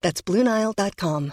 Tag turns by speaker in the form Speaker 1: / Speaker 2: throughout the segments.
Speaker 1: That's BlueNile.com.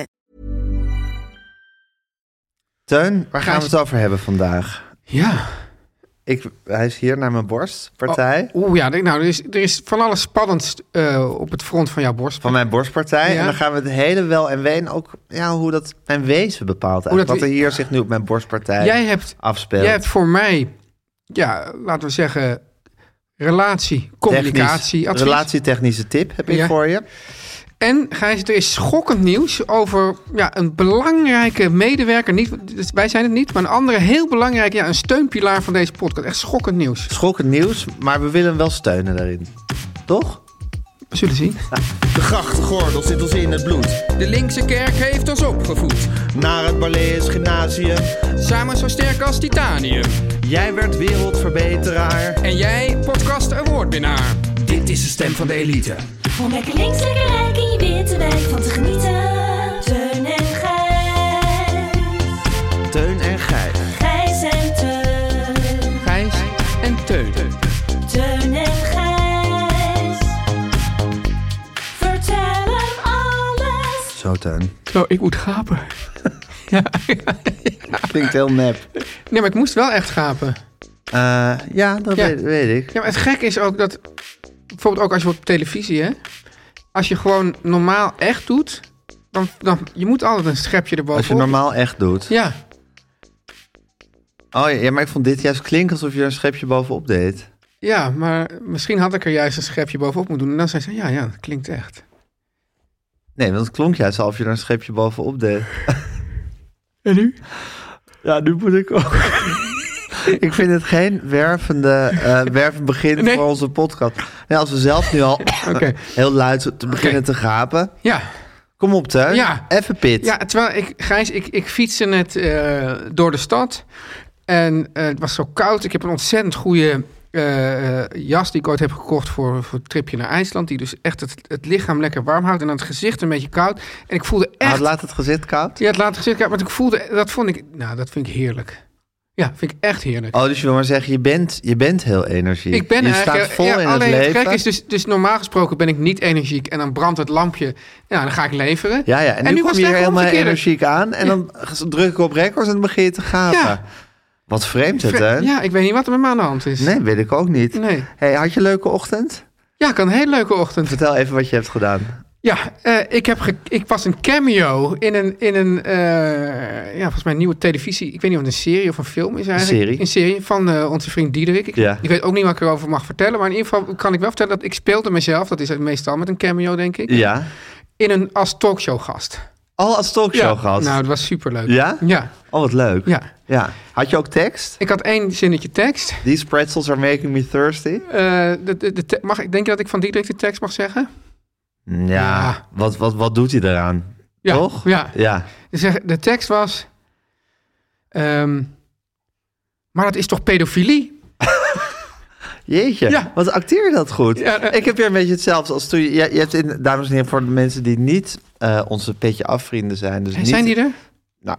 Speaker 2: Teun, waar gaan
Speaker 3: Gijs-
Speaker 2: we het over hebben vandaag?
Speaker 3: Ja.
Speaker 2: Ik, hij is hier naar mijn borstpartij.
Speaker 3: Oeh ja, denk- nou, er is, er is van alles spannends eh, op het front van jouw borst.
Speaker 2: Van mijn borstpartij.
Speaker 3: Ja.
Speaker 2: En dan gaan we het hele wel en ween ook... Ja, hoe dat mijn wezen bepaalt eigenlijk.
Speaker 3: dat
Speaker 2: Wat er
Speaker 3: we-
Speaker 2: hier zich nu op mijn borstpartij
Speaker 3: Jij hebt,
Speaker 2: afspeelt.
Speaker 3: jij hebt voor mij, ja, laten we zeggen, relatie, communicatie,
Speaker 2: Technisch-
Speaker 3: advies.
Speaker 2: relatietechnische tip heb ik
Speaker 3: Ja.
Speaker 2: voor je.
Speaker 3: En Gijs, er is schokkend nieuws over ja, een belangrijke medewerker. Niet, dus wij zijn het niet, maar een andere heel belangrijke, ja, een steunpilaar van deze podcast. Echt schokkend nieuws.
Speaker 2: Schokkend nieuws, maar we willen hem wel steunen daarin. Toch?
Speaker 3: We zullen zien.
Speaker 4: De grachtgordel zit ons in het bloed.
Speaker 5: De linkse kerk heeft ons opgevoed.
Speaker 4: Naar het Barlees Gymnasium.
Speaker 5: Samen zo sterk als titanium.
Speaker 4: Jij werd wereldverbeteraar.
Speaker 5: En jij, podcast awardwinnaar. Dit is de stem van de elite.
Speaker 6: Om lekker links, lekker rijk in je witte wijk van te genieten. Teun en Gijs.
Speaker 4: Teun en Gijs.
Speaker 6: Gijs en Teun.
Speaker 5: Gijs en Teun.
Speaker 6: Teun en Gijs. Vertel hem alles.
Speaker 2: Zo, Teun.
Speaker 3: Zo, ik moet gapen. ja,
Speaker 2: Klinkt heel nep.
Speaker 3: Nee, maar ik moest wel echt gapen.
Speaker 2: Eh, ja, dat
Speaker 3: Ja.
Speaker 2: Weet, weet ik.
Speaker 3: Ja, maar het gekke is ook dat, bijvoorbeeld ook als je op televisie, hè. Als je gewoon normaal echt doet, dan, dan je moet altijd een schepje erboven.
Speaker 2: Als je normaal echt doet.
Speaker 3: Ja,
Speaker 2: Oh ja, ja, maar ik vond dit juist klinken alsof je er een schepje bovenop deed.
Speaker 3: ja, maar misschien had ik er juist een schepje bovenop moeten doen. En dan zei ze, ja, ja, dat klinkt echt.
Speaker 2: Nee, want het klonk juist alsof je er een schepje bovenop deed.
Speaker 3: En nu?
Speaker 2: Ja, nu moet ik ook. ik vind het geen wervende, eh wervend begin
Speaker 3: Nee.
Speaker 2: voor onze podcast. Nee, als we zelf nu al
Speaker 3: Oké.
Speaker 2: heel luid te beginnen te gapen.
Speaker 3: Ja,
Speaker 2: Kom op, Teun.
Speaker 3: Ja.
Speaker 2: Even pit.
Speaker 3: Ja, terwijl ik, Gijs, ik, ik fietste net eh, door de stad. En eh, het was zo koud. Ik heb een ontzettend goede eh, eh, jas die ik ooit heb gekocht voor, voor het tripje naar IJsland. Die dus echt het, het lichaam lekker warm houdt en dan het gezicht een beetje koud. En ik voelde
Speaker 2: Ah,
Speaker 3: echt...
Speaker 2: laat het gezicht koud.
Speaker 3: Ja, het laat het gezicht koud, maar ik voelde... Dat vond ik... Nou, dat vind ik heerlijk. Ja, vind ik echt heerlijk.
Speaker 2: Oh, dus je wil maar zeggen, je bent, je bent heel energie.
Speaker 3: Ik ben
Speaker 2: je
Speaker 3: eigenlijk...
Speaker 2: staat vol
Speaker 3: ja,
Speaker 2: in het
Speaker 3: alleen
Speaker 2: leven.
Speaker 3: gek is dus, dus normaal gesproken ben ik niet energiek. En dan brandt het lampje. Ja, dan ga ik leveren.
Speaker 2: Ja, ja. En, nu, kom
Speaker 3: was
Speaker 2: je
Speaker 3: het
Speaker 2: hier
Speaker 3: eigenlijk
Speaker 2: helemaal
Speaker 3: omgekeerd.
Speaker 2: energiek aan. En dan druk ik op records en dan begin je te gapen.
Speaker 3: Ja.
Speaker 2: Wat vreemd het,
Speaker 3: Fre-
Speaker 2: hè?
Speaker 3: Ja, ik weet niet wat er met me aan de hand is.
Speaker 2: Nee, weet ik ook niet.
Speaker 3: Nee.
Speaker 2: Hey, had je een leuke ochtend?
Speaker 3: Ja, ik had een hele leuke ochtend.
Speaker 2: Vertel even wat je hebt gedaan.
Speaker 3: Ja, eh, ik, heb ge- ik was een cameo in een, in een eh, ja, volgens mij een nieuwe televisie. Ik weet niet of het een serie of een film is eigenlijk.
Speaker 2: serie.
Speaker 3: Een serie van eh, onze vriend Diederik. Ik,
Speaker 2: Ja.
Speaker 3: ik weet ook niet wat ik erover mag vertellen. Maar in ieder geval kan ik wel vertellen dat ik speelde mezelf. Dat is het meestal met een cameo, denk ik.
Speaker 2: Ja.
Speaker 3: In een als talkshowgast.
Speaker 2: Al als talkshow gehad?
Speaker 3: Nou, dat was superleuk.
Speaker 2: Ja?
Speaker 3: Ja,
Speaker 2: Oh, wat leuk.
Speaker 3: ja.
Speaker 2: Had je ook tekst?
Speaker 3: Ik had één zinnetje tekst.
Speaker 2: These pretzels are making me thirsty.
Speaker 3: Eh, de, de, de te- mag ik denk je dat ik van Diederik de tekst mag zeggen?
Speaker 2: Ja.
Speaker 3: Ja.
Speaker 2: Wat, wat, wat doet hij eraan?
Speaker 3: Ja,
Speaker 2: Toch?
Speaker 3: ja.
Speaker 2: Ja.
Speaker 3: Ze zeggen- De tekst was. ehm, maar dat is toch pedofilie?
Speaker 2: Jeetje,
Speaker 3: Ja.
Speaker 2: wat acteer je dat goed.
Speaker 3: Ja, eh.
Speaker 2: ik heb weer een beetje hetzelfde als toen je... Je, je hebt in, dames en heren, voor de mensen die niet eh, onze petje afvrienden zijn... Dus
Speaker 3: En
Speaker 2: niet,
Speaker 3: zijn die er?
Speaker 2: Nou,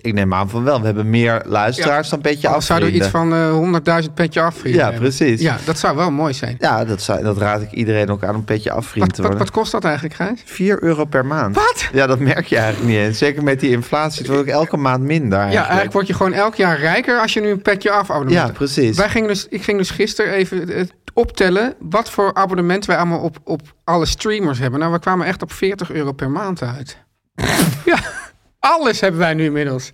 Speaker 2: ik neem aan van wel. We hebben meer luisteraars dan petje
Speaker 3: Of zouden we
Speaker 2: afvrienden.
Speaker 3: iets van eh 100.000 petje afvrienden?
Speaker 2: Ja,
Speaker 3: hebben?
Speaker 2: precies.
Speaker 3: Ja, dat zou wel mooi zijn.
Speaker 2: Ja, dat, zou, dat raad ik iedereen ook aan om petje afvriend
Speaker 3: Wat,
Speaker 2: te
Speaker 3: wat,
Speaker 2: worden.
Speaker 3: wat kost dat eigenlijk, Gijs?
Speaker 2: 4 euro per maand.
Speaker 3: Wat?
Speaker 2: Ja, dat merk je eigenlijk niet eens. Zeker met die inflatie. Het wordt ook elke maand minder
Speaker 3: Ja, eigenlijk
Speaker 2: eigenlijk.
Speaker 3: word je gewoon elk jaar rijker als je nu een petje af abonnement
Speaker 2: Ja,
Speaker 3: hebt.
Speaker 2: precies.
Speaker 3: Wij gingen dus, ik ging dus gisteren even eh, optellen wat voor abonnement wij allemaal op, op alle streamers hebben. Nou, we kwamen echt op 40 euro per maand uit. Ja, alles hebben wij nu inmiddels.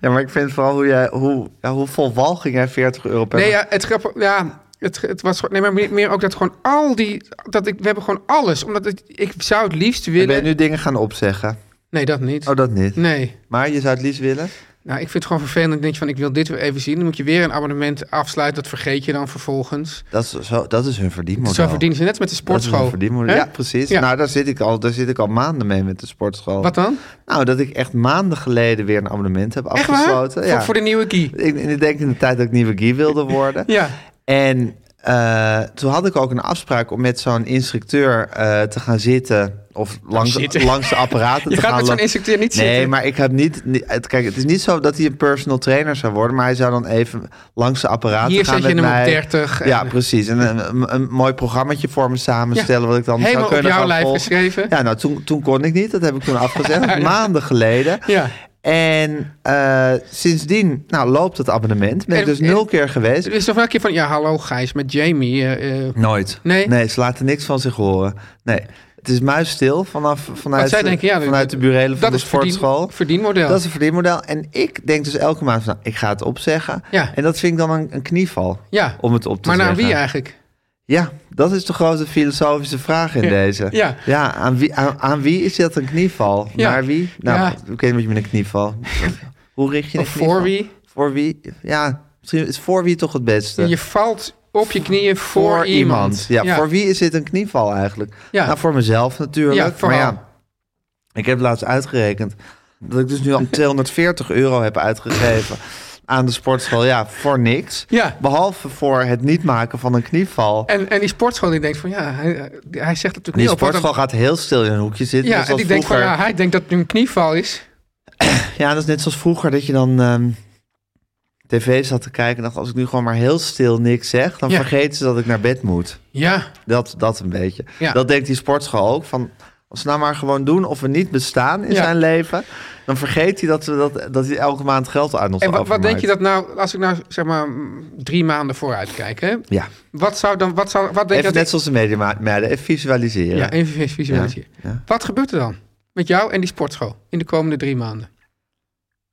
Speaker 2: Ja, maar ik vind vooral hoe, jij, hoe, ja, hoe vol walging jij 40 euro per
Speaker 3: Nee, ja, het grappig. Ja, het, het was gewoon. Nee, maar meer, meer ook dat gewoon al die. Dat ik, we hebben gewoon alles. Omdat het- ik zou het liefst
Speaker 2: En Ben
Speaker 3: willen.
Speaker 2: je nu dingen gaan opzeggen?
Speaker 3: Nee, dat niet.
Speaker 2: Oh, dat niet.
Speaker 3: Nee.
Speaker 2: Maar je zou het liefst willen?
Speaker 3: Nou, ik vind het gewoon vervelend. Ik denk van, ik wil dit weer even zien. Dan moet je weer een abonnement afsluiten. Dat vergeet je dan vervolgens.
Speaker 2: Dat is, zo, dat is hun verdienmodel.
Speaker 3: Zo verdienen ze net als met de
Speaker 2: Oh, nou. Dat is hun
Speaker 3: sportschool.
Speaker 2: verdienmodel.
Speaker 3: Hè?
Speaker 2: Ja, precies.
Speaker 3: Ja.
Speaker 2: Nou, daar zit, ik al, daar zit ik al maanden mee met de sportschool.
Speaker 3: Wat dan?
Speaker 2: Nou, dat ik echt maanden geleden weer een abonnement heb
Speaker 3: Echt waar?
Speaker 2: afgesloten.
Speaker 3: Voor, voor de nieuwe key.
Speaker 2: Ik, ik denk in de tijd dat ik nieuwe guy wilde worden.
Speaker 3: Ja.
Speaker 2: En eh, toen had ik ook een afspraak om met zo'n instructeur eh, te gaan zitten. Of langs,
Speaker 3: zitten.
Speaker 2: langs de apparaten
Speaker 3: Je
Speaker 2: te
Speaker 3: gaat
Speaker 2: gaan
Speaker 3: met zo'n
Speaker 2: lo-
Speaker 3: instructeur niet
Speaker 2: nee,
Speaker 3: zitten.
Speaker 2: maar ik heb niet... ni- het- Kijk, het is niet zo dat hij een personal trainer zou worden. Maar hij zou dan even langs de apparaten
Speaker 3: Hier
Speaker 2: gaan
Speaker 3: zet je
Speaker 2: met
Speaker 3: hem op
Speaker 2: mij.
Speaker 3: 30 en-
Speaker 2: Ja, precies. En een, een, een mooi programmaatje voor me samenstellen.
Speaker 3: Ja.
Speaker 2: Wat ik dan
Speaker 3: Helemaal
Speaker 2: zou
Speaker 3: op
Speaker 2: kunnen
Speaker 3: jouw
Speaker 2: gaan
Speaker 3: lijf
Speaker 2: volgen.
Speaker 3: geschreven.
Speaker 2: Ja, nou, toen, toen kon ik niet. Dat heb ik toen afgezegd. Maanden geleden.
Speaker 3: Ja.
Speaker 2: En eh, sindsdien nou, loopt het abonnement. Ben ik
Speaker 3: En-
Speaker 2: dus nul
Speaker 3: en-
Speaker 2: keer geweest.
Speaker 3: Er is nog wel een keer van, ja, hallo Gijs, met Jamie. eh, eh,
Speaker 2: Nooit.
Speaker 3: Nee?
Speaker 2: Nee, ze laten niks van zich horen. Nee. Het is muisstil vanaf, vanuit,
Speaker 3: Want zij
Speaker 2: de-
Speaker 3: denken, ja,
Speaker 2: vanuit de burelen van
Speaker 3: dat
Speaker 2: de
Speaker 3: is verdien-
Speaker 2: sportschool.
Speaker 3: verdienmodel.
Speaker 2: Dat is een verdienmodel. En ik denk dus elke maand van, nou, ik ga het opzeggen.
Speaker 3: Ja.
Speaker 2: En dat vind ik dan een, een knieval
Speaker 3: ja.
Speaker 2: om het op te
Speaker 3: maar naar
Speaker 2: zeggen.
Speaker 3: wie eigenlijk?
Speaker 2: Ja, dat is de grote filosofische vraag in
Speaker 3: Ja.
Speaker 2: deze.
Speaker 3: Ja.
Speaker 2: aan, wie, aan, aan wie is dat een knieval?
Speaker 3: Ja.
Speaker 2: Naar wie? Nou,
Speaker 3: Ja.
Speaker 2: ik weet niet wat je met een knieval... Hoe richt je een
Speaker 3: Of
Speaker 2: knieval?
Speaker 3: voor wie?
Speaker 2: Voor wie? Ja, misschien is voor wie toch het beste?
Speaker 3: Je valt op je knieën voor, iemand.
Speaker 2: Ja, voor wie is dit een knieval eigenlijk?
Speaker 3: Ja.
Speaker 2: Nou, voor mezelf natuurlijk.
Speaker 3: Ja, vooral.
Speaker 2: Maar ja, ik heb laatst uitgerekend dat ik dus nu al 240 euro heb uitgegeven aan de sportschool. Ja, voor niks.
Speaker 3: Ja.
Speaker 2: Behalve voor het niet maken van een knieval.
Speaker 3: En, en die sportschool die denkt van, ja, hij, hij zegt het natuurlijk
Speaker 2: die
Speaker 3: niet op. hoor,
Speaker 2: sportschool gaat heel stil in een hoekje
Speaker 3: dat-
Speaker 2: zitten.
Speaker 3: Ja,
Speaker 2: net
Speaker 3: en
Speaker 2: zoals
Speaker 3: die denkt van,
Speaker 2: vroeger.
Speaker 3: ja, hij denkt dat het een knieval is.
Speaker 2: Ja, dat is net zoals vroeger dat je dan ehm, tv zat te kijken en dacht... als ik nu gewoon maar heel stil niks zeg... dan
Speaker 3: Ja.
Speaker 2: vergeten ze dat ik naar bed moet.
Speaker 3: Ja,
Speaker 2: Dat, dat een beetje.
Speaker 3: Ja.
Speaker 2: Dat denkt die sportschool ook. Van, als we nou maar gewoon doen of we niet bestaan in
Speaker 3: Ja.
Speaker 2: zijn leven... dan vergeet hij dat, we dat, dat hij elke maand geld aan ons
Speaker 3: en wat, wat
Speaker 2: overmaakt.
Speaker 3: denk je dat nou, als ik nou zeg maar mm, drie maanden vooruit kijk, hè?
Speaker 2: Ja,
Speaker 3: Wat zou dan, wat zou, wat denk je
Speaker 2: even
Speaker 3: dat...
Speaker 2: net zoals de mediameiden. Even visualiseren.
Speaker 3: ja, even vis- visualiseren.
Speaker 2: Ja, ja.
Speaker 3: Wat gebeurt er dan met jou en die sportschool in de komende drie maanden?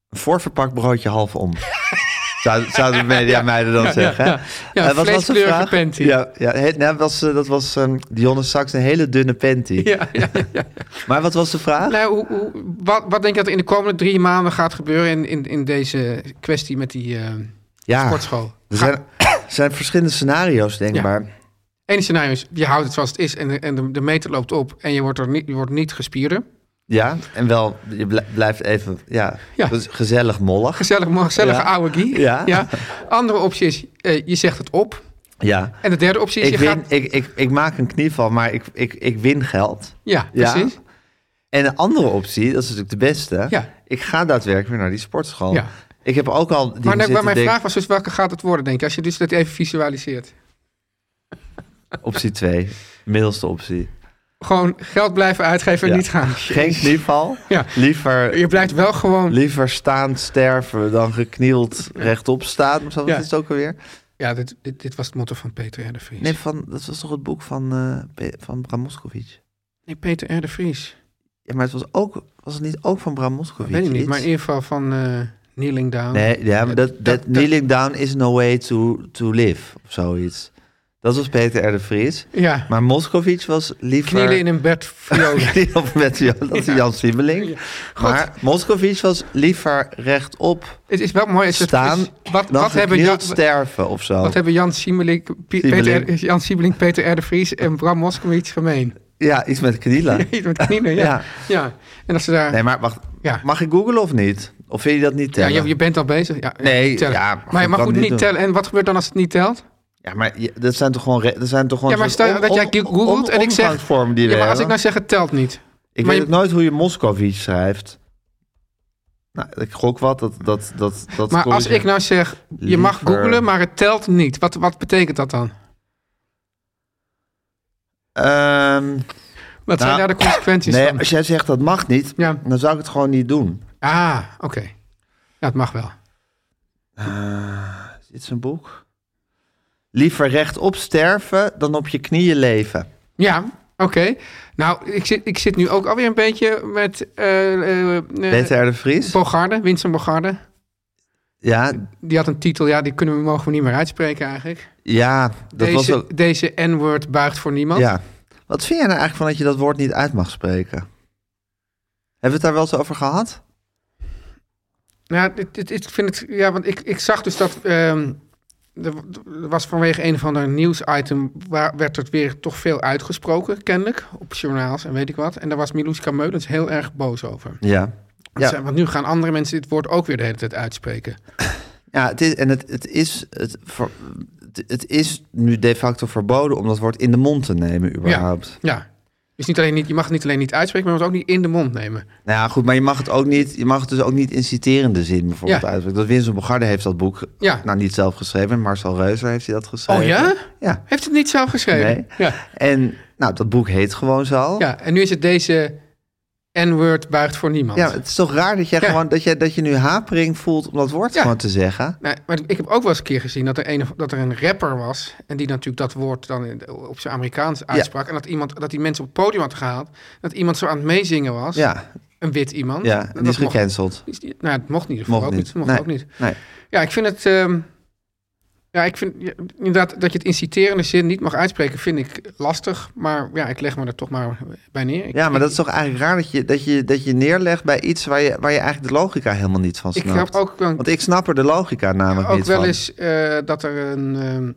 Speaker 2: Een voorverpakt broodje half om. Zou, zouden de mediameiden dan zeggen. hè?
Speaker 3: Ja,
Speaker 2: Eh, wat was de
Speaker 3: vleeskleurige
Speaker 2: vraag?
Speaker 3: panty.
Speaker 2: Ja, ja, he- nou, was, eh, dat was ehm, Dionne Saks, een hele dunne panty.
Speaker 3: Ja, ja.
Speaker 2: Maar wat was de vraag?
Speaker 3: Nou, hoe, hoe- wat, wat denk je dat er in de komende drie maanden gaat gebeuren in, in, in deze kwestie met die eh,
Speaker 2: ja,
Speaker 3: sportschool?
Speaker 2: er zijn, er zijn verschillende scenario's denkbaar.
Speaker 3: Eén scenario is, je houdt het zoals het is en, en de, de meter loopt op en je wordt, er niet, je wordt niet gespierder.
Speaker 2: Ja, en wel, je bl- blijft even ja,
Speaker 3: Ja.
Speaker 2: dus gezellig mollig.
Speaker 3: Gezellig, maar gezellige
Speaker 2: Ja.
Speaker 3: oude guy.
Speaker 2: Ja.
Speaker 3: Andere optie is, eh, je zegt het op.
Speaker 2: Ja.
Speaker 3: En de derde optie is,
Speaker 2: Ik,
Speaker 3: je
Speaker 2: win,
Speaker 3: gaat...
Speaker 2: ik, ik, ik maak een knieval, maar ik, ik, ik win geld.
Speaker 3: Ja,
Speaker 2: Ja.
Speaker 3: precies.
Speaker 2: En een andere optie, dat is natuurlijk de beste.
Speaker 3: Ja.
Speaker 2: Ik ga daadwerkelijk weer naar die sportschool.
Speaker 3: Ja.
Speaker 2: Ik heb ook al die
Speaker 3: Maar, net- maar mijn vraag was dus, welke gaat het worden, denk je? Als je dus dat even visualiseert.
Speaker 2: Optie 2, middelste optie.
Speaker 3: Gewoon geld blijven uitgeven en
Speaker 2: Ja.
Speaker 3: niet gaan.
Speaker 2: Geen knieval,
Speaker 3: Ja.
Speaker 2: liever
Speaker 3: Je blijft wel gewoon...
Speaker 2: Liever staan sterven dan geknield rechtop staan. Of zo, wat
Speaker 3: Ja.
Speaker 2: is het ook alweer?
Speaker 3: Ja, dit, dit, dit was het motto van Peter R. de Vries.
Speaker 2: Nee, van, dat was toch het boek van, eh, Pe- van Bram Moskowitz?
Speaker 3: Nee, Peter R. de Vries.
Speaker 2: Ja, maar het was, ook, was het niet ook van Bram Moskowitz?
Speaker 3: Weet ik niet,
Speaker 2: iets?
Speaker 3: maar in ieder geval van eh, Kneeling Down.
Speaker 2: Nee, ja, maar dat,
Speaker 3: dat-
Speaker 2: dat kneeling down is no way to, to live, of zoiets. Dat was Peter R. de Vries.
Speaker 3: Ja,
Speaker 2: Maar Moskowitz was liever...
Speaker 3: knielen in een bed violen.
Speaker 2: Knielen op met Jan, dat is Jan Simmeling. Maar Moskowitz was liever rechtop
Speaker 3: het is wel mooi. Het is-
Speaker 2: staan
Speaker 3: het is- wat,
Speaker 2: dan
Speaker 3: wat, hebben Jan,
Speaker 2: geknield sterven of zo.
Speaker 3: wat hebben Jan Siemeling, P-
Speaker 2: Siemeling.
Speaker 3: Peter, R- Jan Siemeling, Peter R. de Vries en Bram Moskowitz gemeen?
Speaker 2: Ja, iets met knielen.
Speaker 3: Iets met knielen, ja. ja.
Speaker 2: Ja.
Speaker 3: En als ze daar...
Speaker 2: Nee, maar wacht.
Speaker 3: Ja.
Speaker 2: Mag ik googlen of niet? Of vind je dat niet
Speaker 3: ja,
Speaker 2: tellen?
Speaker 3: je, je bent al bezig. Ja,
Speaker 2: Nee,
Speaker 3: tellen.
Speaker 2: ja, maar
Speaker 3: maar,
Speaker 2: goed,
Speaker 3: maar
Speaker 2: kan
Speaker 3: goed,
Speaker 2: niet
Speaker 3: niet
Speaker 2: doen.
Speaker 3: tellen. En wat gebeurt dan als het niet telt?
Speaker 2: Ja, maar je- dat zijn toch gewoon... re- Dat zijn toch gewoon
Speaker 3: Ja, maar
Speaker 2: soort
Speaker 3: stel dat jij
Speaker 2: on- on-
Speaker 3: googelt en ik zeg-
Speaker 2: omgangsvormen die
Speaker 3: Ja,
Speaker 2: we
Speaker 3: maar als
Speaker 2: hebben.
Speaker 3: ik nou zeg het telt niet.
Speaker 2: Ik
Speaker 3: maar
Speaker 2: weet
Speaker 3: je-
Speaker 2: ook nooit hoe je Moscovici schrijft. Nou, ik gok wat. Dat, dat, dat, dat
Speaker 3: Maar als
Speaker 2: corrigeer-
Speaker 3: ik nou zeg, je mag
Speaker 2: Liever-
Speaker 3: googlen, maar het telt niet. Wat, wat betekent dat dan?
Speaker 2: Ehm,
Speaker 3: Wat zijn
Speaker 2: Nou,
Speaker 3: daar de consequenties
Speaker 2: nee,
Speaker 3: nou- van?
Speaker 2: als jij zegt dat mag niet,
Speaker 3: Ja.
Speaker 2: dan zou ik het gewoon niet doen.
Speaker 3: Ah, oké. Ja, het mag wel.
Speaker 2: Is dit zo'n boek? Liever rechtop sterven dan op je knieën leven.
Speaker 3: Ja, Nou, ik zit, ik zit nu ook alweer een beetje met... eh eh eh,
Speaker 2: BTR de Vries.
Speaker 3: Bogarde, Winston Bogarde.
Speaker 2: Ja,
Speaker 3: Die had een titel, ja, die kunnen we, mogen we niet meer uitspreken eigenlijk.
Speaker 2: ja dat
Speaker 3: deze
Speaker 2: was ook...
Speaker 3: deze N-word buigt voor niemand.
Speaker 2: Ja. Wat vind jij nou eigenlijk van dat je dat woord niet uit mag spreken? Hebben we het daar wel eens over gehad?
Speaker 3: Nou, dit, dit- ik vind het, ja, want ik, ik zag dus dat. ehm, er w- er was vanwege een van de nieuwsitem. waar- werd het weer toch veel uitgesproken, kennelijk. Op journaals en weet ik wat. En daar was Miluska Meulens heel erg boos over.
Speaker 2: Ja. Ja.
Speaker 3: Ze- Want nu gaan andere mensen dit woord ook weer de hele tijd uitspreken.
Speaker 2: Ja, het is, en het, het, is, het, ver- het- het is nu de facto verboden om dat woord in de mond te nemen, überhaupt.
Speaker 3: Ja. Dus niet alleen niet, je mag het niet alleen niet uitspreken, maar je mag het ook niet in de mond nemen.
Speaker 2: Nou ja, goed, maar je mag het ook niet, je mag het dus ook niet in citerende zin bijvoorbeeld
Speaker 3: Ja.
Speaker 2: uitspreken. Dat Winston Bogarde heeft dat boek,
Speaker 3: Ja.
Speaker 2: nou niet zelf geschreven, Marcel Reuser heeft hij dat geschreven.
Speaker 3: Oh ja?
Speaker 2: Ja.
Speaker 3: Heeft het niet zelf geschreven?
Speaker 2: Nee.
Speaker 3: Ja.
Speaker 2: En nou, dat boek heet gewoon zo.
Speaker 3: ja. En nu is het deze N-word buigt voor niemand. Nou,
Speaker 2: Ja, het is toch raar dat, jij
Speaker 3: Ja.
Speaker 2: gewoon, dat, je, dat je nu hapering voelt om dat woord
Speaker 3: Ja.
Speaker 2: gewoon te zeggen.
Speaker 3: Nou, maar ik heb ook wel eens een keer gezien dat er een, of- dat er een rapper was. En die natuurlijk dat woord dan in- op zijn Amerikaans uitsprak. En dat, iemand, dat die mensen op het podium had gehaald. Dat iemand zo aan het meezingen was.
Speaker 2: Ja,
Speaker 3: Een wit iemand.
Speaker 2: ja
Speaker 3: En
Speaker 2: en die is
Speaker 3: mocht-
Speaker 2: gecanceld.
Speaker 3: is die- nou, het mocht niet.
Speaker 2: Mocht
Speaker 3: ook
Speaker 2: niet.
Speaker 3: niet. Mocht
Speaker 2: Nee.
Speaker 3: ook niet.
Speaker 2: Nee.
Speaker 3: Ja, ik vind het... ehm, ja, ik vind ja, inderdaad dat je het in citerende zin niet mag uitspreken, vind ik lastig. Maar ja, ik leg me er toch maar bij neer. Ik-
Speaker 2: Ja, maar dat is toch eigenlijk raar dat je, dat je, dat je neerlegt bij iets waar je, waar je eigenlijk de logica helemaal niet van
Speaker 3: ik
Speaker 2: snapt.
Speaker 3: heb ook wel
Speaker 2: Want ik snap er de logica namelijk
Speaker 3: ook
Speaker 2: niet
Speaker 3: wel
Speaker 2: van.
Speaker 3: eens eh, dat er een, ehm,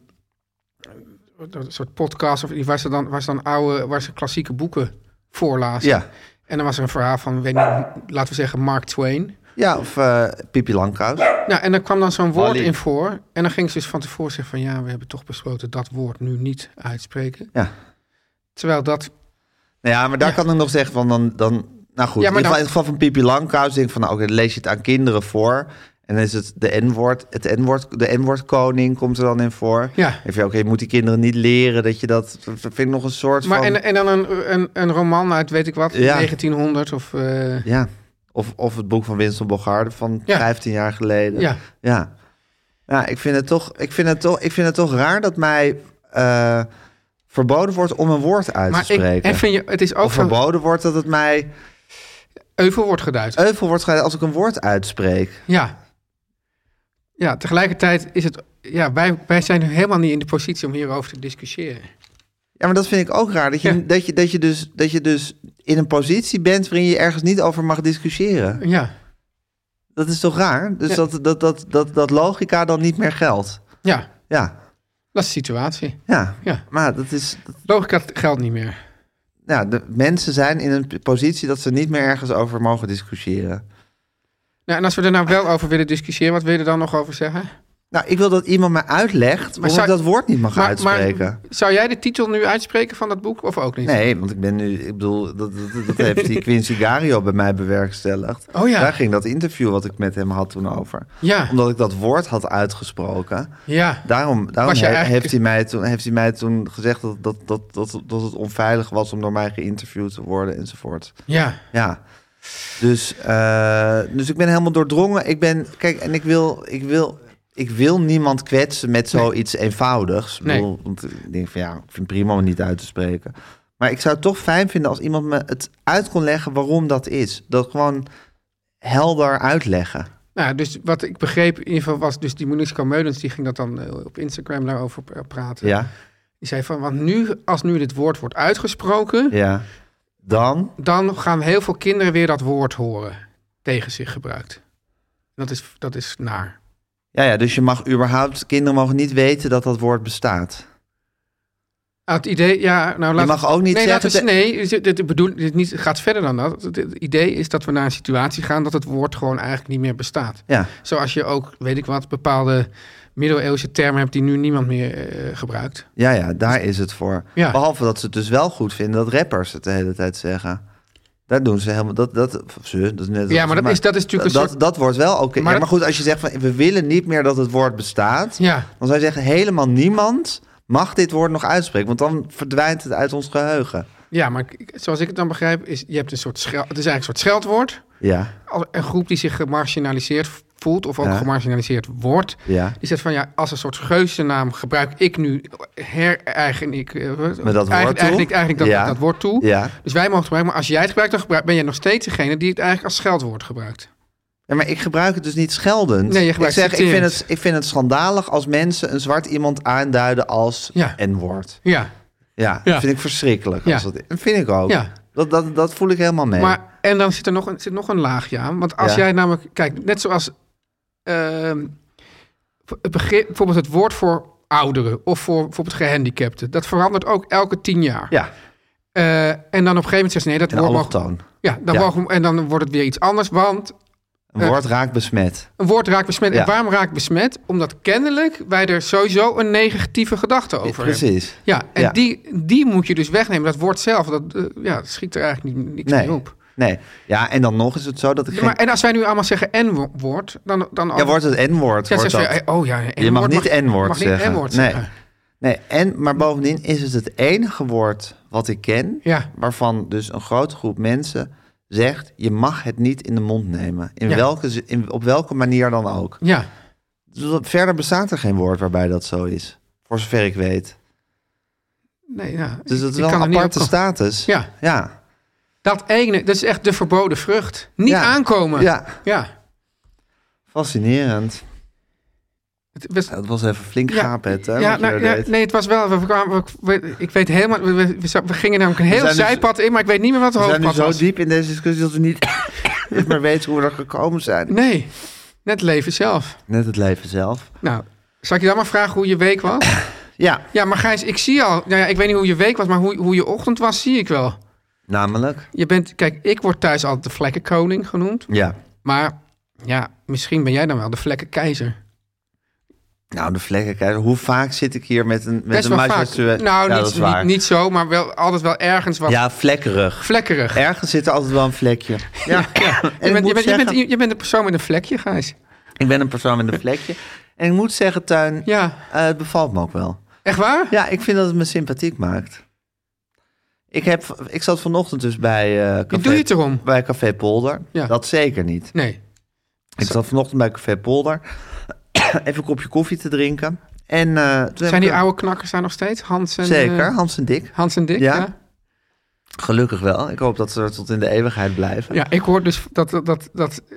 Speaker 3: een soort podcast of iets waar ze dan, waar ze dan oude, waar ze klassieke boeken voorlazen.
Speaker 2: Ja.
Speaker 3: En dan was er een verhaal van, weet niet, laten we zeggen Mark Twain.
Speaker 2: Ja, of eh Pipi Langkous.
Speaker 3: Nou, en dan kwam dan zo'n woord
Speaker 2: Wally.
Speaker 3: in voor. En dan ging ze dus van tevoren zeggen van, ja, we hebben toch besloten dat woord nu niet uitspreken.
Speaker 2: Ja.
Speaker 3: Terwijl dat,
Speaker 2: Nou ja, maar daar
Speaker 3: Ja.
Speaker 2: kan ik nog zeggen van dan... dan nou goed,
Speaker 3: Ja,
Speaker 2: in, ieder geval,
Speaker 3: maar dan-
Speaker 2: in het geval van Pipi Langkous denk ik van... Nou, oké, dan lees je het aan kinderen voor. En dan is het de N-woord, het N-woord, de N-woord koning komt er dan in voor.
Speaker 3: Ja.
Speaker 2: Even, oké, je moet die kinderen niet leren dat je dat... Dat vind ik nog een soort
Speaker 3: maar
Speaker 2: van...
Speaker 3: en, en dan een, een, een roman uit weet ik wat,
Speaker 2: Ja.
Speaker 3: 1900 of... eh,
Speaker 2: Ja, of, of het boek van Winston Bogarde van
Speaker 3: Ja.
Speaker 2: 15 jaar geleden.
Speaker 3: Ja.
Speaker 2: Ja, ja ik, vind het toch, ik, vind het toch, ik vind het toch raar dat mij eh, verboden wordt om een woord uit
Speaker 3: maar
Speaker 2: te
Speaker 3: ik,
Speaker 2: spreken.
Speaker 3: en vind je, het is ook
Speaker 2: Of
Speaker 3: van
Speaker 2: verboden wordt dat het mij
Speaker 3: euvel wordt geduid.
Speaker 2: euvel wordt gedaan als ik een woord uitspreek.
Speaker 3: Ja. Ja, tegelijkertijd is het... Ja, wij, wij zijn helemaal niet in de positie om hierover te discussiëren.
Speaker 2: Ja, maar dat vind ik ook raar. Dat je,
Speaker 3: Ja.
Speaker 2: dat je, dat je, dus, dat je dus in een positie bent waarin je ergens niet over mag discussiëren.
Speaker 3: Ja,
Speaker 2: Dat is toch raar? Dus
Speaker 3: Ja.
Speaker 2: dat, dat, dat, dat, dat logica dan niet meer geldt.
Speaker 3: ja.
Speaker 2: Ja,
Speaker 3: Dat is de situatie.
Speaker 2: ja.
Speaker 3: Ja.
Speaker 2: maar dat is,
Speaker 3: Logica geldt niet meer.
Speaker 2: ja, de mensen zijn in een positie dat ze niet meer ergens over mogen discussiëren.
Speaker 3: Nou, en als we er nou wel over willen discussiëren, wat wil je er dan nog over zeggen?
Speaker 2: Nou, ik wil dat iemand mij uitlegt waarom
Speaker 3: zou-
Speaker 2: ik dat woord niet mag uitspreken.
Speaker 3: zou jij de titel nu uitspreken van dat boek of ook niet?
Speaker 2: Nee, want ik ben nu, ik bedoel, dat, dat, dat heeft die Quincy Gario bij mij bewerkstelligd.
Speaker 3: Oh ja.
Speaker 2: Daar ging dat interview wat ik met hem had toen over.
Speaker 3: Ja,
Speaker 2: Omdat ik dat woord had uitgesproken.
Speaker 3: ja.
Speaker 2: Daarom, daarom
Speaker 3: Was je
Speaker 2: he-
Speaker 3: eigenlijk-
Speaker 2: heeft, hij mij toen, heeft hij mij toen gezegd dat, dat, dat, dat, dat het onveilig was om door mij geïnterviewd te worden enzovoort.
Speaker 3: ja.
Speaker 2: Ja. Dus, eh, dus ik ben helemaal doordrongen. Ik ben, kijk, en ik wil, ik wil, ik wil niemand kwetsen met zoiets eenvoudigs. Ik
Speaker 3: Nee.
Speaker 2: bedoel, want ik denk van ja, ik vind het prima om het niet uit te spreken. Maar ik zou het toch fijn vinden als iemand me het uit kon leggen waarom dat is. Dat gewoon helder uitleggen.
Speaker 3: Nou, dus wat ik begreep in ieder geval was... dus die Monique Meulens, die ging dat dan eh, op Instagram daarover eh, praten.
Speaker 2: Ja,
Speaker 3: Die zei van, want nu, als nu dit woord wordt uitgesproken...
Speaker 2: ja. Dan,
Speaker 3: dan gaan heel veel kinderen weer dat woord horen tegen zich gebruikt. Dat is, dat is naar.
Speaker 2: ja, ja, dus je mag überhaupt, kinderen mogen niet weten dat dat woord bestaat.
Speaker 3: Ah, het idee, ja, nou laat
Speaker 2: mag ook niet
Speaker 3: nee,
Speaker 2: zeggen
Speaker 3: Laten we, nee, dit, dit, bedoel, dit niet, het gaat verder dan dat. Het, het idee is dat we naar een situatie gaan dat het woord gewoon eigenlijk niet meer bestaat.
Speaker 2: Ja,
Speaker 3: Zoals je ook, weet ik wat, bepaalde middeleeuwse termen hebt die nu niemand meer eh, gebruikt.
Speaker 2: ja, ja daar is het voor.
Speaker 3: Ja.
Speaker 2: Behalve dat ze het dus wel goed vinden dat rappers het de hele tijd zeggen. Daar doen ze helemaal dat dat of ze dat is net als-
Speaker 3: Ja, maar dat is- dat is natuurlijk een
Speaker 2: dat,
Speaker 3: soort-
Speaker 2: dat wordt wel oké.
Speaker 3: Maar
Speaker 2: Ja,
Speaker 3: dat-
Speaker 2: maar goed, als je zegt van we willen niet meer dat het woord bestaat,
Speaker 3: Ja,
Speaker 2: dan zou je zeggen helemaal niemand mag dit woord nog uitspreken, want dan verdwijnt het uit ons geheugen.
Speaker 3: ja maar ik- ik- zoals ik het dan begrijp, is, je hebt een soort schel, het is eigenlijk een soort scheldwoord.
Speaker 2: Ja,
Speaker 3: Al- Een groep die zich gemarginaliseerd voelt of ook
Speaker 2: Ja.
Speaker 3: gemarginaliseerd wordt.
Speaker 2: Ja.
Speaker 3: Die zegt van ja, als een soort geuzennaam gebruik ik nu hereigen ik eh,
Speaker 2: Met dat
Speaker 3: eigen-
Speaker 2: woord toe?
Speaker 3: eigen ik eigenlijk dat,
Speaker 2: Ja.
Speaker 3: dat woord toe.
Speaker 2: Ja.
Speaker 3: Dus wij mogen het gebruiken, maar als jij het gebruikt, dan gebruik- ben jij nog steeds degene die het eigenlijk als scheldwoord gebruikt.
Speaker 2: Ja, maar ik gebruik het dus niet scheldend.
Speaker 3: Nee, je gebruikt
Speaker 2: ik zeg, ik vind,
Speaker 3: citerend.
Speaker 2: het, ik vind het schandalig als mensen een zwart iemand aanduiden als
Speaker 3: Ja.
Speaker 2: N-woord.
Speaker 3: Ja,
Speaker 2: Ja,
Speaker 3: Ja.
Speaker 2: dat vind ik verschrikkelijk.
Speaker 3: Ja.
Speaker 2: Als dat, dat vind ik ook.
Speaker 3: Ja.
Speaker 2: Dat, dat, dat voel ik helemaal mee.
Speaker 3: maar en dan zit er nog een, zit nog een laagje aan. Want als
Speaker 2: Ja.
Speaker 3: jij namelijk, kijk, net zoals ehm, het begrip, bijvoorbeeld het woord voor ouderen of voor bijvoorbeeld gehandicapten, dat verandert ook elke tien jaar.
Speaker 2: ja,
Speaker 3: Eh, en dan op een gegeven moment zegt ze nee, dat
Speaker 2: en
Speaker 3: woord mag-
Speaker 2: allochtoon.
Speaker 3: Ja, dan
Speaker 2: Ja.
Speaker 3: mogen- en dan wordt het weer iets anders, want
Speaker 2: Een woord raakt besmet.
Speaker 3: een woord raakt besmet.
Speaker 2: Ja.
Speaker 3: En waarom raakt besmet? Omdat kennelijk wij er sowieso een negatieve gedachte over hebben.
Speaker 2: Precies.
Speaker 3: Ja, en
Speaker 2: Ja.
Speaker 3: Die, die moet je dus wegnemen. Dat woord zelf, dat eh, ja, schiet er eigenlijk niet, niks
Speaker 2: Nee.
Speaker 3: mee op.
Speaker 2: Nee. Ja, en dan nog is het zo dat ik
Speaker 3: Ja,
Speaker 2: geen...
Speaker 3: maar, en als wij nu allemaal zeggen N-woord, dan... dan
Speaker 2: ja, wordt het N-woord.
Speaker 3: ja,
Speaker 2: wordt
Speaker 3: zeggen
Speaker 2: dat.
Speaker 3: ze, eh, oh ja, N-woord
Speaker 2: Je mag niet
Speaker 3: mag
Speaker 2: N-woord
Speaker 3: niet
Speaker 2: zeggen.
Speaker 3: N-woord
Speaker 2: nee.
Speaker 3: zeggen.
Speaker 2: Nee, en, maar bovendien is het het enige woord wat ik ken...
Speaker 3: Ja.
Speaker 2: waarvan dus een grote groep mensen zegt... je mag het niet in de mond nemen. In
Speaker 3: Ja.
Speaker 2: welke, zi- in, op welke manier dan ook.
Speaker 3: Ja,
Speaker 2: Dus dat- Verder bestaat er geen woord waarbij dat zo is. Voor zover ik weet.
Speaker 3: nee, ja.
Speaker 2: Dus dat
Speaker 3: Ik
Speaker 2: is wel
Speaker 3: kan er
Speaker 2: een
Speaker 3: niet
Speaker 2: aparte
Speaker 3: op komen.
Speaker 2: status.
Speaker 3: Ja.
Speaker 2: Ja.
Speaker 3: Dat ene, dat is echt de verboden vrucht. Niet
Speaker 2: Ja.
Speaker 3: aankomen.
Speaker 2: ja,
Speaker 3: ja.
Speaker 2: fascinerend.
Speaker 3: Het was-
Speaker 2: Dat was even flink
Speaker 3: Ja,
Speaker 2: gaapet, hè?
Speaker 3: ja,
Speaker 2: wat je
Speaker 3: nou,
Speaker 2: er
Speaker 3: ja,
Speaker 2: deed.
Speaker 3: nee, het was wel. We kwamen, we- we- ik weet helemaal. We, we- we, we gingen namelijk een heel
Speaker 2: zijn dus-
Speaker 3: zijpad in, maar ik weet niet meer wat het
Speaker 2: We zijn nu
Speaker 3: hoofdpad
Speaker 2: zo
Speaker 3: was.
Speaker 2: diep in deze discussie dat we niet niet meer weten hoe we er gekomen zijn.
Speaker 3: Nee, net leven zelf.
Speaker 2: Net het leven zelf.
Speaker 3: Nou, zal ik je dan maar vragen hoe je week was?
Speaker 2: Ja,
Speaker 3: Ja, maar Gijs, ik zie al. Nou ja, ik weet niet hoe je week was, maar hoe, hoe je ochtend was, zie ik wel.
Speaker 2: namelijk.
Speaker 3: Je bent, kijk, ik word thuis altijd de vlekkenkoning genoemd.
Speaker 2: Ja.
Speaker 3: Maar ja, misschien ben jij dan wel de vlekkenkeizer.
Speaker 2: Nou, de vlekken, kijk, hoe vaak zit ik hier met een, met
Speaker 3: Best
Speaker 2: een
Speaker 3: wel vaak.
Speaker 2: majestueus-
Speaker 3: Nou,
Speaker 2: ja, dat
Speaker 3: niet,
Speaker 2: is waar.
Speaker 3: niet, niet zo, maar wel altijd wel ergens wat
Speaker 2: Ja, vlekkerig.
Speaker 3: vlekkerig.
Speaker 2: Ergens zit er altijd wel een vlekje. Ja, En ik
Speaker 3: Je bent, je,
Speaker 2: moet
Speaker 3: bent, je, bent,
Speaker 2: zeggen-
Speaker 3: je bent een persoon met een vlekje, Gijs.
Speaker 2: Ik ben een persoon met een vlekje. En ik moet zeggen, Tuin,
Speaker 3: Ja,
Speaker 2: eh, het bevalt me ook wel.
Speaker 3: echt waar?
Speaker 2: Ja, ik vind dat het me sympathiek maakt. Ik, heb, ik zat vanochtend dus bij, eh café,
Speaker 3: doe je het erom?
Speaker 2: bij Café Polder.
Speaker 3: Ja.
Speaker 2: Dat zeker niet.
Speaker 3: Nee.
Speaker 2: Ik zat vanochtend bij Café Polder even een kopje koffie te drinken. En, eh, toen heb
Speaker 3: Zijn die
Speaker 2: ik-
Speaker 3: oude knakkers daar nog steeds? Hans en,
Speaker 2: Zeker,
Speaker 3: eh,
Speaker 2: Hans en Dick.
Speaker 3: Hans en Dick,
Speaker 2: Ja.
Speaker 3: ja. ja.
Speaker 2: Gelukkig wel. Ik hoop dat ze er tot in de eeuwigheid blijven.
Speaker 3: ik hoor dus dat, dat, dat, dat, eh,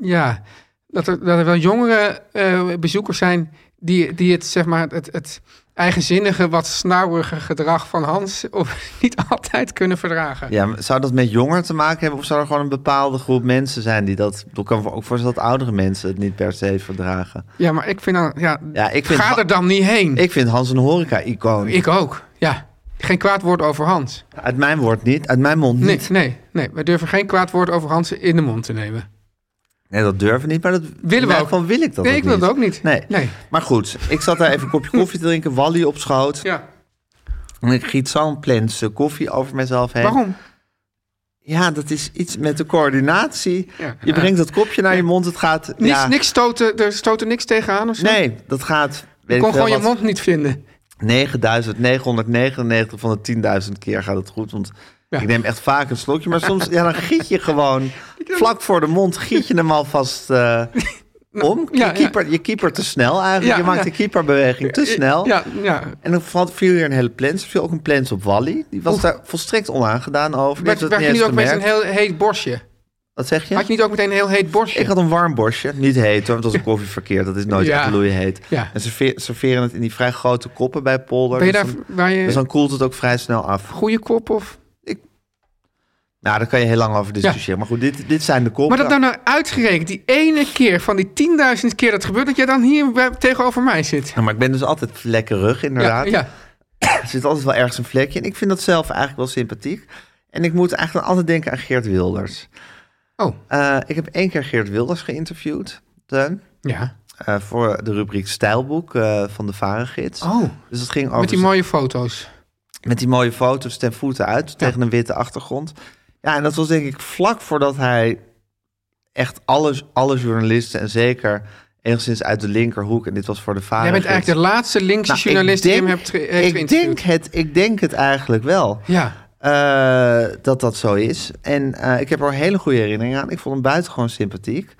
Speaker 3: ja, dat, er, dat er wel jongere eh, bezoekers zijn die, die het, zeg maar, het, het eigenzinnige, wat snauwige gedrag van Hans of, niet altijd kunnen verdragen.
Speaker 2: Ja, maar zou dat met jongeren te maken hebben? Of zou er gewoon een bepaalde groep mensen zijn die dat... Ik kan me ook voorstellen dat oudere mensen het niet per se verdragen.
Speaker 3: Ja, maar ik vind dan, ja,
Speaker 2: Ja, ik vind,
Speaker 3: ga er dan niet heen.
Speaker 2: ik vind Hans een horeca-icoon.
Speaker 3: Hm. Ik ook, ja. Geen kwaad woord over Hans.
Speaker 2: Uit mijn woord niet, uit mijn mond
Speaker 3: Nee,
Speaker 2: niet.
Speaker 3: nee, nee. We durven geen kwaad woord over Hans in de mond te nemen.
Speaker 2: Nee, dat durven niet, maar dat
Speaker 3: Willen we ook.
Speaker 2: Van wil ik dat
Speaker 3: nee,
Speaker 2: ook
Speaker 3: ik wil
Speaker 2: niet.
Speaker 3: dat ook niet.
Speaker 2: Nee.
Speaker 3: nee.
Speaker 2: Maar goed, ik zat daar even een kopje koffie te drinken, Wally op schoot.
Speaker 3: Ja.
Speaker 2: En ik giet zo'n plens koffie over mezelf heen.
Speaker 3: Waarom?
Speaker 2: Ja, dat is iets met de coördinatie.
Speaker 3: Ja.
Speaker 2: Je brengt dat kopje naar je mond, het gaat...
Speaker 3: Niks,
Speaker 2: ja,
Speaker 3: niks stoten, er stoten niks tegenaan of zo?
Speaker 2: Nee, dat gaat...
Speaker 3: Je
Speaker 2: Weet
Speaker 3: kon
Speaker 2: ik veel
Speaker 3: gewoon je
Speaker 2: wat,
Speaker 3: mond niet vinden.
Speaker 2: 9999 van de 10.000 keer gaat het goed. Want
Speaker 3: Ja.
Speaker 2: ik neem echt vaak een slokje. Maar soms ja, dan giet je gewoon vlak voor de mond. Giet je hem alvast eh, om.
Speaker 3: ja,
Speaker 2: je, keeper, je keeper te snel eigenlijk.
Speaker 3: Ja,
Speaker 2: je maakt
Speaker 3: ja.
Speaker 2: de keeperbeweging te snel.
Speaker 3: Ja, ja.
Speaker 2: En dan valt- viel hier een hele plens. Er viel ook een plens op Wally. Die was daar volstrekt onaangedaan over. Die
Speaker 3: Maar
Speaker 2: heeft
Speaker 3: het
Speaker 2: het
Speaker 3: werd
Speaker 2: niet eens
Speaker 3: niet ook met
Speaker 2: gemerkt.
Speaker 3: een heel heet borstje.
Speaker 2: Wat zeg je?
Speaker 3: Had je niet ook meteen een heel heet borstje?
Speaker 2: Ik had een warm borstje. Niet heet hoor, want als een koffie verkeerd. Dat is nooit
Speaker 3: Ja.
Speaker 2: echt bloeien heet.
Speaker 3: Ja.
Speaker 2: En ze serve- serveren het in die vrij grote koppen bij Polder.
Speaker 3: ben je
Speaker 2: dus
Speaker 3: daar,
Speaker 2: dan-
Speaker 3: waar je
Speaker 2: dus dan koelt het ook vrij snel af.
Speaker 3: goede kop of...
Speaker 2: Nou, daar kan je heel lang over discussiëren. Maar goed, dit, dit zijn de koppen.
Speaker 3: Maar dat dan nou uitgerekend, die ene keer van die tienduizend keer dat gebeurt, dat jij dan hier bij- tegenover mij zit.
Speaker 2: Ja, maar ik ben dus altijd vlekkerig, inderdaad.
Speaker 3: ja.
Speaker 2: Er zit altijd wel ergens een vlekje in. Ik vind dat zelf eigenlijk wel sympathiek. En ik moet eigenlijk altijd denken aan Geert Wilders.
Speaker 3: Oh,
Speaker 2: Eh, ik heb één keer Geert Wilders geïnterviewd, Teun.
Speaker 3: ja.
Speaker 2: eh, voor de rubriek Stijlboek eh, van de Varengids.
Speaker 3: Oh,
Speaker 2: Dus dat ging over
Speaker 3: met die
Speaker 2: zijn-
Speaker 3: mooie foto's.
Speaker 2: met die mooie foto's ten voeten uit tegen een witte achtergrond. Ja, en dat was denk ik vlak voordat hij echt alle, alle journalisten en zeker enigszins uit de linkerhoek, en dit was voor de vader.
Speaker 3: Jij bent eigenlijk de laatste linkse journalist die hem hebt ge- heeft
Speaker 2: Nou, ik
Speaker 3: geïnterviewd.
Speaker 2: denk het, Ik denk het eigenlijk wel.
Speaker 3: Ja,
Speaker 2: eh, dat dat zo is. En eh, ik heb er hele goede herinneringen aan. Ik vond hem buitengewoon sympathiek.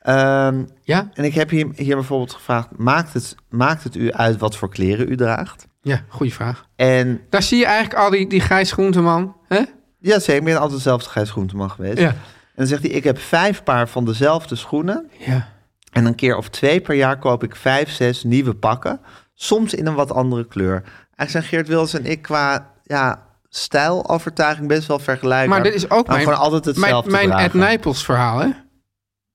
Speaker 2: Eh, Ehm,
Speaker 3: Ja?
Speaker 2: en ik heb hier, hier bijvoorbeeld gevraagd, maakt het, maakt het u uit wat voor kleren u draagt?
Speaker 3: Ja, goede vraag.
Speaker 2: En
Speaker 3: Daar zie je eigenlijk al die, die Gijs Groenteman. Hè?
Speaker 2: ja, zeker, ik ben altijd dezelfde Gijs Groenteman geweest.
Speaker 3: Ja.
Speaker 2: En dan zegt hij, ik heb vijf paar van dezelfde schoenen.
Speaker 3: Ja.
Speaker 2: En een keer of twee per jaar koop ik vijf, zes nieuwe pakken. Soms in een wat andere kleur. Eigenlijk zijn Geert Wils en ik qua ja, stijlovertuiging best wel vergelijkbaar.
Speaker 3: Maar dit is ook mijn,
Speaker 2: gewoon altijd
Speaker 3: mijn,
Speaker 2: hetzelfde
Speaker 3: mijn Ed
Speaker 2: dragen.
Speaker 3: Nijpels verhaal. Hè?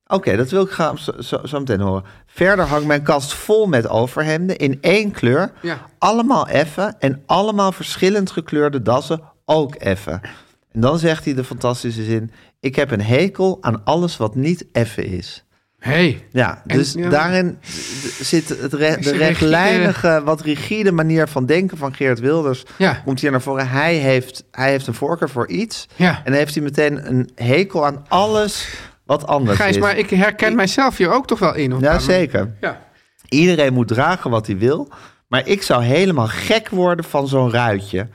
Speaker 2: Oké, dat wil ik graag zo, zo, zo meteen horen. Verder hangt mijn kast vol met overhemden in één kleur.
Speaker 3: Ja.
Speaker 2: Allemaal effen en allemaal verschillend gekleurde dassen ook effen. En dan zegt hij de fantastische zin... Ik heb een hekel aan alles wat niet effen is.
Speaker 3: Hey.
Speaker 2: Ja,
Speaker 3: En-
Speaker 2: dus
Speaker 3: ja.
Speaker 2: daarin d- zit het re- de
Speaker 3: een
Speaker 2: rechtlijnige, wat rigide manier van denken van Geert Wilders.
Speaker 3: Ja.
Speaker 2: Komt hier naar voren. Hij heeft, hij heeft een voorkeur voor iets.
Speaker 3: Ja.
Speaker 2: En heeft hij meteen een hekel aan alles wat anders
Speaker 3: Gijs,
Speaker 2: is.
Speaker 3: maar ik herken mijzelf hier ook toch wel in. of
Speaker 2: Ja,
Speaker 3: niet?
Speaker 2: zeker.
Speaker 3: Ja.
Speaker 2: Iedereen moet dragen wat hij wil. Maar ik zou helemaal gek worden van zo'n ruitje.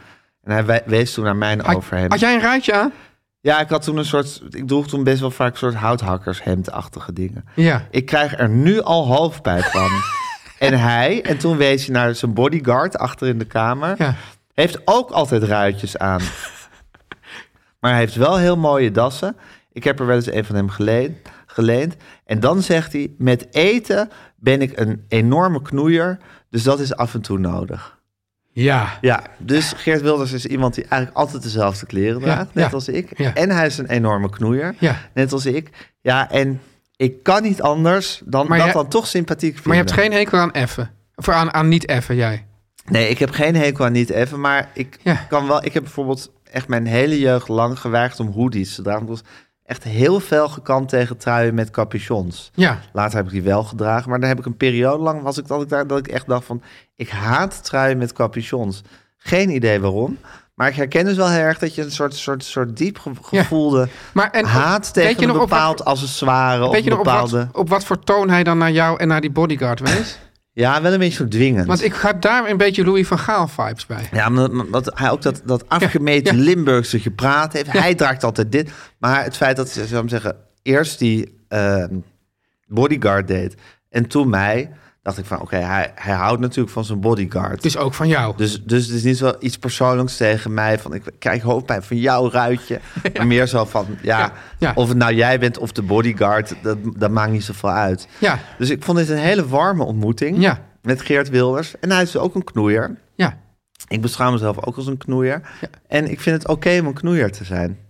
Speaker 2: En hij we- wees toen naar mijn
Speaker 3: Had,
Speaker 2: overhemd.
Speaker 3: had jij een ruitje aan?
Speaker 2: Ja, ik had toen een soort... Ik droeg toen best wel vaak een soort houthakkershemdachtige dingen.
Speaker 3: Ja.
Speaker 2: Ik krijg er nu al hoofdpijn van. en hij, en toen wees hij naar zijn bodyguard achter in de kamer,
Speaker 3: Ja.
Speaker 2: heeft ook altijd ruitjes aan. maar hij heeft wel heel mooie dassen. Ik heb er wel eens een van hem geleen- geleend. En dan zegt hij, met eten ben ik een enorme knoeier, dus dat is af en toe nodig.
Speaker 3: Ja.
Speaker 2: Ja, dus Geert Wilders is iemand die eigenlijk altijd dezelfde kleren
Speaker 3: Ja,
Speaker 2: draagt, net
Speaker 3: ja,
Speaker 2: als ik.
Speaker 3: ja.
Speaker 2: En hij is een enorme knoeier,
Speaker 3: Ja.
Speaker 2: net als ik. Ja, en ik kan niet anders dan
Speaker 3: Maar
Speaker 2: dat
Speaker 3: jij-
Speaker 2: dan toch sympathiek vinden.
Speaker 3: Maar je hebt geen hekel aan effen. Of aan, aan niet effen, jij.
Speaker 2: Nee, ik heb geen hekel aan niet even, maar ik
Speaker 3: Ja.
Speaker 2: kan wel... Ik heb bijvoorbeeld echt mijn hele jeugd lang geweigerd om hoodies te dragen. Ik was echt heel fel gekant tegen truien met capuchons.
Speaker 3: Ja.
Speaker 2: Later heb ik die wel gedragen, maar daar heb ik een periode lang was ik dat ik daar dat ik echt dacht van ik haat truien met capuchons. Geen idee waarom, maar ik herken dus wel heel erg dat je een soort soort soort diep ge-
Speaker 3: Ja.
Speaker 2: gevoelde
Speaker 3: Maar en,
Speaker 2: haat
Speaker 3: weet
Speaker 2: tegen
Speaker 3: je
Speaker 2: een
Speaker 3: nog op wat-
Speaker 2: bepaald accessoire of
Speaker 3: Weet je
Speaker 2: een
Speaker 3: nog op
Speaker 2: bepaalde.
Speaker 3: wat, op wat voor toon hij dan naar jou en naar die bodyguard wees?
Speaker 2: Ja, wel een beetje zo dwingend.
Speaker 3: Want ik heb daar een beetje Louis van Gaal vibes bij.
Speaker 2: Ja, maar maar wat hij ook dat, dat afgemeten Limburgse gepraat heeft. Hij draagt altijd dit. Maar het feit dat ze, zou ik zeggen, eerst die ehm, bodyguard deed en toen mij, dacht ik van oké, hij, hij houdt natuurlijk van zijn bodyguard.
Speaker 3: Dus ook van jou.
Speaker 2: Dus, dus het is niet zo iets persoonlijks tegen mij. Van ik krijg hoofdpijn van jouw ruitje. Maar meer zo van ja,
Speaker 3: Ja, ja.
Speaker 2: of het nou jij bent of de bodyguard, dat, dat maakt niet zoveel uit.
Speaker 3: Ja.
Speaker 2: Dus ik vond dit een hele warme ontmoeting
Speaker 3: Ja.
Speaker 2: met Geert Wilders. En hij is ook een knoeier.
Speaker 3: ja.
Speaker 2: Ik beschouw mezelf ook als een knoeier.
Speaker 3: Ja.
Speaker 2: En ik vind het oké om een knoeier te zijn.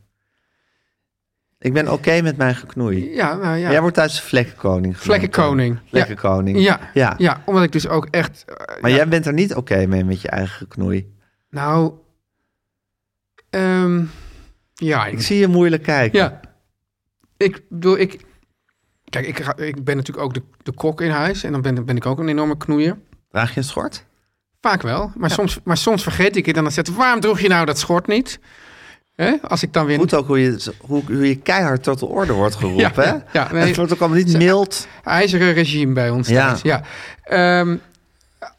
Speaker 2: Ik ben oké met mijn geknoei.
Speaker 3: Ja, nou ja.
Speaker 2: Jij wordt thuis vlekkenkoning genoemd.
Speaker 3: Vlekkenkoning.
Speaker 2: Vlekkenkoning.
Speaker 3: Ja.
Speaker 2: ja.
Speaker 3: Ja. omdat ik dus ook echt... eh,
Speaker 2: Maar
Speaker 3: ja,
Speaker 2: jij bent er niet oké mee met je eigen geknoei.
Speaker 3: Nou... ehm, ja,
Speaker 2: Ik
Speaker 3: ik,
Speaker 2: zie je moeilijk kijken.
Speaker 3: ja. Ik bedoel, ik... Kijk, ik, ga- ik ben natuurlijk ook de, de kok in huis. En dan ben, ben ik ook een enorme knoeier.
Speaker 2: Draag je een schort?
Speaker 3: Vaak wel. Maar, soms, maar soms vergeet ik het. En dan zegt waarom droeg je nou dat schort niet? Hè? Als ik dan weer...
Speaker 2: Goed ook hoe je, hoe, hoe je keihard tot de orde wordt
Speaker 3: Ja,
Speaker 2: geroepen.
Speaker 3: ja, ja,
Speaker 2: hè?
Speaker 3: nee.
Speaker 2: het wordt ook allemaal niet
Speaker 3: Ze-
Speaker 2: mild.
Speaker 3: ijzeren regime bij ons
Speaker 2: Ja.
Speaker 3: thuis. Ja. Ehm,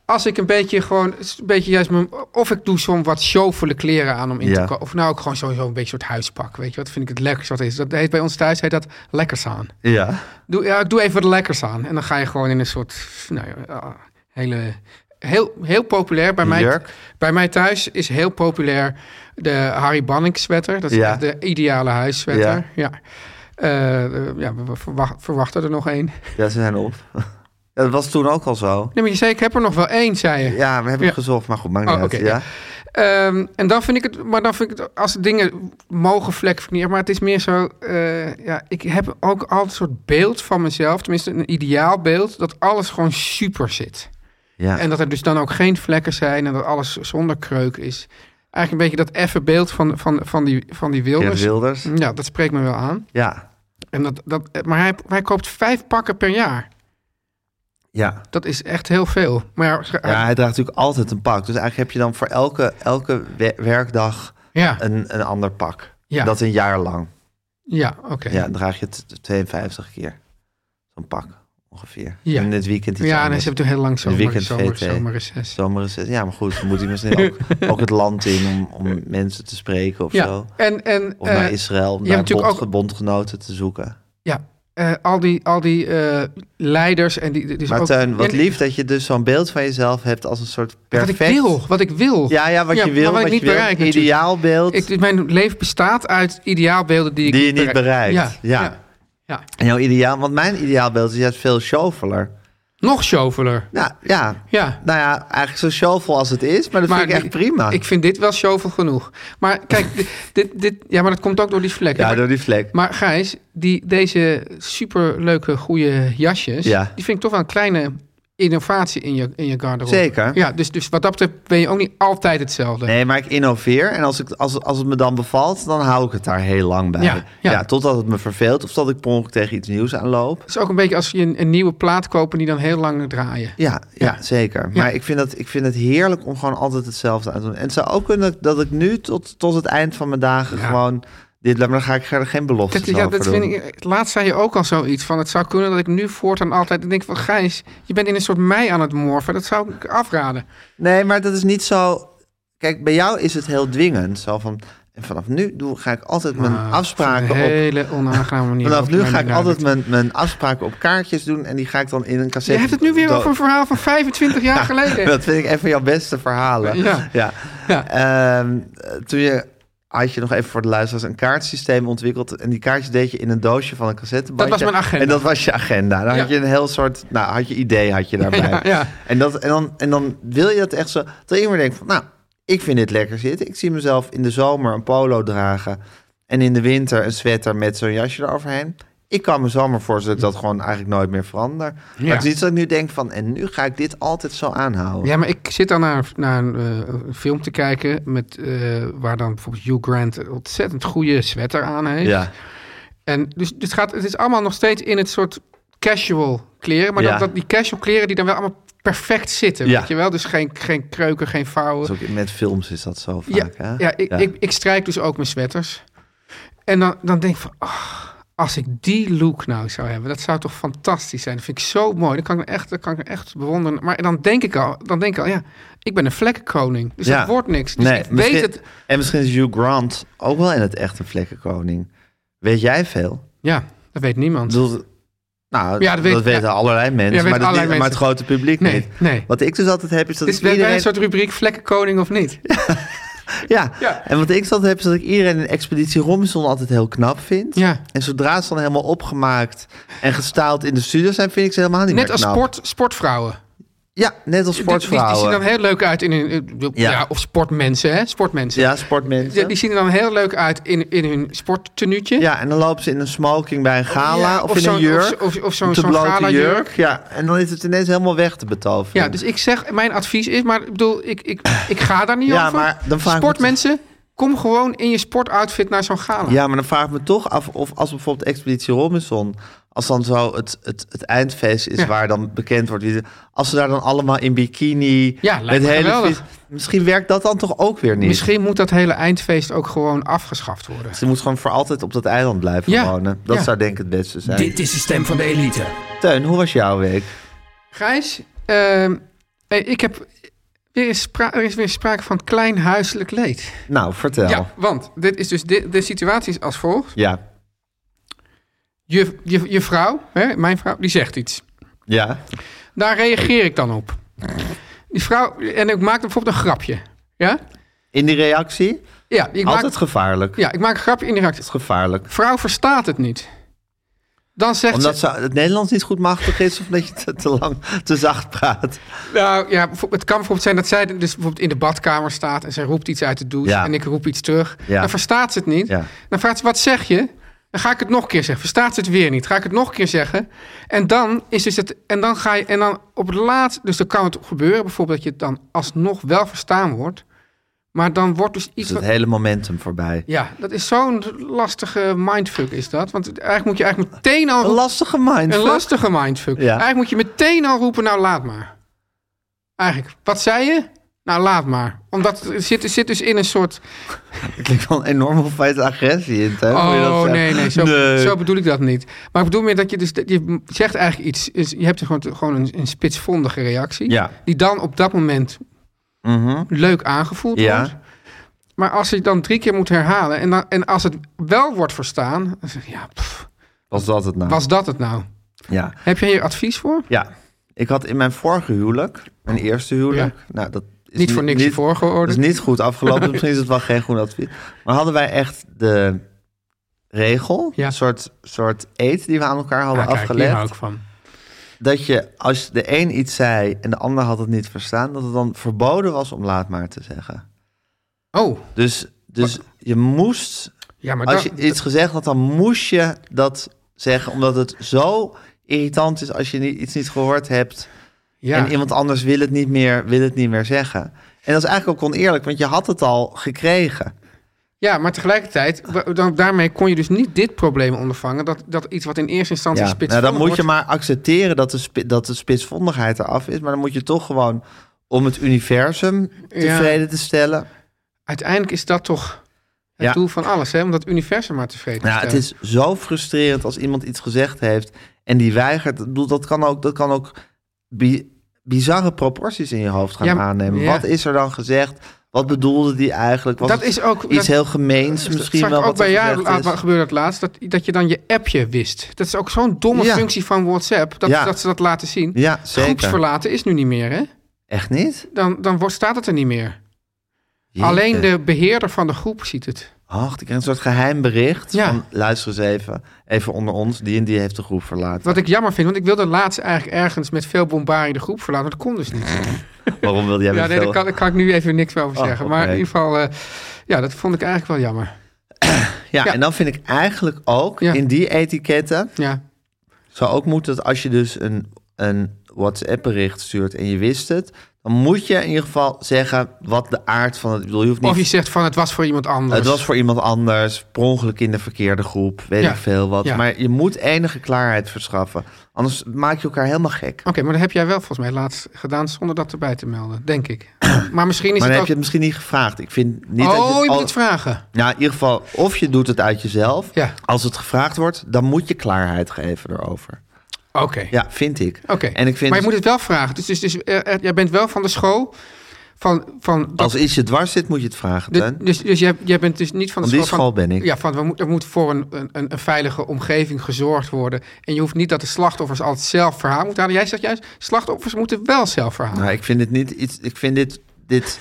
Speaker 3: als ik een beetje gewoon, een beetje juist mijn, of ik doe zo'n wat sjovele kleren aan om in
Speaker 2: Ja.
Speaker 3: te komen, of nou ook gewoon sowieso een beetje een soort huispak, weet je wat vind ik het lekkerst wat er is. Dat heet bij ons thuis heet dat lekkers aan.
Speaker 2: Ja.
Speaker 3: Doe, ja, doe even wat lekkers aan en dan ga je gewoon in een soort, nou ja, ah, hele, heel, heel populair bij mij.
Speaker 2: Jurk?
Speaker 3: Bij mij thuis is heel populair de Harry Banning sweater. Dat is
Speaker 2: Ja.
Speaker 3: echt de ideale huissweater.
Speaker 2: Ja.
Speaker 3: Ja. Eh, eh, ja, we we verwacht, verwachten er nog één.
Speaker 2: ja, ze zijn op. Ja, dat was toen ook al zo.
Speaker 3: Nee, maar je zei, ik heb er nog wel één, zei je.
Speaker 2: Ja, we hebben het
Speaker 3: Ja.
Speaker 2: gezocht, maar goed, maakt niet
Speaker 3: Oh,
Speaker 2: uit.
Speaker 3: oké,
Speaker 2: ja.
Speaker 3: Ehm, en dan vind ik het, maar dan vind ik het, als dingen mogen vlek vind ik niet erg, maar het is meer zo, eh, ja, ik heb ook altijd een soort beeld van mezelf, tenminste een ideaal beeld, dat alles gewoon super zit.
Speaker 2: Ja.
Speaker 3: En dat er dus dan ook geen vlekken zijn en dat alles zonder kreuk is. Eigenlijk een beetje dat effe beeld van, van, van, die, van die
Speaker 2: Geert
Speaker 3: Wilders.
Speaker 2: Wilders.
Speaker 3: Ja, dat spreekt me wel aan.
Speaker 2: Ja.
Speaker 3: En dat, dat, maar hij, hij koopt vijf pakken per jaar.
Speaker 2: Ja.
Speaker 3: Dat is echt heel veel. Maar eh, ja,
Speaker 2: Ja, hij draagt natuurlijk altijd een pak. Dus eigenlijk heb je dan voor elke, elke we- werkdag
Speaker 3: ja,
Speaker 2: een, een ander pak.
Speaker 3: Ja.
Speaker 2: Dat een jaar lang.
Speaker 3: ja oké.
Speaker 2: Ja, dan draag je het 52 keer. Zo'n pak, ongeveer.
Speaker 3: Ja.
Speaker 2: En dit weekend iets
Speaker 3: ja, en
Speaker 2: anders.
Speaker 3: ze hebben toch heel lang zomer,
Speaker 2: weekend
Speaker 3: zomer,
Speaker 2: VT.
Speaker 3: zomerreces.
Speaker 2: Zomerreces. Ja, maar goed, dan moet hij misschien ook, ook het land in om, om mensen te spreken of
Speaker 3: ja,
Speaker 2: zo.
Speaker 3: en, en
Speaker 2: Of naar
Speaker 3: eh,
Speaker 2: Israël om
Speaker 3: je hebt
Speaker 2: daar
Speaker 3: natuurlijk
Speaker 2: bond, bondgenoten te zoeken.
Speaker 3: ja, eh, al die, al die eh, leiders en die... Dus
Speaker 2: Maar
Speaker 3: ook,
Speaker 2: Teun, wat
Speaker 3: en-
Speaker 2: lief dat je dus zo'n beeld van jezelf hebt als een soort
Speaker 3: Wat
Speaker 2: perfect...
Speaker 3: ik wil, wat ik wil.
Speaker 2: Ja, ja, wat je
Speaker 3: maar
Speaker 2: wil,
Speaker 3: wat ik niet
Speaker 2: je wil.
Speaker 3: bereik natuurlijk.
Speaker 2: Ideaalbeeld
Speaker 3: Ik, mijn leven bestaat uit ideaalbeelden die, ik
Speaker 2: die je niet
Speaker 3: bereik.
Speaker 2: bereikt. Ja.
Speaker 3: Ja, ja. ja.
Speaker 2: En jouw ideaal, want mijn ideaalbeeld is juist veel shoveler.
Speaker 3: Nog shoveler.
Speaker 2: Nou ja.
Speaker 3: Ja.
Speaker 2: nou ja, eigenlijk zo shovel als het is, maar dat vind ik echt
Speaker 3: die-
Speaker 2: prima.
Speaker 3: Ik vind dit wel shovel genoeg. Maar kijk, dit, dit, dit- ja, maar dat komt ook door die vlek.
Speaker 2: ja,
Speaker 3: maar,
Speaker 2: door die vlek.
Speaker 3: maar Gijs, die, deze superleuke goede jasjes,
Speaker 2: Ja.
Speaker 3: die vind ik toch wel een kleine innovatie in je, in je garderobe.
Speaker 2: Zeker.
Speaker 3: Ja, dus, dus wat dat betreft ben je ook niet altijd hetzelfde.
Speaker 2: Nee, maar ik innoveer en als, ik, als, als het me dan bevalt, dan hou ik het daar heel lang bij.
Speaker 3: Ja, ja.
Speaker 2: totdat het me verveelt of dat ik per ongeluk tegen iets nieuws aanloop.
Speaker 3: Het is ook een beetje als je een, een nieuwe plaat koopt en die dan heel lang draaien.
Speaker 2: Ja, ja,
Speaker 3: Ja.
Speaker 2: zeker.
Speaker 3: Ja.
Speaker 2: Maar ik vind, dat, ik vind het heerlijk om gewoon altijd hetzelfde aan te doen. En het zou ook kunnen dat ik nu tot, tot het eind van mijn dagen gewoon dit blijf. Maar dan ga ik er geen beloftes
Speaker 3: Dat,
Speaker 2: over
Speaker 3: ja, dat
Speaker 2: doen.
Speaker 3: vind ik, laatst zei je ook al zoiets van... het zou kunnen dat ik nu voortaan altijd... ik denk van Gijs, je bent in een soort mei aan het morfen. Dat zou ik afraden.
Speaker 2: Nee, maar dat is niet zo... Kijk, bij jou is het heel dwingend. Zo van, en vanaf nu doe, ga ik altijd mijn
Speaker 3: Ah,
Speaker 2: afspraken
Speaker 3: Op een
Speaker 2: op...
Speaker 3: hele onaangename manier.
Speaker 2: Vanaf
Speaker 3: op
Speaker 2: nu
Speaker 3: mijn
Speaker 2: ga ik
Speaker 3: duim.
Speaker 2: altijd mijn, mijn afspraken op kaartjes doen... en die ga ik dan in een cassette...
Speaker 3: Je hebt het nu weer
Speaker 2: do-
Speaker 3: over een verhaal van 25 jaar geleden.
Speaker 2: Dat vind ik een van jouw beste verhalen.
Speaker 3: Ja.
Speaker 2: ja.
Speaker 3: Ja.
Speaker 2: Ehm, toen je, had je nog even voor de luisteraars een kaartsysteem ontwikkeld. En die kaartjes deed je in een doosje van een cassettebandje.
Speaker 3: Dat was mijn agenda.
Speaker 2: En dat was je agenda. Dan
Speaker 3: Ja.
Speaker 2: had je een heel soort, nou, had je idee had je daarbij.
Speaker 3: Ja, ja.
Speaker 2: En, dat, en, dan, en dan wil je dat echt zo, dat je maar denkt van, nou, ik vind dit lekker zitten. Ik zie mezelf in de zomer een polo dragen. En in de winter een sweater met zo'n jasje eroverheen. Ik kan me zomaar voorstellen dat ik dat gewoon eigenlijk nooit meer verander. Maar
Speaker 3: Ja.
Speaker 2: het is niet dat ik nu denk van... en nu ga ik dit altijd zo aanhouden.
Speaker 3: Ja, maar ik zit dan naar, naar een, eh, een film te kijken... Met, eh, waar dan bijvoorbeeld Hugh Grant een ontzettend goede sweater aan heeft.
Speaker 2: Ja.
Speaker 3: En dus, dus gaat, het is allemaal nog steeds in het soort casual kleren. Maar
Speaker 2: Ja.
Speaker 3: dat, dat die casual kleren die dan wel allemaal perfect zitten.
Speaker 2: Ja.
Speaker 3: Weet je wel? Dus geen, geen kreuken, geen vouwen.
Speaker 2: Dat is ook- met films is dat zo
Speaker 3: Ja,
Speaker 2: vaak, hè?
Speaker 3: ja, ik, Ik, ik strijk dus ook mijn sweaters. En dan, dan denk ik van, ah, als ik die look nou zou hebben, dat zou toch fantastisch zijn. Dat vind ik zo mooi. Dat kan ik me echt, dat kan ik me echt bewonderen. Maar dan denk ik al, dan denk ik al, ja, ik ben een vlekkenkoning. Dus
Speaker 2: Ja.
Speaker 3: dat wordt niks. Dus
Speaker 2: Nee,
Speaker 3: ik
Speaker 2: misschien-
Speaker 3: weet het.
Speaker 2: En misschien is Hugh Grant ook wel in het echt een vlekkenkoning. Weet jij veel?
Speaker 3: Ja, dat weet
Speaker 2: Ik
Speaker 3: niemand.
Speaker 2: bedoel, nou,
Speaker 3: Ja,
Speaker 2: dat,
Speaker 3: dat weet-
Speaker 2: weten
Speaker 3: ja.
Speaker 2: allerlei mensen,
Speaker 3: Ja, weten
Speaker 2: maar, dat
Speaker 3: allerlei
Speaker 2: niet- maar het
Speaker 3: mensen.
Speaker 2: grote publiek
Speaker 3: Nee,
Speaker 2: niet.
Speaker 3: nee.
Speaker 2: Wat ik dus altijd heb, is dat
Speaker 3: Het is
Speaker 2: ik
Speaker 3: bij
Speaker 2: iedereen...
Speaker 3: een soort rubriek vlekkenkoning of niet.
Speaker 2: Ja.
Speaker 3: Ja.
Speaker 2: en wat ik altijd heb, is dat ik iedereen in Expeditie Robinson altijd heel knap vind.
Speaker 3: Ja.
Speaker 2: En zodra ze dan helemaal opgemaakt en gestaald in de studio zijn, vind ik ze helemaal niet
Speaker 3: Net
Speaker 2: meer
Speaker 3: als
Speaker 2: knap.
Speaker 3: sport, sportvrouwen.
Speaker 2: Ja, net als sportvrouwen.
Speaker 3: Die, die zien er dan heel leuk uit in hun... eh,
Speaker 2: Ja.
Speaker 3: Ja, of sportmensen, hè? Sportmensen.
Speaker 2: Ja, sportmensen.
Speaker 3: Ja, die zien er dan heel leuk uit in, in hun sporttenuutje.
Speaker 2: Ja, en dan lopen ze in een smoking bij een gala
Speaker 3: Oh, Ja,
Speaker 2: of,
Speaker 3: of
Speaker 2: in een
Speaker 3: zo'n-
Speaker 2: jurk.
Speaker 3: of- of- of zo'n-
Speaker 2: Een te
Speaker 3: zo'n
Speaker 2: blote
Speaker 3: galajurk.
Speaker 2: Ja, en dan is het ineens helemaal weg te betoveren.
Speaker 3: Ja, dus ik zeg, mijn advies is, maar ik bedoel, ik, ik, ik ga daar niet
Speaker 2: Ja,
Speaker 3: over.
Speaker 2: maar dan vraag ik me-
Speaker 3: Sportmensen, kom gewoon in je sportoutfit naar zo'n gala.
Speaker 2: Ja, maar dan vraag ik me toch af of als bijvoorbeeld Expeditie Robinson... als dan zo het, het, het eindfeest is
Speaker 3: Ja.
Speaker 2: waar dan bekend wordt... wie ze- als ze daar dan allemaal in bikini...
Speaker 3: Ja, lijkt me geweldig.
Speaker 2: vies- Misschien werkt dat dan toch ook weer niet?
Speaker 3: Misschien moet dat hele eindfeest ook gewoon afgeschaft worden.
Speaker 2: Ze moet gewoon voor altijd op dat eiland blijven
Speaker 3: Ja,
Speaker 2: wonen. Dat
Speaker 3: ja.
Speaker 2: zou denk ik het beste zijn.
Speaker 5: Dit is de stem van de elite.
Speaker 2: Teun, hoe was jouw week?
Speaker 3: Gijs, ehm, eh, ik heb, weer is spra- er is weer sprake van klein huiselijk leed.
Speaker 2: Nou, vertel.
Speaker 3: Ja, want dit is dus de, de situatie is als volgt.
Speaker 2: Ja.
Speaker 3: Je, je, je vrouw, hè, mijn vrouw, die zegt iets.
Speaker 2: Ja.
Speaker 3: Daar reageer ik dan op. Die vrouw, en ik maak bijvoorbeeld een grapje. Ja?
Speaker 2: In die reactie?
Speaker 3: Ja, ik maak,
Speaker 2: altijd gevaarlijk.
Speaker 3: ja, ik maak een grapje in de reactie.
Speaker 2: is gevaarlijk.
Speaker 3: Vrouw verstaat het niet. Dan zegt
Speaker 2: Omdat
Speaker 3: ze...
Speaker 2: ze- het Nederlands niet goed machtig is of dat je te, te lang, te zacht praat.
Speaker 3: Nou ja, bijvoorbeeld- het kan bijvoorbeeld zijn dat zij dus bijvoorbeeld in de badkamer staat... en zij roept iets uit de douche
Speaker 2: Ja.
Speaker 3: en ik roep iets terug.
Speaker 2: Ja.
Speaker 3: Dan verstaat ze het niet.
Speaker 2: Ja.
Speaker 3: Dan vraagt ze, wat zeg je? Dan ga ik het nog een keer zeggen. Verstaat ze het weer niet? Ga ik het nog een keer zeggen? En dan is dus het... En dan ga je... En dan op het laatst... Dus dan kan het gebeuren bijvoorbeeld dat je het dan alsnog wel verstaan wordt... maar dan wordt dus
Speaker 2: Dus
Speaker 3: iets...
Speaker 2: het
Speaker 3: wat-
Speaker 2: hele momentum voorbij.
Speaker 3: ja, dat is zo'n lastige mindfuck is dat. Want eigenlijk moet je eigenlijk meteen al...
Speaker 2: Een lastige mind.
Speaker 3: Een lastige mindfuck.
Speaker 2: Ja.
Speaker 3: Eigenlijk moet je meteen al roepen, nou laat maar. Eigenlijk, wat zei je? Nou laat maar. Omdat het zit, het zit dus in een soort...
Speaker 2: Ik klinkt wel een enorme feit agressie in. Hè? Hoe je dat
Speaker 3: Oh
Speaker 2: zegt.
Speaker 3: nee, nee zo, zo bedoel ik dat niet. Maar ik bedoel meer dat je dus... dat Je zegt eigenlijk iets... is- Je hebt gewoon, gewoon een, een spitsvondige reactie.
Speaker 2: Ja.
Speaker 3: Die dan op dat moment
Speaker 2: Mhm.
Speaker 3: leuk aangevoeld
Speaker 2: Ja.
Speaker 3: wordt. Maar als je het dan drie keer moet herhalen... En, dan, en als het wel wordt verstaan... Dan zeg je, ja, pff,
Speaker 2: Was dat het nou?
Speaker 3: Was dat het nou?
Speaker 2: Ja.
Speaker 3: Heb jij hier advies voor?
Speaker 2: ja. Ik had in mijn vorige huwelijk, mijn eerste huwelijk... Nou, dat is
Speaker 3: Niet voor niks
Speaker 2: niet, Dat is
Speaker 3: voorgeorderd.
Speaker 2: niet goed afgelopen. Misschien is het wel geen goed advies. Maar hadden wij echt de regel,
Speaker 3: Ja.
Speaker 2: een soort, soort eet die we aan elkaar hadden
Speaker 3: Ah, kijk, hier
Speaker 2: afgelegd...
Speaker 3: hou ik van.
Speaker 2: dat je als de een iets zei en de ander had het niet verstaan, dat het dan verboden was om laat maar te zeggen.
Speaker 3: Oh,
Speaker 2: Dus, dus je moest,
Speaker 3: ja, maar
Speaker 2: als
Speaker 3: dat,
Speaker 2: je iets gezegd had, dan moest je dat zeggen, omdat het zo irritant is als je niet, iets niet gehoord hebt
Speaker 3: ja.
Speaker 2: en iemand anders wil het niet meer, wil het niet meer zeggen. En dat is eigenlijk ook oneerlijk, want je had het al gekregen.
Speaker 3: Ja, maar tegelijkertijd, wa- dan, daarmee kon je dus niet dit probleem ondervangen. Dat, dat iets wat in eerste instantie
Speaker 2: Ja.
Speaker 3: spits
Speaker 2: Nou, dan moet je
Speaker 3: wordt.
Speaker 2: maar accepteren dat de, spi- dat de spitsvondigheid eraf is, maar dan moet je toch gewoon om het universum
Speaker 3: Ja.
Speaker 2: tevreden te stellen.
Speaker 3: Uiteindelijk is dat toch het
Speaker 2: Ja.
Speaker 3: doel van alles, hè? Om dat universum maar tevreden te
Speaker 2: Nou, het
Speaker 3: stellen.
Speaker 2: is zo frustrerend als iemand iets gezegd heeft en die weigert. Ik bedoel, dat kan ook, dat kan ook bi- bizarre proporties in je hoofd gaan
Speaker 3: Ja, maar-
Speaker 2: aannemen.
Speaker 3: ja.
Speaker 2: Wat is er dan gezegd? Wat bedoelde die eigenlijk? Was
Speaker 3: Dat
Speaker 2: het
Speaker 3: is ook-
Speaker 2: iets
Speaker 3: dat-
Speaker 2: heel gemeens
Speaker 3: Dat
Speaker 2: misschien
Speaker 3: zag
Speaker 2: wel.
Speaker 3: ik
Speaker 2: Wat
Speaker 3: ook bij
Speaker 2: er
Speaker 3: jou
Speaker 2: gezegd
Speaker 3: la-
Speaker 2: is?
Speaker 3: gebeurde het laatst, dat, dat je dan je appje wist. Dat is ook zo'n domme
Speaker 2: Ja.
Speaker 3: functie van WhatsApp, dat,
Speaker 2: Ja.
Speaker 3: dat ze dat laten zien.
Speaker 2: Ja, zeker.
Speaker 3: Groepsverlaten is nu niet meer, hè?
Speaker 2: Echt niet?
Speaker 3: Dan, dan wordt, staat het er niet meer.
Speaker 2: Jeetje.
Speaker 3: Alleen de beheerder van de groep ziet het.
Speaker 2: Och, ik kreeg een soort geheim bericht
Speaker 3: Ja.
Speaker 2: van luister eens even, even onder ons, die en die heeft de groep verlaten.
Speaker 3: Wat ik jammer vind, want ik wilde laatst eigenlijk ergens met veel bombarie de groep verlaten. Maar dat kon dus niet.
Speaker 2: Waarom wilde jij
Speaker 3: Ja,
Speaker 2: met
Speaker 3: nee, daar
Speaker 2: veel-
Speaker 3: kan, daar kan ik nu even niks meer over
Speaker 2: Oh,
Speaker 3: zeggen. Maar
Speaker 2: oké.
Speaker 3: in ieder geval, eh, ja, dat vond ik eigenlijk wel jammer.
Speaker 2: ja,
Speaker 3: ja.
Speaker 2: en dan vind ik eigenlijk ook
Speaker 3: Ja.
Speaker 2: in die etiketten
Speaker 3: Ja,
Speaker 2: zou ook moeten dat als je dus een, een WhatsApp-bericht stuurt en je wist het, dan moet je in ieder geval zeggen wat de aard van het. Ik bedoel, je hoeft niet.
Speaker 3: of je zegt van het was voor iemand anders.
Speaker 2: het was voor iemand anders, per ongeluk in de verkeerde groep, weet
Speaker 3: Ja.
Speaker 2: ik veel wat.
Speaker 3: Ja.
Speaker 2: Maar je moet enige klaarheid verschaffen. Anders maak je elkaar helemaal gek.
Speaker 3: Oké, maar dat heb jij wel volgens mij laatst gedaan zonder dat erbij te melden, denk ik. Maar misschien is
Speaker 2: Maar dan heb
Speaker 3: het
Speaker 2: je het
Speaker 3: ook...
Speaker 2: misschien niet gevraagd. Ik vind niet dat
Speaker 3: oh, je,
Speaker 2: je.
Speaker 3: moet
Speaker 2: al-
Speaker 3: het vragen.
Speaker 2: nou, in ieder geval, of je doet het uit jezelf.
Speaker 3: Ja.
Speaker 2: Als het gevraagd wordt, dan moet je klaarheid geven erover.
Speaker 3: Oké.
Speaker 2: Ja, vind ik.
Speaker 3: Oké.
Speaker 2: En ik vind,
Speaker 3: Maar je moet het wel vragen. Dus, dus, dus eh, eh, jij bent wel van de school. Van, van dat-
Speaker 2: als iets je dwars zit, moet je het vragen.
Speaker 3: de-
Speaker 2: Teun.
Speaker 3: dus dus jij, jij bent dus niet van de
Speaker 2: Van die
Speaker 3: school.
Speaker 2: school ben ik.
Speaker 3: Ja, van we moet, er moet voor een, een, een een veilige omgeving gezorgd worden. En je hoeft niet dat de slachtoffers altijd zelf verhaal moeten halen. Jij zegt juist, slachtoffers moeten wel zelf verhalen.
Speaker 2: Nou, ik vind dit niet iets. Ik vind dit, dit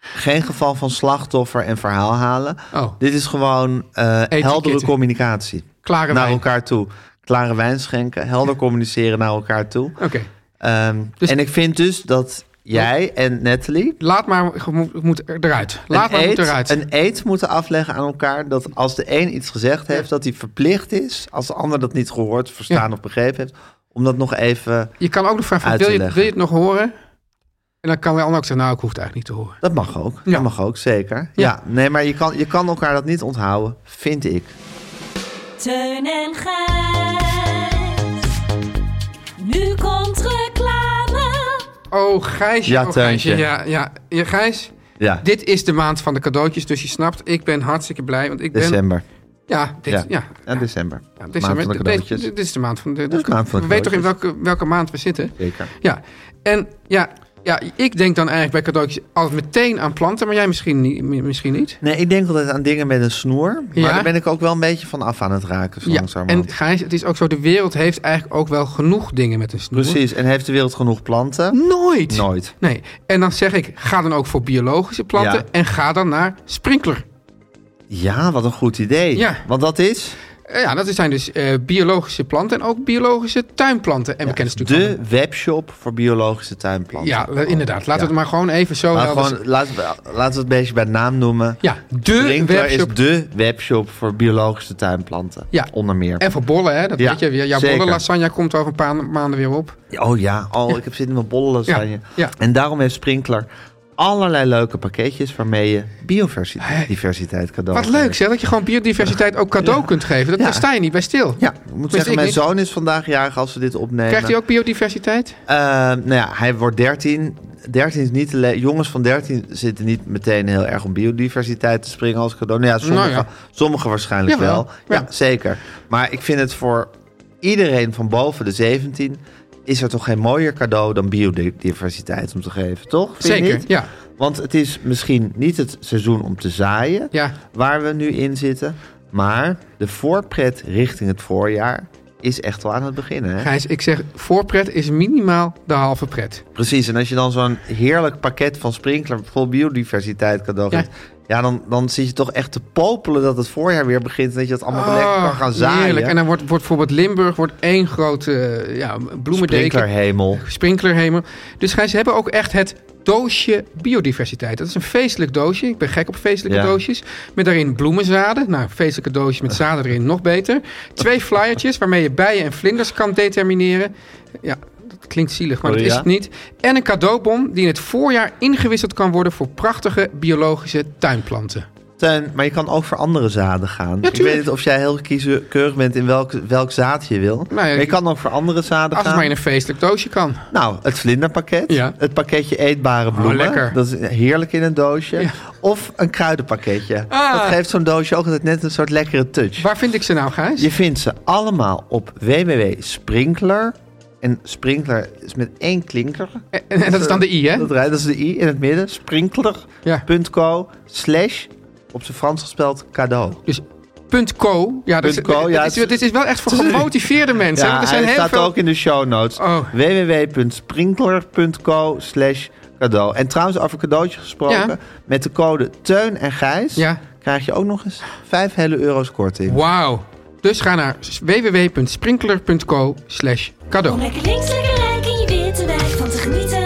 Speaker 2: geen geval van slachtoffer en verhaal halen.
Speaker 3: Oh.
Speaker 2: Dit is gewoon eh, heldere
Speaker 3: Etiketten.
Speaker 2: communicatie.
Speaker 3: Klare
Speaker 2: naar
Speaker 3: wijn.
Speaker 2: elkaar toe. Klare wijn schenken, helder communiceren naar elkaar toe.
Speaker 3: Oké,
Speaker 2: Ehm,
Speaker 3: Dus-
Speaker 2: en ik vind dus dat jij en Natalie.
Speaker 3: laat maar, je moet, moet eruit. Laat
Speaker 2: een
Speaker 3: maar,
Speaker 2: eed-
Speaker 3: moet eruit.
Speaker 2: een eed moeten afleggen aan elkaar dat als de een iets gezegd heeft, dat hij verplicht is, als de ander dat niet gehoord, verstaan
Speaker 3: Ja.
Speaker 2: of begrepen heeft, om dat nog even.
Speaker 3: je kan ook nog vragen,
Speaker 2: uit
Speaker 3: wil
Speaker 2: te
Speaker 3: je, wil
Speaker 2: leggen.
Speaker 3: je het nog horen? En dan kan de ander ook zeggen, nou, ik hoef het eigenlijk niet te horen.
Speaker 2: Dat mag ook.
Speaker 3: Ja.
Speaker 2: Dat mag ook, zeker. Ja, nee, maar je kan, je kan elkaar dat niet onthouden, vind ik.
Speaker 6: Teun en Gijs. Nu komt reclame.
Speaker 3: Oh, Gijsje.
Speaker 2: Ja,
Speaker 3: oh, Gijsje.
Speaker 2: Teuntje.
Speaker 3: Ja, ja. ja, Gijs,
Speaker 2: Ja,
Speaker 3: dit is de maand van de cadeautjes. Dus je snapt, ik ben hartstikke blij. Want ik ben...
Speaker 2: december.
Speaker 3: Ja, dit, ja.
Speaker 2: ja. december.
Speaker 3: Ja,
Speaker 2: Maand van de
Speaker 3: dit-
Speaker 2: cadeautjes.
Speaker 3: Dit, dit is de maand van de,
Speaker 2: is de maand van de
Speaker 3: We weten toch in
Speaker 2: cadeautjes.
Speaker 3: welke, welke maand we zitten?
Speaker 2: Zeker.
Speaker 3: Ja, en ja, ja, ik denk dan eigenlijk bij cadeautjes altijd meteen aan planten, maar jij misschien niet. mi- Misschien niet.
Speaker 2: Nee, ik denk altijd aan dingen met een snoer. Maar
Speaker 3: Ja.
Speaker 2: daar ben ik ook wel een beetje van af aan het raken. Zo
Speaker 3: Ja, en
Speaker 2: langzamerhand.
Speaker 3: Gijs, het is ook zo, de wereld heeft eigenlijk ook wel genoeg dingen met een snoer.
Speaker 2: Precies. En heeft de wereld genoeg planten?
Speaker 3: Nooit.
Speaker 2: Nooit.
Speaker 3: Nee, en dan zeg ik, ga dan ook voor biologische planten
Speaker 2: Ja.
Speaker 3: en ga dan naar sprinkler.
Speaker 2: Ja, wat een goed idee.
Speaker 3: Ja.
Speaker 2: Want dat is
Speaker 3: Eh, Ja, dat zijn dus eh, biologische planten en ook biologische tuinplanten. En we kennen ze natuurlijk
Speaker 2: de webshop voor biologische
Speaker 3: van-
Speaker 2: tuinplanten.
Speaker 3: Ja, eh, inderdaad. Laten we
Speaker 2: Ja.
Speaker 3: het maar gewoon even zo
Speaker 2: Maar
Speaker 3: helder
Speaker 2: gewoon, laten, we, laten we het beestje bij naam noemen.
Speaker 3: Ja, de
Speaker 2: Sprinkler
Speaker 3: webshop.
Speaker 2: is de webshop voor biologische tuinplanten.
Speaker 3: Ja.
Speaker 2: Onder meer.
Speaker 3: En voor bollen, hè? Dat
Speaker 2: Ja,
Speaker 3: weet je weer. Jouw
Speaker 2: zeker.
Speaker 3: bollen lasagne komt over een paar maanden weer op.
Speaker 2: Oh ja, oh, ik heb zin in mijn bolle lasagne.
Speaker 3: Ja, ja.
Speaker 2: En daarom heeft Sprinkler allerlei leuke pakketjes waarmee je biodiversiteit diversiteit cadeau
Speaker 3: Wat leuk, zeg. Dat je gewoon biodiversiteit ook cadeau kunt geven. Dat,
Speaker 2: eh, Ja.
Speaker 3: Daar sta je niet bij stil.
Speaker 2: Ja, ik moet
Speaker 3: Wist
Speaker 2: zeggen,
Speaker 3: ik
Speaker 2: mijn
Speaker 3: niet.
Speaker 2: zoon is vandaag jarig als we dit opnemen.
Speaker 3: Krijgt hij ook biodiversiteit?
Speaker 2: Eh, nou ja, hij wordt 13. 13 is niet te le- Jongens van 13 zitten niet meteen heel erg om biodiversiteit te springen als cadeau. Nou ja, sommigen,
Speaker 3: Nou ja.
Speaker 2: sommigen waarschijnlijk
Speaker 3: Jawel,
Speaker 2: wel. Ja,
Speaker 3: ja.
Speaker 2: zeker. Maar ik vind het voor iedereen van boven de 17 is er toch geen mooier cadeau dan biodiversiteit om te geven, toch? Vind je
Speaker 3: Zeker,
Speaker 2: niet?
Speaker 3: ja.
Speaker 2: Want het is misschien niet het seizoen om te zaaien
Speaker 3: Ja.
Speaker 2: waar we nu in zitten. Maar de voorpret richting het voorjaar is echt wel aan het beginnen. Hè?
Speaker 3: Gijs, ik zeg, voorpret is minimaal de halve pret.
Speaker 2: Precies, en als je dan zo'n heerlijk pakket van Sprinkler vol biodiversiteit cadeau
Speaker 3: Ja.
Speaker 2: geeft... Ja, dan, dan zit je toch echt te popelen dat het voorjaar weer begint... en dat je dat allemaal lekker kan gaan zaaien.
Speaker 3: Ah, Heerlijk. En dan wordt, wordt bijvoorbeeld Limburg wordt één grote eh, ja, bloemendeken.
Speaker 2: Sprinklerhemel.
Speaker 3: Sprinklerhemel. Dus Gijs, ze hebben ook echt het doosje biodiversiteit. Dat is een feestelijk doosje. Ik ben gek op feestelijke
Speaker 2: Ja.
Speaker 3: doosjes. Met daarin bloemenzaden. Nou, feestelijke doosjes met zaden erin nog beter. Twee flyertjes waarmee je bijen en vlinders kan determineren. Ja, dat klinkt zielig, maar dat
Speaker 2: Oh,
Speaker 3: is
Speaker 2: ja?
Speaker 3: het niet. En een cadeaubon die in het voorjaar ingewisseld kan worden... voor prachtige biologische tuinplanten.
Speaker 2: Teun, maar je kan ook voor andere zaden gaan. ik weet
Speaker 3: tuurlijk.
Speaker 2: niet of jij heel kieskeurig bent in welk, welk zaad je wil.
Speaker 3: Nou ja,
Speaker 2: maar je
Speaker 3: ik-
Speaker 2: kan ook voor andere zaden
Speaker 3: Als het
Speaker 2: gaan.
Speaker 3: maar in een feestelijk doosje kan.
Speaker 2: Nou, het vlinderpakket.
Speaker 3: Ja. Oh,
Speaker 2: Het pakketje eetbare bloemen.
Speaker 3: lekker.
Speaker 2: dat is heerlijk in een doosje.
Speaker 3: Ja.
Speaker 2: Of een kruidenpakketje.
Speaker 3: Ah.
Speaker 2: Dat geeft zo'n doosje ook altijd net een soort lekkere touch.
Speaker 3: Waar vind ik ze nou, Gijs?
Speaker 2: Je vindt ze allemaal op www.sprinkler. En sprinkler is met één klinker.
Speaker 3: En, en dat is dan de I, hè?
Speaker 2: Dat, rijdt, dat is de i in het midden.
Speaker 3: Ja.
Speaker 2: Sprinkler.co slash op zijn Frans gespeld cadeau.
Speaker 3: Dus punt .co. Ja, dat,
Speaker 2: Punt co,
Speaker 3: dat
Speaker 2: ja,
Speaker 3: is,
Speaker 2: het-
Speaker 3: dit is wel echt voor gemotiveerde mensen.
Speaker 2: Ja,
Speaker 3: want er
Speaker 2: hij
Speaker 3: zijn heel
Speaker 2: staat
Speaker 3: veel...
Speaker 2: ook in de show notes.
Speaker 3: Oh.
Speaker 2: www.sprinkler.co slash cadeau. En trouwens, over cadeautje gesproken.
Speaker 3: Ja.
Speaker 2: Met de code Teun en Gijs
Speaker 3: Ja.
Speaker 2: krijg je ook nog eens 5 hele euro's korting.
Speaker 3: Wauw. Dus ga naar www.sprinkler.co slash
Speaker 6: Om
Speaker 7: Oh,
Speaker 3: cadeau.
Speaker 6: lekker links, lekker rijk in je witte wijk van te genieten.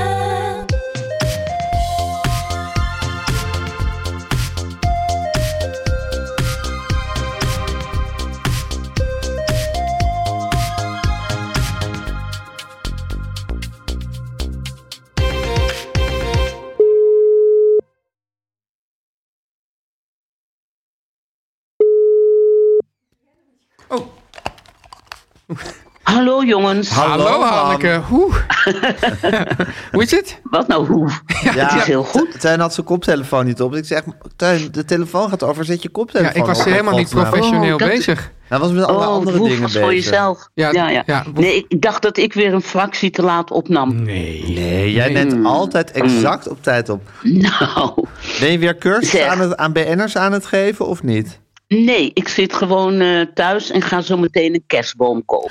Speaker 7: Hallo jongens.
Speaker 3: Hallo,
Speaker 2: Hallo,
Speaker 3: Hanneke. Hoe? Hoe is het?
Speaker 7: Wat nou hoe?
Speaker 3: Ja,
Speaker 2: Ja,
Speaker 7: is heel goed.
Speaker 2: Te- Teun had zijn koptelefoon niet op. Dus ik zeg, Teun, de telefoon gaat over. Zet je
Speaker 3: Ja,
Speaker 2: koptelefoon
Speaker 3: ik was
Speaker 2: op.
Speaker 3: helemaal niet
Speaker 2: Godsnaam.
Speaker 3: professioneel
Speaker 7: Oh, dat-
Speaker 3: bezig.
Speaker 2: Hij was met alle
Speaker 7: oh,
Speaker 2: andere
Speaker 7: woef
Speaker 2: dingen
Speaker 7: was
Speaker 2: bezig.
Speaker 7: voor jezelf.
Speaker 3: Ja,
Speaker 7: Ja, ja.
Speaker 3: ja, woef.
Speaker 7: nee, ik dacht dat ik weer een fractie te laat opnam.
Speaker 2: Nee, jij bent
Speaker 7: Hmm.
Speaker 2: altijd exact op tijd op.
Speaker 7: Nou,
Speaker 2: Ben je weer cursus
Speaker 7: Zeg.
Speaker 2: aan, het, aan BN'ers aan het geven of niet?
Speaker 7: nee, ik zit gewoon eh, thuis en ga zo meteen een kerstboom kopen.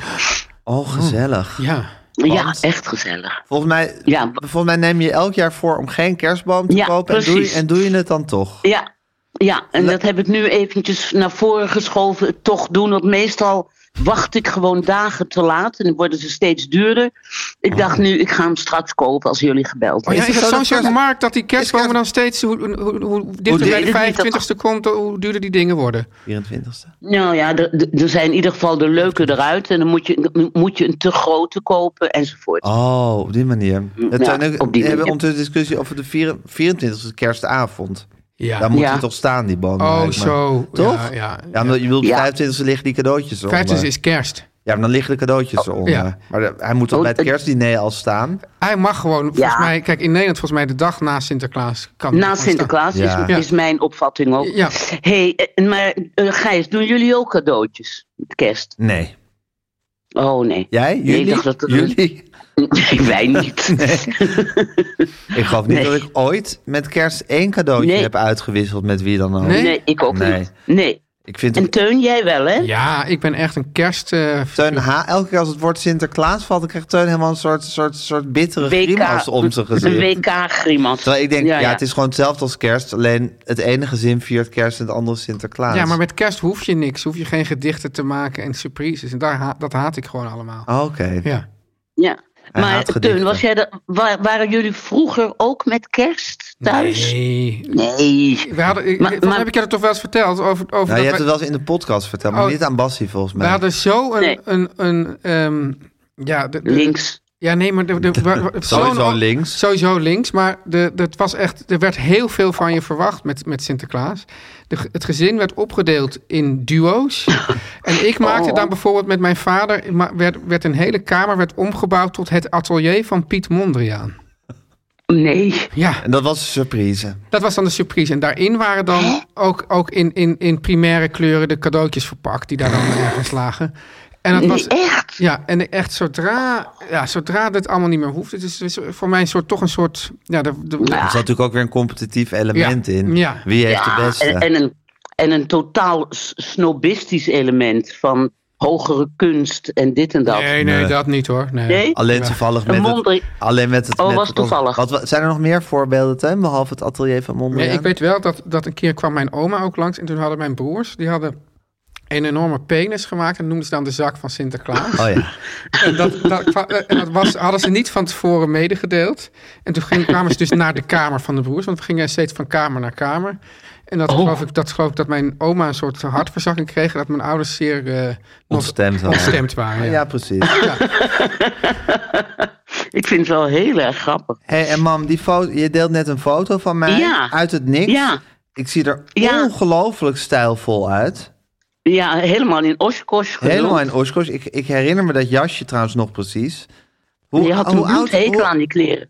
Speaker 2: Oh, gezellig.
Speaker 3: Ja.
Speaker 7: Ja, echt gezellig.
Speaker 2: Volgens mij,
Speaker 7: Ja.
Speaker 2: volgens mij neem je elk jaar voor om geen kerstboom te
Speaker 7: Ja,
Speaker 2: kopen. En doe, je,
Speaker 7: precies.
Speaker 2: en doe je het dan toch?
Speaker 7: Ja, ja en dat heb ik nu eventjes naar voren geschoven. Toch doen, want meestal wacht ik gewoon dagen te laat en dan worden ze steeds duurder. Ik
Speaker 2: Oh.
Speaker 7: dacht nu, ik ga hem straks kopen als jullie
Speaker 3: Oh,
Speaker 7: gebeld hebben.
Speaker 3: ja,
Speaker 2: het
Speaker 3: is het
Speaker 2: zo
Speaker 3: zo'n
Speaker 2: dat
Speaker 3: soort
Speaker 2: kerst-
Speaker 3: markt dat die kerstbomen dan
Speaker 2: kerst-
Speaker 3: steeds... Hoe, hoe, hoe- hoe dichter bij
Speaker 7: duurder die
Speaker 3: de 25ste komt, hoe duurder die dingen worden.
Speaker 2: 24ste.
Speaker 7: Nou ja, er- er- er zijn in ieder geval de leuke eruit. En dan moet je, moet je een te grote kopen enzovoort.
Speaker 2: Oh, op die manier. Het
Speaker 7: Ja,
Speaker 2: zijn ook-
Speaker 7: op die
Speaker 2: we hebben
Speaker 7: manier.
Speaker 2: ondertussen discussie over de vier- 24ste kerstavond. Daar
Speaker 3: Ja.
Speaker 2: moet
Speaker 7: Ja.
Speaker 2: je toch staan, die boom.
Speaker 3: Oh,
Speaker 2: lijkt me.
Speaker 3: zo.
Speaker 2: Toch?
Speaker 3: Ja, ja.
Speaker 2: Ja, omdat je wilt
Speaker 7: Ja.
Speaker 2: 25ste liggen die cadeautjes eronder.
Speaker 3: 50 is kerst.
Speaker 2: Ja, maar dan liggen de cadeautjes eronder.
Speaker 3: ja.
Speaker 2: Maar de- hij moet toch
Speaker 7: Oh,
Speaker 2: bij het
Speaker 7: het-
Speaker 2: kerstdiner al staan.
Speaker 3: Hij mag gewoon, volgens
Speaker 7: Ja.
Speaker 3: mij... Kijk, in Nederland volgens mij de dag na Sinterklaas kan hij
Speaker 7: Na
Speaker 3: gewoon staan.
Speaker 7: Sinterklaas
Speaker 2: Ja.
Speaker 7: is, is mijn opvatting ook.
Speaker 3: Ja.
Speaker 7: hey, eh, maar eh, Gijs, doen jullie ook cadeautjes met kerst?
Speaker 2: Nee.
Speaker 7: Oh nee.
Speaker 2: Jij?
Speaker 7: Nee,
Speaker 2: Jullie?
Speaker 7: ik dacht dat er-
Speaker 2: Jullie?
Speaker 7: Nee, wij niet.
Speaker 2: Ik geloof niet
Speaker 7: Nee.
Speaker 2: dat ik ooit met kerst één cadeautje
Speaker 7: Nee.
Speaker 2: heb uitgewisseld met wie dan ook.
Speaker 3: Nee?
Speaker 7: Nee, ik ook
Speaker 2: Nee.
Speaker 7: niet. Nee.
Speaker 2: Ik vind
Speaker 7: En
Speaker 2: het...
Speaker 7: Teun, jij wel, hè?
Speaker 3: Ja, ik ben echt een kerst... eh,
Speaker 2: Teun H. Elke keer als het woord Sinterklaas valt, dan krijgt Teun helemaal een soort, soort, soort bittere grimas om zijn
Speaker 7: Een
Speaker 2: gezicht.
Speaker 7: WK-grimas.
Speaker 2: Terwijl ik denk, ja, het is gewoon hetzelfde als kerst. Alleen het ene gezin viert kerst en het andere Sinterklaas.
Speaker 3: ja, maar met kerst hoef je niks. Hoef je geen gedichten te maken en surprises. En daar ha- dat haat ik gewoon allemaal.
Speaker 2: Oh, Oké.
Speaker 3: Ja.
Speaker 7: Ja.
Speaker 2: Hij
Speaker 7: Maar
Speaker 2: haat
Speaker 7: Teun,
Speaker 2: gedichten.
Speaker 7: was jij er- wa- waren jullie vroeger ook met kerst thuis?
Speaker 3: Nee.
Speaker 7: nee.
Speaker 3: We hadden, ik-
Speaker 7: Maar-
Speaker 3: volgens mij
Speaker 7: maar-
Speaker 3: heb ik je dat toch wel eens verteld? Over, over
Speaker 2: Nou,
Speaker 3: dat
Speaker 2: je hebt
Speaker 3: we-
Speaker 2: het wel eens in de podcast verteld, maar
Speaker 3: Oh.
Speaker 2: niet aan Bassie volgens
Speaker 3: we
Speaker 2: mij.
Speaker 3: hadden zo een...
Speaker 7: Nee.
Speaker 3: een, een ehm, ja, de, de-
Speaker 7: Links.
Speaker 3: Ja, nee, maar... De, de, wa- wa-
Speaker 2: Sowieso
Speaker 3: zo'n-
Speaker 2: links.
Speaker 3: Sowieso links, maar de, dat was echt, er werd heel veel van je verwacht met, met Sinterklaas. De, ge- het gezin werd opgedeeld in duo's. en ik maakte
Speaker 7: Oh.
Speaker 3: dan bijvoorbeeld met mijn vader, ik ma- werd, werd een hele kamer werd omgebouwd tot het atelier van Piet Mondriaan.
Speaker 7: Nee.
Speaker 3: Ja,
Speaker 2: En dat was een surprise.
Speaker 3: dat was dan de surprise. En daarin waren dan ook, ook in, in, in primaire kleuren de cadeautjes verpakt die daar dan ergens lagen. En dat was,
Speaker 7: Nee, echt?
Speaker 3: ja, en echt zodra, ja, zodra dit allemaal niet meer hoeft, het is, is voor mij een soort, toch een soort, ja, de, de,
Speaker 2: Er zat natuurlijk ook weer een competitief element
Speaker 3: Ja.
Speaker 2: in.
Speaker 3: Ja.
Speaker 2: Wie heeft de beste?
Speaker 7: En, en een, En een totaal s- snobistisch element van hogere kunst en dit en dat.
Speaker 3: Nee, nee, dat niet hoor. Nee.
Speaker 7: Nee?
Speaker 2: Alleen toevallig
Speaker 7: Een
Speaker 2: met het...
Speaker 7: wonder-
Speaker 2: Alleen met het
Speaker 7: Oh,
Speaker 2: met
Speaker 7: was
Speaker 2: het-
Speaker 7: toevallig.
Speaker 2: Wat, wa- zijn er nog meer voorbeelden, Teun, behalve het atelier van Mondriaan?
Speaker 3: Nee, ik weet wel dat, dat een keer kwam mijn oma ook langs. En toen hadden mijn broers, die hadden een enorme penis gemaakt. En noemden ze dan de zak van Sinterklaas.
Speaker 2: Oh ja.
Speaker 3: En dat, dat, kwa- eh, en dat was, hadden ze niet van tevoren medegedeeld. En toen ging, kwamen ze dus naar de kamer van de broers. Want we gingen steeds van kamer naar kamer. En dat, geloof ik, dat geloof ik dat mijn oma een soort hartverzakking kreeg. En dat mijn ouders zeer eh,
Speaker 2: Ontstemd waren.
Speaker 3: ontstemd waren. ja.
Speaker 2: Ah, Ja, precies.
Speaker 7: Ik vind het wel heel erg grappig.
Speaker 2: hey, en mam, die foto, je deelt net een foto van mij
Speaker 7: Ja.
Speaker 2: uit het niks.
Speaker 7: Ja.
Speaker 2: Ik zie er
Speaker 7: Ja.
Speaker 2: ongelooflijk stijlvol uit.
Speaker 7: Ja, helemaal in Oshkosh genoemd.
Speaker 2: Helemaal in Oshkosh. Ik, ik herinner me dat jasje trouwens nog precies. Hoe,
Speaker 7: Je had een bloed hekel aan die kleren.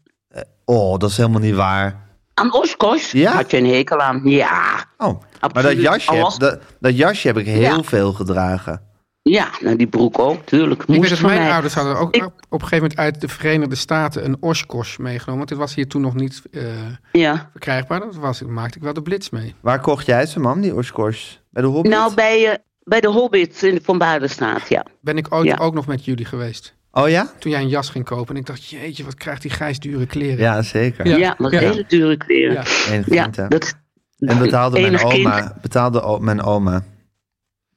Speaker 2: Oh, dat is helemaal niet waar.
Speaker 7: Aan Oshkosh
Speaker 2: Ja?
Speaker 7: had je een hekel aan. Ja,
Speaker 2: Oh, maar dat
Speaker 7: Absoluut.
Speaker 2: jasje,
Speaker 7: Al
Speaker 2: heb,
Speaker 7: was-
Speaker 2: dat, dat jasje heb ik heel
Speaker 7: Ja.
Speaker 2: veel gedragen.
Speaker 7: ja nou die broek ook, tuurlijk.
Speaker 3: Ik weet
Speaker 7: Moest
Speaker 3: dat
Speaker 7: van
Speaker 3: mijn
Speaker 7: mij.
Speaker 3: ouders hadden ook
Speaker 7: Ik-
Speaker 3: op een gegeven moment uit de Verenigde Staten een Oshkosh meegenomen. Want dit was hier toen nog niet eh,
Speaker 7: Ja.
Speaker 3: verkrijgbaar. Dat was, maakte ik wel de blitz mee.
Speaker 2: Waar kocht jij ze, mam, die Oshkosh? Bij de Hobbit?
Speaker 7: Nou, bij, eh, bij de Hobbits in de Van Baardenstraat, ja.
Speaker 3: Ben ik ooit
Speaker 7: Ja.
Speaker 3: ook nog met jullie geweest.
Speaker 2: Oh ja?
Speaker 3: Toen jij een jas ging kopen. En ik dacht, jeetje, wat krijgt die grijs dure kleren.
Speaker 2: Ja, zeker.
Speaker 3: Ja.
Speaker 7: Ja, dat
Speaker 3: Ja.
Speaker 7: hele dure kleren.
Speaker 3: Ja.
Speaker 7: Ja,
Speaker 2: Enig kind, hè?
Speaker 7: dat,
Speaker 2: en betaalde mijn
Speaker 7: enig
Speaker 2: oma.
Speaker 7: kind.
Speaker 2: Betaalde o- mijn oma.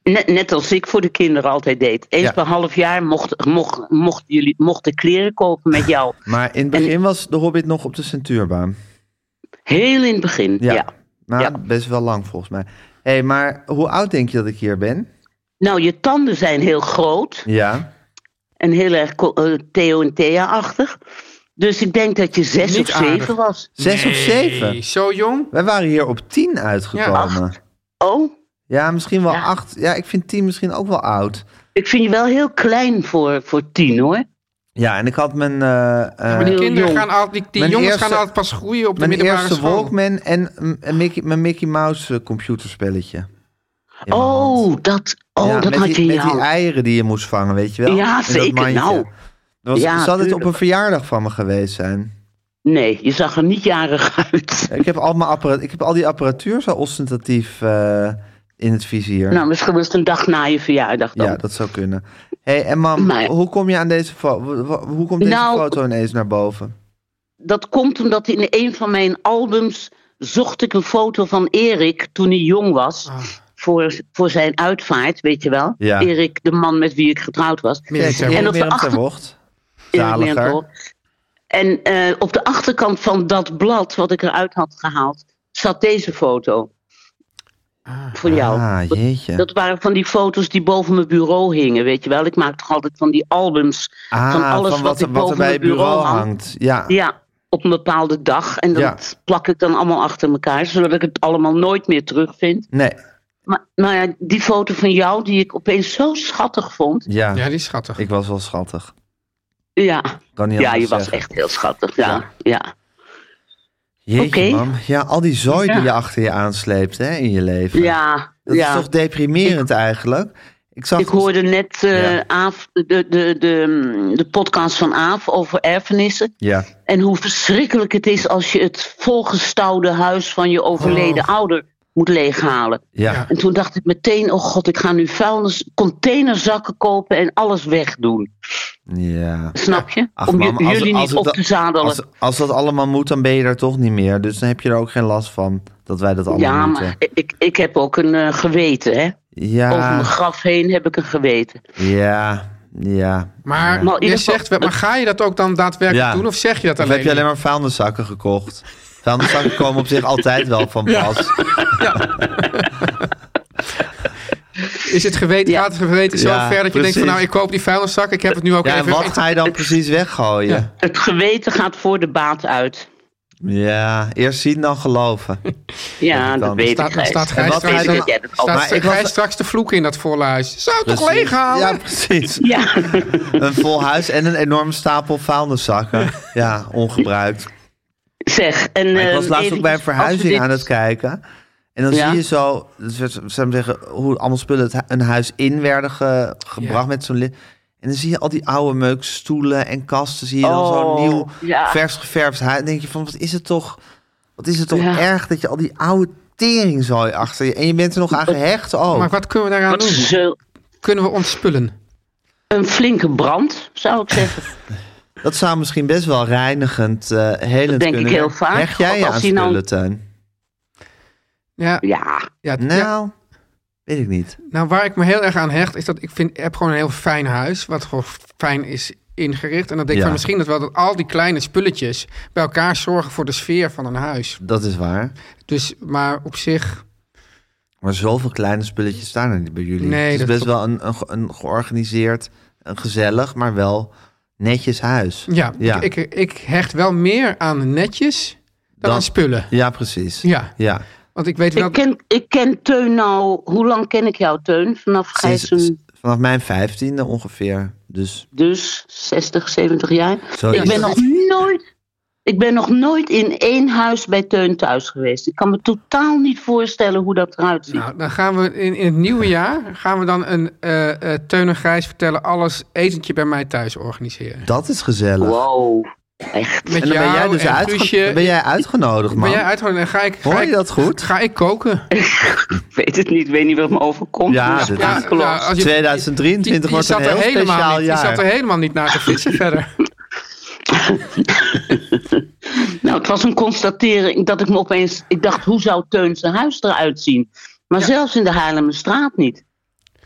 Speaker 7: Net, net als ik voor de kinderen altijd deed. Eens
Speaker 2: Ja.
Speaker 7: per half jaar mocht, mocht, mocht jullie, mochten kleren kopen met jou.
Speaker 2: Maar in het begin was de Hobbit nog op de centuurbaan.
Speaker 7: Heel in het begin, ja.
Speaker 2: Ja. Maar
Speaker 7: Ja.
Speaker 2: best wel lang volgens mij. Hé, hey, maar hoe oud denk je dat ik hier ben?
Speaker 7: Nou, je tanden zijn heel groot
Speaker 2: Ja.
Speaker 7: en heel erg ko- eh, Theo en Thea-achtig. Dus ik denk dat je zes
Speaker 3: Niet
Speaker 7: of zeven
Speaker 3: aardig.
Speaker 7: was.
Speaker 2: Zes of
Speaker 3: Nee,
Speaker 2: zeven?
Speaker 3: Zo jong?
Speaker 2: Wij waren hier op tien uitgekomen. Ja,
Speaker 7: Oh,
Speaker 2: misschien wel
Speaker 7: Ja.
Speaker 2: acht. Ja, ik vind tien misschien ook wel oud.
Speaker 7: ik vind je wel heel klein voor, voor tien hoor.
Speaker 2: Ja, en ik had mijn, eh, eh,
Speaker 3: Maar die
Speaker 7: heel
Speaker 3: kinderen
Speaker 7: jong.
Speaker 3: gaan altijd, die, die
Speaker 2: Mijn
Speaker 3: jongens
Speaker 2: eerste-
Speaker 3: gaan altijd pas groeien op de
Speaker 2: mijn
Speaker 3: middelbare
Speaker 2: eerste
Speaker 3: school.
Speaker 2: Walkman en mm, een Mickey, mijn Mickey Mouse eh, computerspelletje. in mijn hand.
Speaker 7: Oh, dat, oh,
Speaker 2: Ja,
Speaker 7: dat
Speaker 2: met
Speaker 7: had
Speaker 2: die,
Speaker 7: je in
Speaker 2: met
Speaker 7: je
Speaker 2: die
Speaker 7: hand.
Speaker 2: eieren die je moest vangen, weet je wel?
Speaker 7: Ja,
Speaker 2: In dat
Speaker 7: zeker,
Speaker 2: mandje.
Speaker 7: nou.
Speaker 2: Er Was,
Speaker 7: Ja,
Speaker 2: zal het op
Speaker 7: tuurlijk.
Speaker 2: een verjaardag van me geweest zijn?
Speaker 7: Nee, je zag er niet jarig uit.
Speaker 2: Ja, Ik heb al, mijn appara- ik heb al die apparatuur zo ostentatief eh, in het vizier.
Speaker 7: Nou, misschien was het een dag na je verjaardag dan.
Speaker 2: ja, dat zou kunnen. hey, en mam,
Speaker 7: Maar-
Speaker 2: hoe kom je aan deze foto? Hoe komt deze
Speaker 7: Nou-
Speaker 2: foto ineens naar boven?
Speaker 7: dat komt omdat in een van mijn albums zocht ik een foto van Erik toen hij jong was.
Speaker 3: Ah.
Speaker 7: Voor, voor zijn uitvaart, weet je wel.
Speaker 2: Ja.
Speaker 7: Erik, de man met wie ik getrouwd was.
Speaker 3: Meer
Speaker 2: Kijk,
Speaker 3: zo.
Speaker 2: Erik
Speaker 7: En op de
Speaker 2: Merem ter
Speaker 7: achter-
Speaker 2: Wocht.
Speaker 7: Erik
Speaker 2: Zaliger.
Speaker 7: Merkel. En eh, op de achterkant van dat blad wat ik eruit had gehaald, zat deze foto. Voor jou.
Speaker 2: Ah,
Speaker 7: Dat-
Speaker 2: jeetje.
Speaker 7: Dat waren van die foto's die boven mijn bureau hingen, weet je wel. Ik maak toch altijd van die albums.
Speaker 2: ah,
Speaker 7: van alles wat,
Speaker 2: er-
Speaker 7: ik
Speaker 2: wat
Speaker 7: boven
Speaker 2: er bij je
Speaker 7: mijn
Speaker 2: bureau
Speaker 7: hang.
Speaker 2: hangt. Ja.
Speaker 7: Ja, op een bepaalde dag. En dat
Speaker 2: Ja.
Speaker 7: plak ik dan allemaal achter elkaar, zodat ik het allemaal nooit meer terugvind.
Speaker 2: Nee,
Speaker 7: Maar nou ja, die foto van jou, die ik opeens zo schattig vond.
Speaker 2: ja.
Speaker 3: Ja, die is schattig.
Speaker 2: Ik was wel schattig.
Speaker 7: Ja,
Speaker 2: Kan niet
Speaker 7: ja
Speaker 2: anders
Speaker 7: je was
Speaker 2: zeggen.
Speaker 7: echt heel schattig. Ja, ja.
Speaker 2: Jeetje,
Speaker 7: Oké.
Speaker 2: mam. Ja, al die zooi die je achter je aansleept hè, in je leven.
Speaker 7: Ja,
Speaker 2: Dat
Speaker 7: ja.
Speaker 2: is toch deprimerend eigenlijk? Ik, zag
Speaker 7: Ik hoorde net eh,
Speaker 2: Ja.
Speaker 7: Aaf, de, de, de, de podcast van Aaf over erfenissen.
Speaker 2: dus- Ja,
Speaker 7: En hoe verschrikkelijk het is als je het volgestouwde huis van je
Speaker 2: Oh.
Speaker 7: overleden ouder moet leeghalen.
Speaker 2: ja.
Speaker 3: Ja.
Speaker 7: En toen dacht ik meteen, oh god, ik ga nu vuilnis, containerzakken kopen en alles wegdoen.
Speaker 2: ja.
Speaker 7: Snap je?
Speaker 2: Ach,
Speaker 7: Om
Speaker 2: mam,
Speaker 7: ju-
Speaker 2: als-
Speaker 7: jullie
Speaker 2: als
Speaker 7: niet
Speaker 2: het
Speaker 7: op
Speaker 2: da-
Speaker 7: te zadelen.
Speaker 2: Als, als dat allemaal moet, dan ben je daar toch niet meer. Dus dan heb je er ook geen last van dat wij dat allemaal
Speaker 7: ja,
Speaker 2: moeten.
Speaker 7: maar ik, ik heb ook een eh, geweten, hè. Over Oh, mijn
Speaker 2: eh. Ja,
Speaker 7: graf heen heb ik een geweten.
Speaker 2: ja, ja.
Speaker 3: Maar
Speaker 7: Maar in
Speaker 3: je
Speaker 7: ieder geval-
Speaker 3: zegt, wel- maar ga je dat ook dan daadwerkelijk
Speaker 2: Ja.
Speaker 3: doen? Of zeg je dat
Speaker 2: Of
Speaker 3: alleen?
Speaker 2: heb je alleen maar vuilniszakken gekocht? Vuilniszakken komen op zich altijd wel van pas.
Speaker 3: Is het geweten,
Speaker 7: Ja.
Speaker 3: gaat het geweten zo
Speaker 2: Ja,
Speaker 3: ver dat je denkt van
Speaker 2: precies.
Speaker 3: nou, ik koop die vuilniszak, ik heb het nu ook
Speaker 2: Ja, en
Speaker 3: even...
Speaker 2: wat ga je dan precies weggooien?
Speaker 7: Het geweten gaat voor de baat uit.
Speaker 2: Ja, eerst zien dan geloven.
Speaker 7: Ja,
Speaker 2: Dat
Speaker 7: dat
Speaker 2: kan.
Speaker 7: weet
Speaker 3: Staat-
Speaker 7: ik. Gijs.
Speaker 3: staat Gijs
Speaker 7: Dat
Speaker 2: trouwens
Speaker 7: weet ik
Speaker 2: ook-
Speaker 7: dat jij dat
Speaker 3: Staat
Speaker 7: altijd-
Speaker 2: Maar ik
Speaker 3: Gijs
Speaker 2: was-
Speaker 3: straks te vloeken in dat voorhuis. Zou toch
Speaker 2: Precies.
Speaker 3: leeghalen?
Speaker 2: Ja, precies.
Speaker 7: Ja,
Speaker 2: Een vol huis en een enorme stapel vuilniszakken. Ja, ongebruikt.
Speaker 7: zeg. En,
Speaker 2: Maar ik
Speaker 7: ehm,
Speaker 2: was laatst ook bij een
Speaker 7: eventjes, als we
Speaker 2: verhuizing
Speaker 7: dit-
Speaker 2: aan het kijken. En dan
Speaker 7: Ja.
Speaker 2: zie je zo, dus dat werd- zou ik zeggen, hoe allemaal spullen het hu- een huis in werden ge- gebracht
Speaker 3: Ja.
Speaker 2: met zo'n lid. En dan zie je al die oude meukstoelen en kasten. Zie je dan
Speaker 7: Oh,
Speaker 2: zo'n nieuw,
Speaker 7: ja.
Speaker 2: vers geverfd huis. Dan denk je van, wat is het toch, wat is het toch
Speaker 7: Ja.
Speaker 2: erg dat je al die oude teringzooi achter je. En je bent er nog aan gehecht ook.
Speaker 3: Maar wat kunnen we daaraan
Speaker 7: Wat
Speaker 3: doen?
Speaker 7: zo-
Speaker 3: Kunnen we ontspullen?
Speaker 7: een flinke brand, zou ik zeggen.
Speaker 2: Dat zou misschien best wel reinigend, eh helend
Speaker 7: Dat denk ik
Speaker 2: kunnen
Speaker 7: heel
Speaker 2: werken.
Speaker 7: vaak.
Speaker 2: Hecht jij je
Speaker 7: Als
Speaker 2: aan
Speaker 7: die nou-
Speaker 2: spullen, Teun?
Speaker 3: Ja,
Speaker 7: Ja,
Speaker 3: ja,
Speaker 2: Nou,
Speaker 3: ja,
Speaker 2: weet ik niet.
Speaker 3: nou waar ik me heel erg aan hecht, is dat ik vind, ik heb gewoon een heel fijn huis, wat gewoon fijn is ingericht. En dan denk ik
Speaker 2: Ja.
Speaker 3: van misschien dat wel dat al die kleine spulletjes bij elkaar zorgen voor de sfeer van een huis.
Speaker 2: Dat is waar.
Speaker 3: Dus, maar op zich,
Speaker 2: Maar zoveel kleine spulletjes staan er niet bij jullie.
Speaker 3: Nee,
Speaker 2: het is
Speaker 3: dat
Speaker 2: best
Speaker 3: klopt.
Speaker 2: wel een, een, ge- een georganiseerd, een gezellig, maar wel netjes huis.
Speaker 3: ja,
Speaker 2: Ja.
Speaker 3: Ik, ik, ik hecht wel meer aan netjes dan
Speaker 2: Dat-
Speaker 3: aan spullen.
Speaker 2: Ja, precies.
Speaker 3: Ja,
Speaker 2: Ja.
Speaker 3: want ik
Speaker 2: Nou,
Speaker 3: weet wel...
Speaker 7: ik ken, ik ken Teun nou... Hoe lang ken ik jou, Teun? Vanaf
Speaker 2: Sinds-
Speaker 7: Gijzen,
Speaker 2: vanaf mijn vijftiende ongeveer. Dus
Speaker 7: dus 60, 70 jaar.
Speaker 3: Oh,
Speaker 2: zo
Speaker 7: Ik
Speaker 2: is
Speaker 7: ben
Speaker 2: het.
Speaker 7: nog nooit... Ik ben nog nooit in één huis bij Teun thuis geweest. Ik kan me totaal niet voorstellen hoe dat eruit ziet.
Speaker 3: Nou, dan gaan we in, in het nieuwe jaar gaan we dan een eh eh Teun en Gijs vertellen alles etentje bij mij thuis organiseren.
Speaker 2: Dat is gezellig.
Speaker 7: wow, echt.
Speaker 3: Met
Speaker 2: En dan ben jij dus
Speaker 3: en
Speaker 2: uitge-
Speaker 3: Guusje.
Speaker 2: dan ben jij uitgenodigd, man.
Speaker 3: Ben jij uitgenodigd en ga ik, ga
Speaker 2: Hoor je
Speaker 3: ik-
Speaker 2: dat goed?
Speaker 3: Ga ik koken?
Speaker 7: Ik weet het niet, ik weet niet wat me overkomt.
Speaker 2: Ja,
Speaker 7: Dus
Speaker 2: dit is-
Speaker 7: sprakeloos.
Speaker 3: ja, nou, oh. als je-
Speaker 2: 2023
Speaker 3: je
Speaker 2: wordt een
Speaker 3: zat er
Speaker 2: heel
Speaker 3: helemaal
Speaker 2: speciaal
Speaker 3: niet, Je
Speaker 2: jaar.
Speaker 3: zat er helemaal niet naar te vissen verder.
Speaker 7: Nou, het was een constatering dat ik me opeens... Ik dacht, hoe zou Teun zijn huis eruit zien? Maar zelfs in de Haarlemmerstraat niet.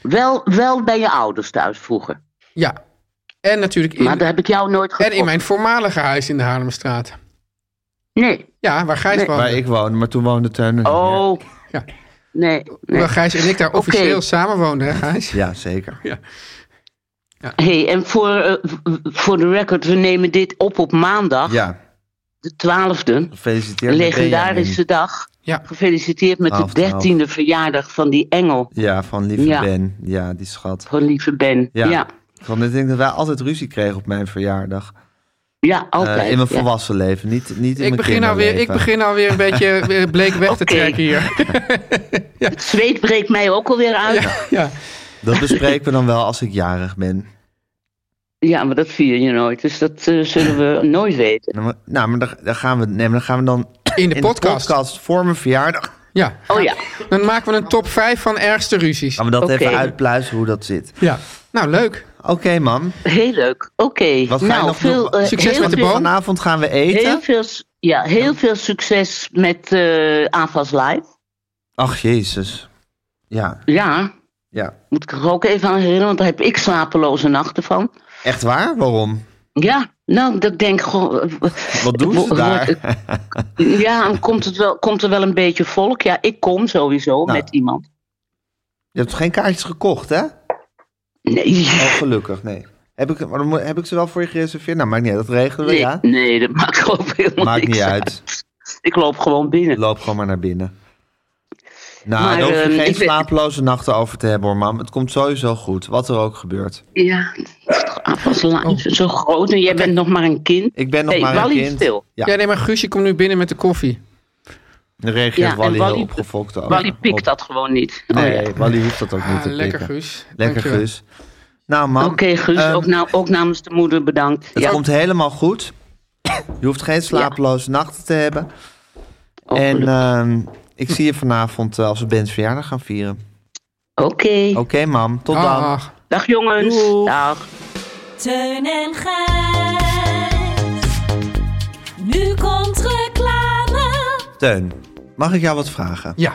Speaker 7: Wel, wel bij je ouders thuis vroeger.
Speaker 3: Ja. En natuurlijk in,
Speaker 7: maar daar heb ik jou nooit
Speaker 3: en
Speaker 7: getroffen.
Speaker 3: in mijn voormalige huis in de Haarlemstraat.
Speaker 7: Nee.
Speaker 3: Ja, waar Gijs
Speaker 7: Nee.
Speaker 3: woonde.
Speaker 2: Waar ik woon, maar toen woonde Teun er niet meer.
Speaker 7: Oh.
Speaker 3: Ja.
Speaker 7: Nee. nee.
Speaker 3: Waar Gijs en ik daar officieel samen woonden, hè Gijs?
Speaker 2: Ja, zeker.
Speaker 7: hey, en voor, eh, v- voor de record, we nemen dit op op maandag,
Speaker 2: Ja,
Speaker 7: de 12e.
Speaker 2: gefeliciteerd. met
Speaker 7: Legendarische dag.
Speaker 3: Ja.
Speaker 7: Gefeliciteerd met
Speaker 2: Twaalf,
Speaker 7: de 13e verjaardag van die engel.
Speaker 2: Benjamin. Ja, van lieve
Speaker 7: Ja.
Speaker 2: Ben. Ja, die schat.
Speaker 7: Van lieve Ben.
Speaker 2: Ja.
Speaker 7: Ja, ja.
Speaker 2: Want ik denk dat wij altijd ruzie kregen op mijn verjaardag. Eh,
Speaker 7: altijd.
Speaker 2: in mijn
Speaker 7: ja.
Speaker 2: volwassen leven, niet, niet in
Speaker 3: Ik
Speaker 2: mijn
Speaker 3: begin, alweer, ik
Speaker 2: kinderleven.
Speaker 3: begin alweer een beetje weer bleek weg te
Speaker 7: Oké.
Speaker 3: trekken hier.
Speaker 7: Het zweet breekt mij ook alweer uit.
Speaker 3: ja.
Speaker 2: Dat bespreken we dan wel als ik jarig ben.
Speaker 7: Ja, maar dat vier je nooit, dus dat eh, zullen we nooit weten.
Speaker 2: Nou, maar- Nou, maar dan, dan, gaan we, nee, maar dan gaan we dan
Speaker 3: In de
Speaker 2: in
Speaker 3: podcast.
Speaker 2: de podcast voor mijn verjaardag...
Speaker 3: Ja.
Speaker 7: Oh ja,
Speaker 3: Dan maken we een top 5 van ergste ruzies.
Speaker 2: Gaan we dat
Speaker 7: Oké.
Speaker 2: even uitpluizen hoe dat zit.
Speaker 3: Ja. Nou, leuk.
Speaker 2: Oké, mam.
Speaker 7: heel leuk. Oké,
Speaker 2: Wat ga je
Speaker 7: nou,
Speaker 2: nog
Speaker 7: veel,
Speaker 2: doen?
Speaker 7: eh,
Speaker 3: Succes
Speaker 7: heel
Speaker 3: met de
Speaker 7: veel-
Speaker 3: boom.
Speaker 2: Vanavond gaan we
Speaker 7: Heel
Speaker 2: eten.
Speaker 7: veel, s- ja, heel veel succes met eh AFAS Live.
Speaker 2: Ach, jezus. Ja,
Speaker 7: Ja,
Speaker 2: ja.
Speaker 7: moet ik er ook even aan herinneren, want daar heb ik slapeloze nachten van.
Speaker 2: Echt waar? Waarom?
Speaker 7: Ja, nou, dat denk ik gewoon... eh,
Speaker 2: Wat doen
Speaker 7: wo-
Speaker 2: ze
Speaker 7: wo-
Speaker 2: daar?
Speaker 7: eh, Ja, en komt, het wel, komt er wel een beetje volk? Ja, ik kom sowieso
Speaker 2: Nou.
Speaker 7: met iemand.
Speaker 2: Je hebt geen kaartjes gekocht, hè?
Speaker 7: Nee,
Speaker 2: Oh, gelukkig, nee. Heb ik, maar dan moet- heb ik ze wel voor je gereserveerd? Nou, maakt niet uit. Dat regelen we,
Speaker 7: nee,
Speaker 2: ja?
Speaker 7: nee, dat maakt ook helemaal
Speaker 2: Maakt
Speaker 7: niks
Speaker 2: niet uit.
Speaker 7: Ik loop gewoon binnen.
Speaker 2: Loop gewoon maar naar binnen. Nou,
Speaker 7: Maar,
Speaker 2: daar hoef je
Speaker 7: ehm,
Speaker 2: geen
Speaker 7: ik weet-
Speaker 2: slapeloze nachten over te hebben hoor, mam. Het komt sowieso goed, wat er ook gebeurt.
Speaker 7: Ja, AFAS Live is zo groot en jij bent nog maar een kind.
Speaker 2: Oh. Ik ben nog
Speaker 7: Hey,
Speaker 2: maar
Speaker 7: Wally
Speaker 2: een kind. Oh.
Speaker 7: stil.
Speaker 2: Ja,
Speaker 3: Ja, nee, maar Guusje komt nu binnen met de koffie.
Speaker 2: dan reageert
Speaker 7: Ja, en
Speaker 2: Wally,
Speaker 7: Wally-
Speaker 2: heel opgefokt over.
Speaker 7: Wally pikt
Speaker 2: op.
Speaker 7: dat gewoon niet. Oh,
Speaker 2: Nee,
Speaker 7: ja.
Speaker 2: Wally hoeft dat ook niet
Speaker 3: Ah,
Speaker 2: te
Speaker 3: lekker
Speaker 2: pikken.
Speaker 3: Guus.
Speaker 2: Lekker
Speaker 3: Dankjewel.
Speaker 2: Guus. Nou, mam.
Speaker 7: Oké, Guus,
Speaker 2: ehm,
Speaker 7: ook, nou, ook namens de moeder bedankt.
Speaker 2: Het
Speaker 7: Ja,
Speaker 2: komt helemaal goed. Je hoeft geen slapeloze nachten te hebben.
Speaker 7: oh,
Speaker 2: en
Speaker 7: gelukkig.
Speaker 2: ehm, ik zie je vanavond eh, als we Ben's verjaardag gaan vieren.
Speaker 7: Oké,
Speaker 2: Oké, mam. Tot dan.
Speaker 3: Dag.
Speaker 7: dag jongens. Dag.
Speaker 6: Teun en Gijs. Nu komt reclame.
Speaker 2: Teun, mag ik jou wat vragen?
Speaker 3: Ja,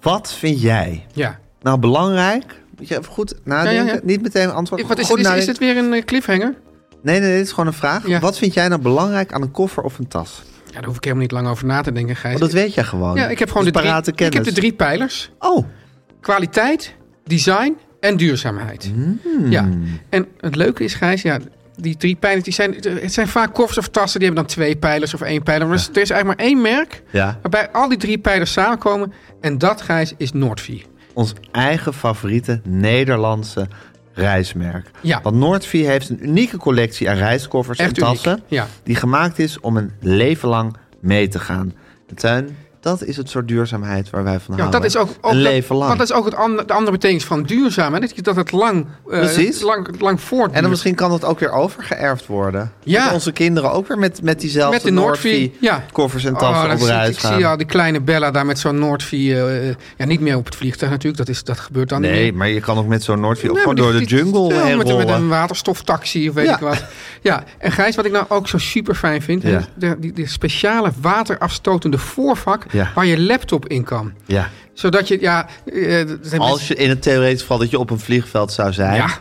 Speaker 2: Wat vind jij
Speaker 3: ja.
Speaker 2: nou belangrijk? Moet je even goed nadenken.
Speaker 3: Ja, ja, ja.
Speaker 2: Niet meteen een antwoord.
Speaker 3: Ik- Wat is,
Speaker 2: Goed
Speaker 3: is, is
Speaker 2: nadenken.
Speaker 3: het weer een eh, cliffhanger?
Speaker 2: Nee, nee, dit is gewoon een vraag.
Speaker 3: Ja.
Speaker 2: Wat vind jij nou belangrijk aan een koffer of een tas?
Speaker 3: Ja, daar hoef ik helemaal niet lang over na te denken, Gijs.
Speaker 2: Want dat weet jij gewoon.
Speaker 3: ja, ik heb gewoon de
Speaker 2: Dat is parate
Speaker 3: drie, ik heb
Speaker 2: kennis.
Speaker 3: de drie pijlers.
Speaker 2: Oh,
Speaker 3: Kwaliteit, design en duurzaamheid.
Speaker 2: Hmm.
Speaker 3: Ja. En het leuke is, Gijs, ja, die drie pijlers, die zijn, het zijn vaak koffers of tassen, die hebben dan twee pijlers of één pijler. Maar er is- er is eigenlijk maar één merk
Speaker 2: ja.
Speaker 3: waarbij al die drie pijlers samenkomen. En dat, Gijs, is Noordvie.
Speaker 2: Ons eigen favoriete Nederlandse reismerk.
Speaker 3: Ja.
Speaker 2: Want Noordvie heeft een unieke collectie aan reiskoffers
Speaker 3: Echt
Speaker 2: en tassen.
Speaker 3: uniek. Ja.
Speaker 2: Die gemaakt is om een leven lang mee te gaan. En Teun, dat is het soort duurzaamheid waar wij van
Speaker 3: Ja, want
Speaker 2: houden.
Speaker 3: dat is ook, ook
Speaker 2: Ah, Een
Speaker 3: dat-
Speaker 2: leven lang.
Speaker 3: Want dat is ook het ander, de andere betekenis van duurzaam. Hè? Dat, je- dat het lang, eh,
Speaker 2: Precies.
Speaker 3: lang, lang voortduurt.
Speaker 2: En dan misschien kan dat ook weer overgeërfd worden.
Speaker 3: Ja.
Speaker 2: Dat onze kinderen ook weer met, met diezelfde
Speaker 3: Met de Noordvie, ja.
Speaker 2: koffers en
Speaker 3: Oh,
Speaker 2: tassen
Speaker 3: dat
Speaker 2: op
Speaker 3: zie ik-
Speaker 2: reis
Speaker 3: ik
Speaker 2: gaan.
Speaker 3: zie al die kleine Bella daar met zo'n Noordvie. eh, ja, niet meer op het vliegtuig natuurlijk. Dat, is, dat gebeurt dan niet.
Speaker 2: nee,
Speaker 3: meer.
Speaker 2: maar je kan ook met zo'n Noordvie ook
Speaker 3: Nee,
Speaker 2: gewoon
Speaker 3: maar
Speaker 2: door
Speaker 3: die-
Speaker 2: de
Speaker 3: die-
Speaker 2: jungle
Speaker 3: ja,
Speaker 2: heen
Speaker 3: met, met een
Speaker 2: rollen.
Speaker 3: waterstoftaxi of weet
Speaker 2: Ja.
Speaker 3: ik wat. Ja, en Gijs, wat ik nou ook zo super fijn vind...
Speaker 2: Ja.
Speaker 3: de, die, die speciale waterafstotende voorvak
Speaker 2: Ja.
Speaker 3: waar je laptop in kan.
Speaker 2: Ja.
Speaker 3: Zodat je, ja... eh, dat zijn
Speaker 2: Als je in het theoretische geval dat je op een vliegveld zou zijn.
Speaker 3: Ja. Nou,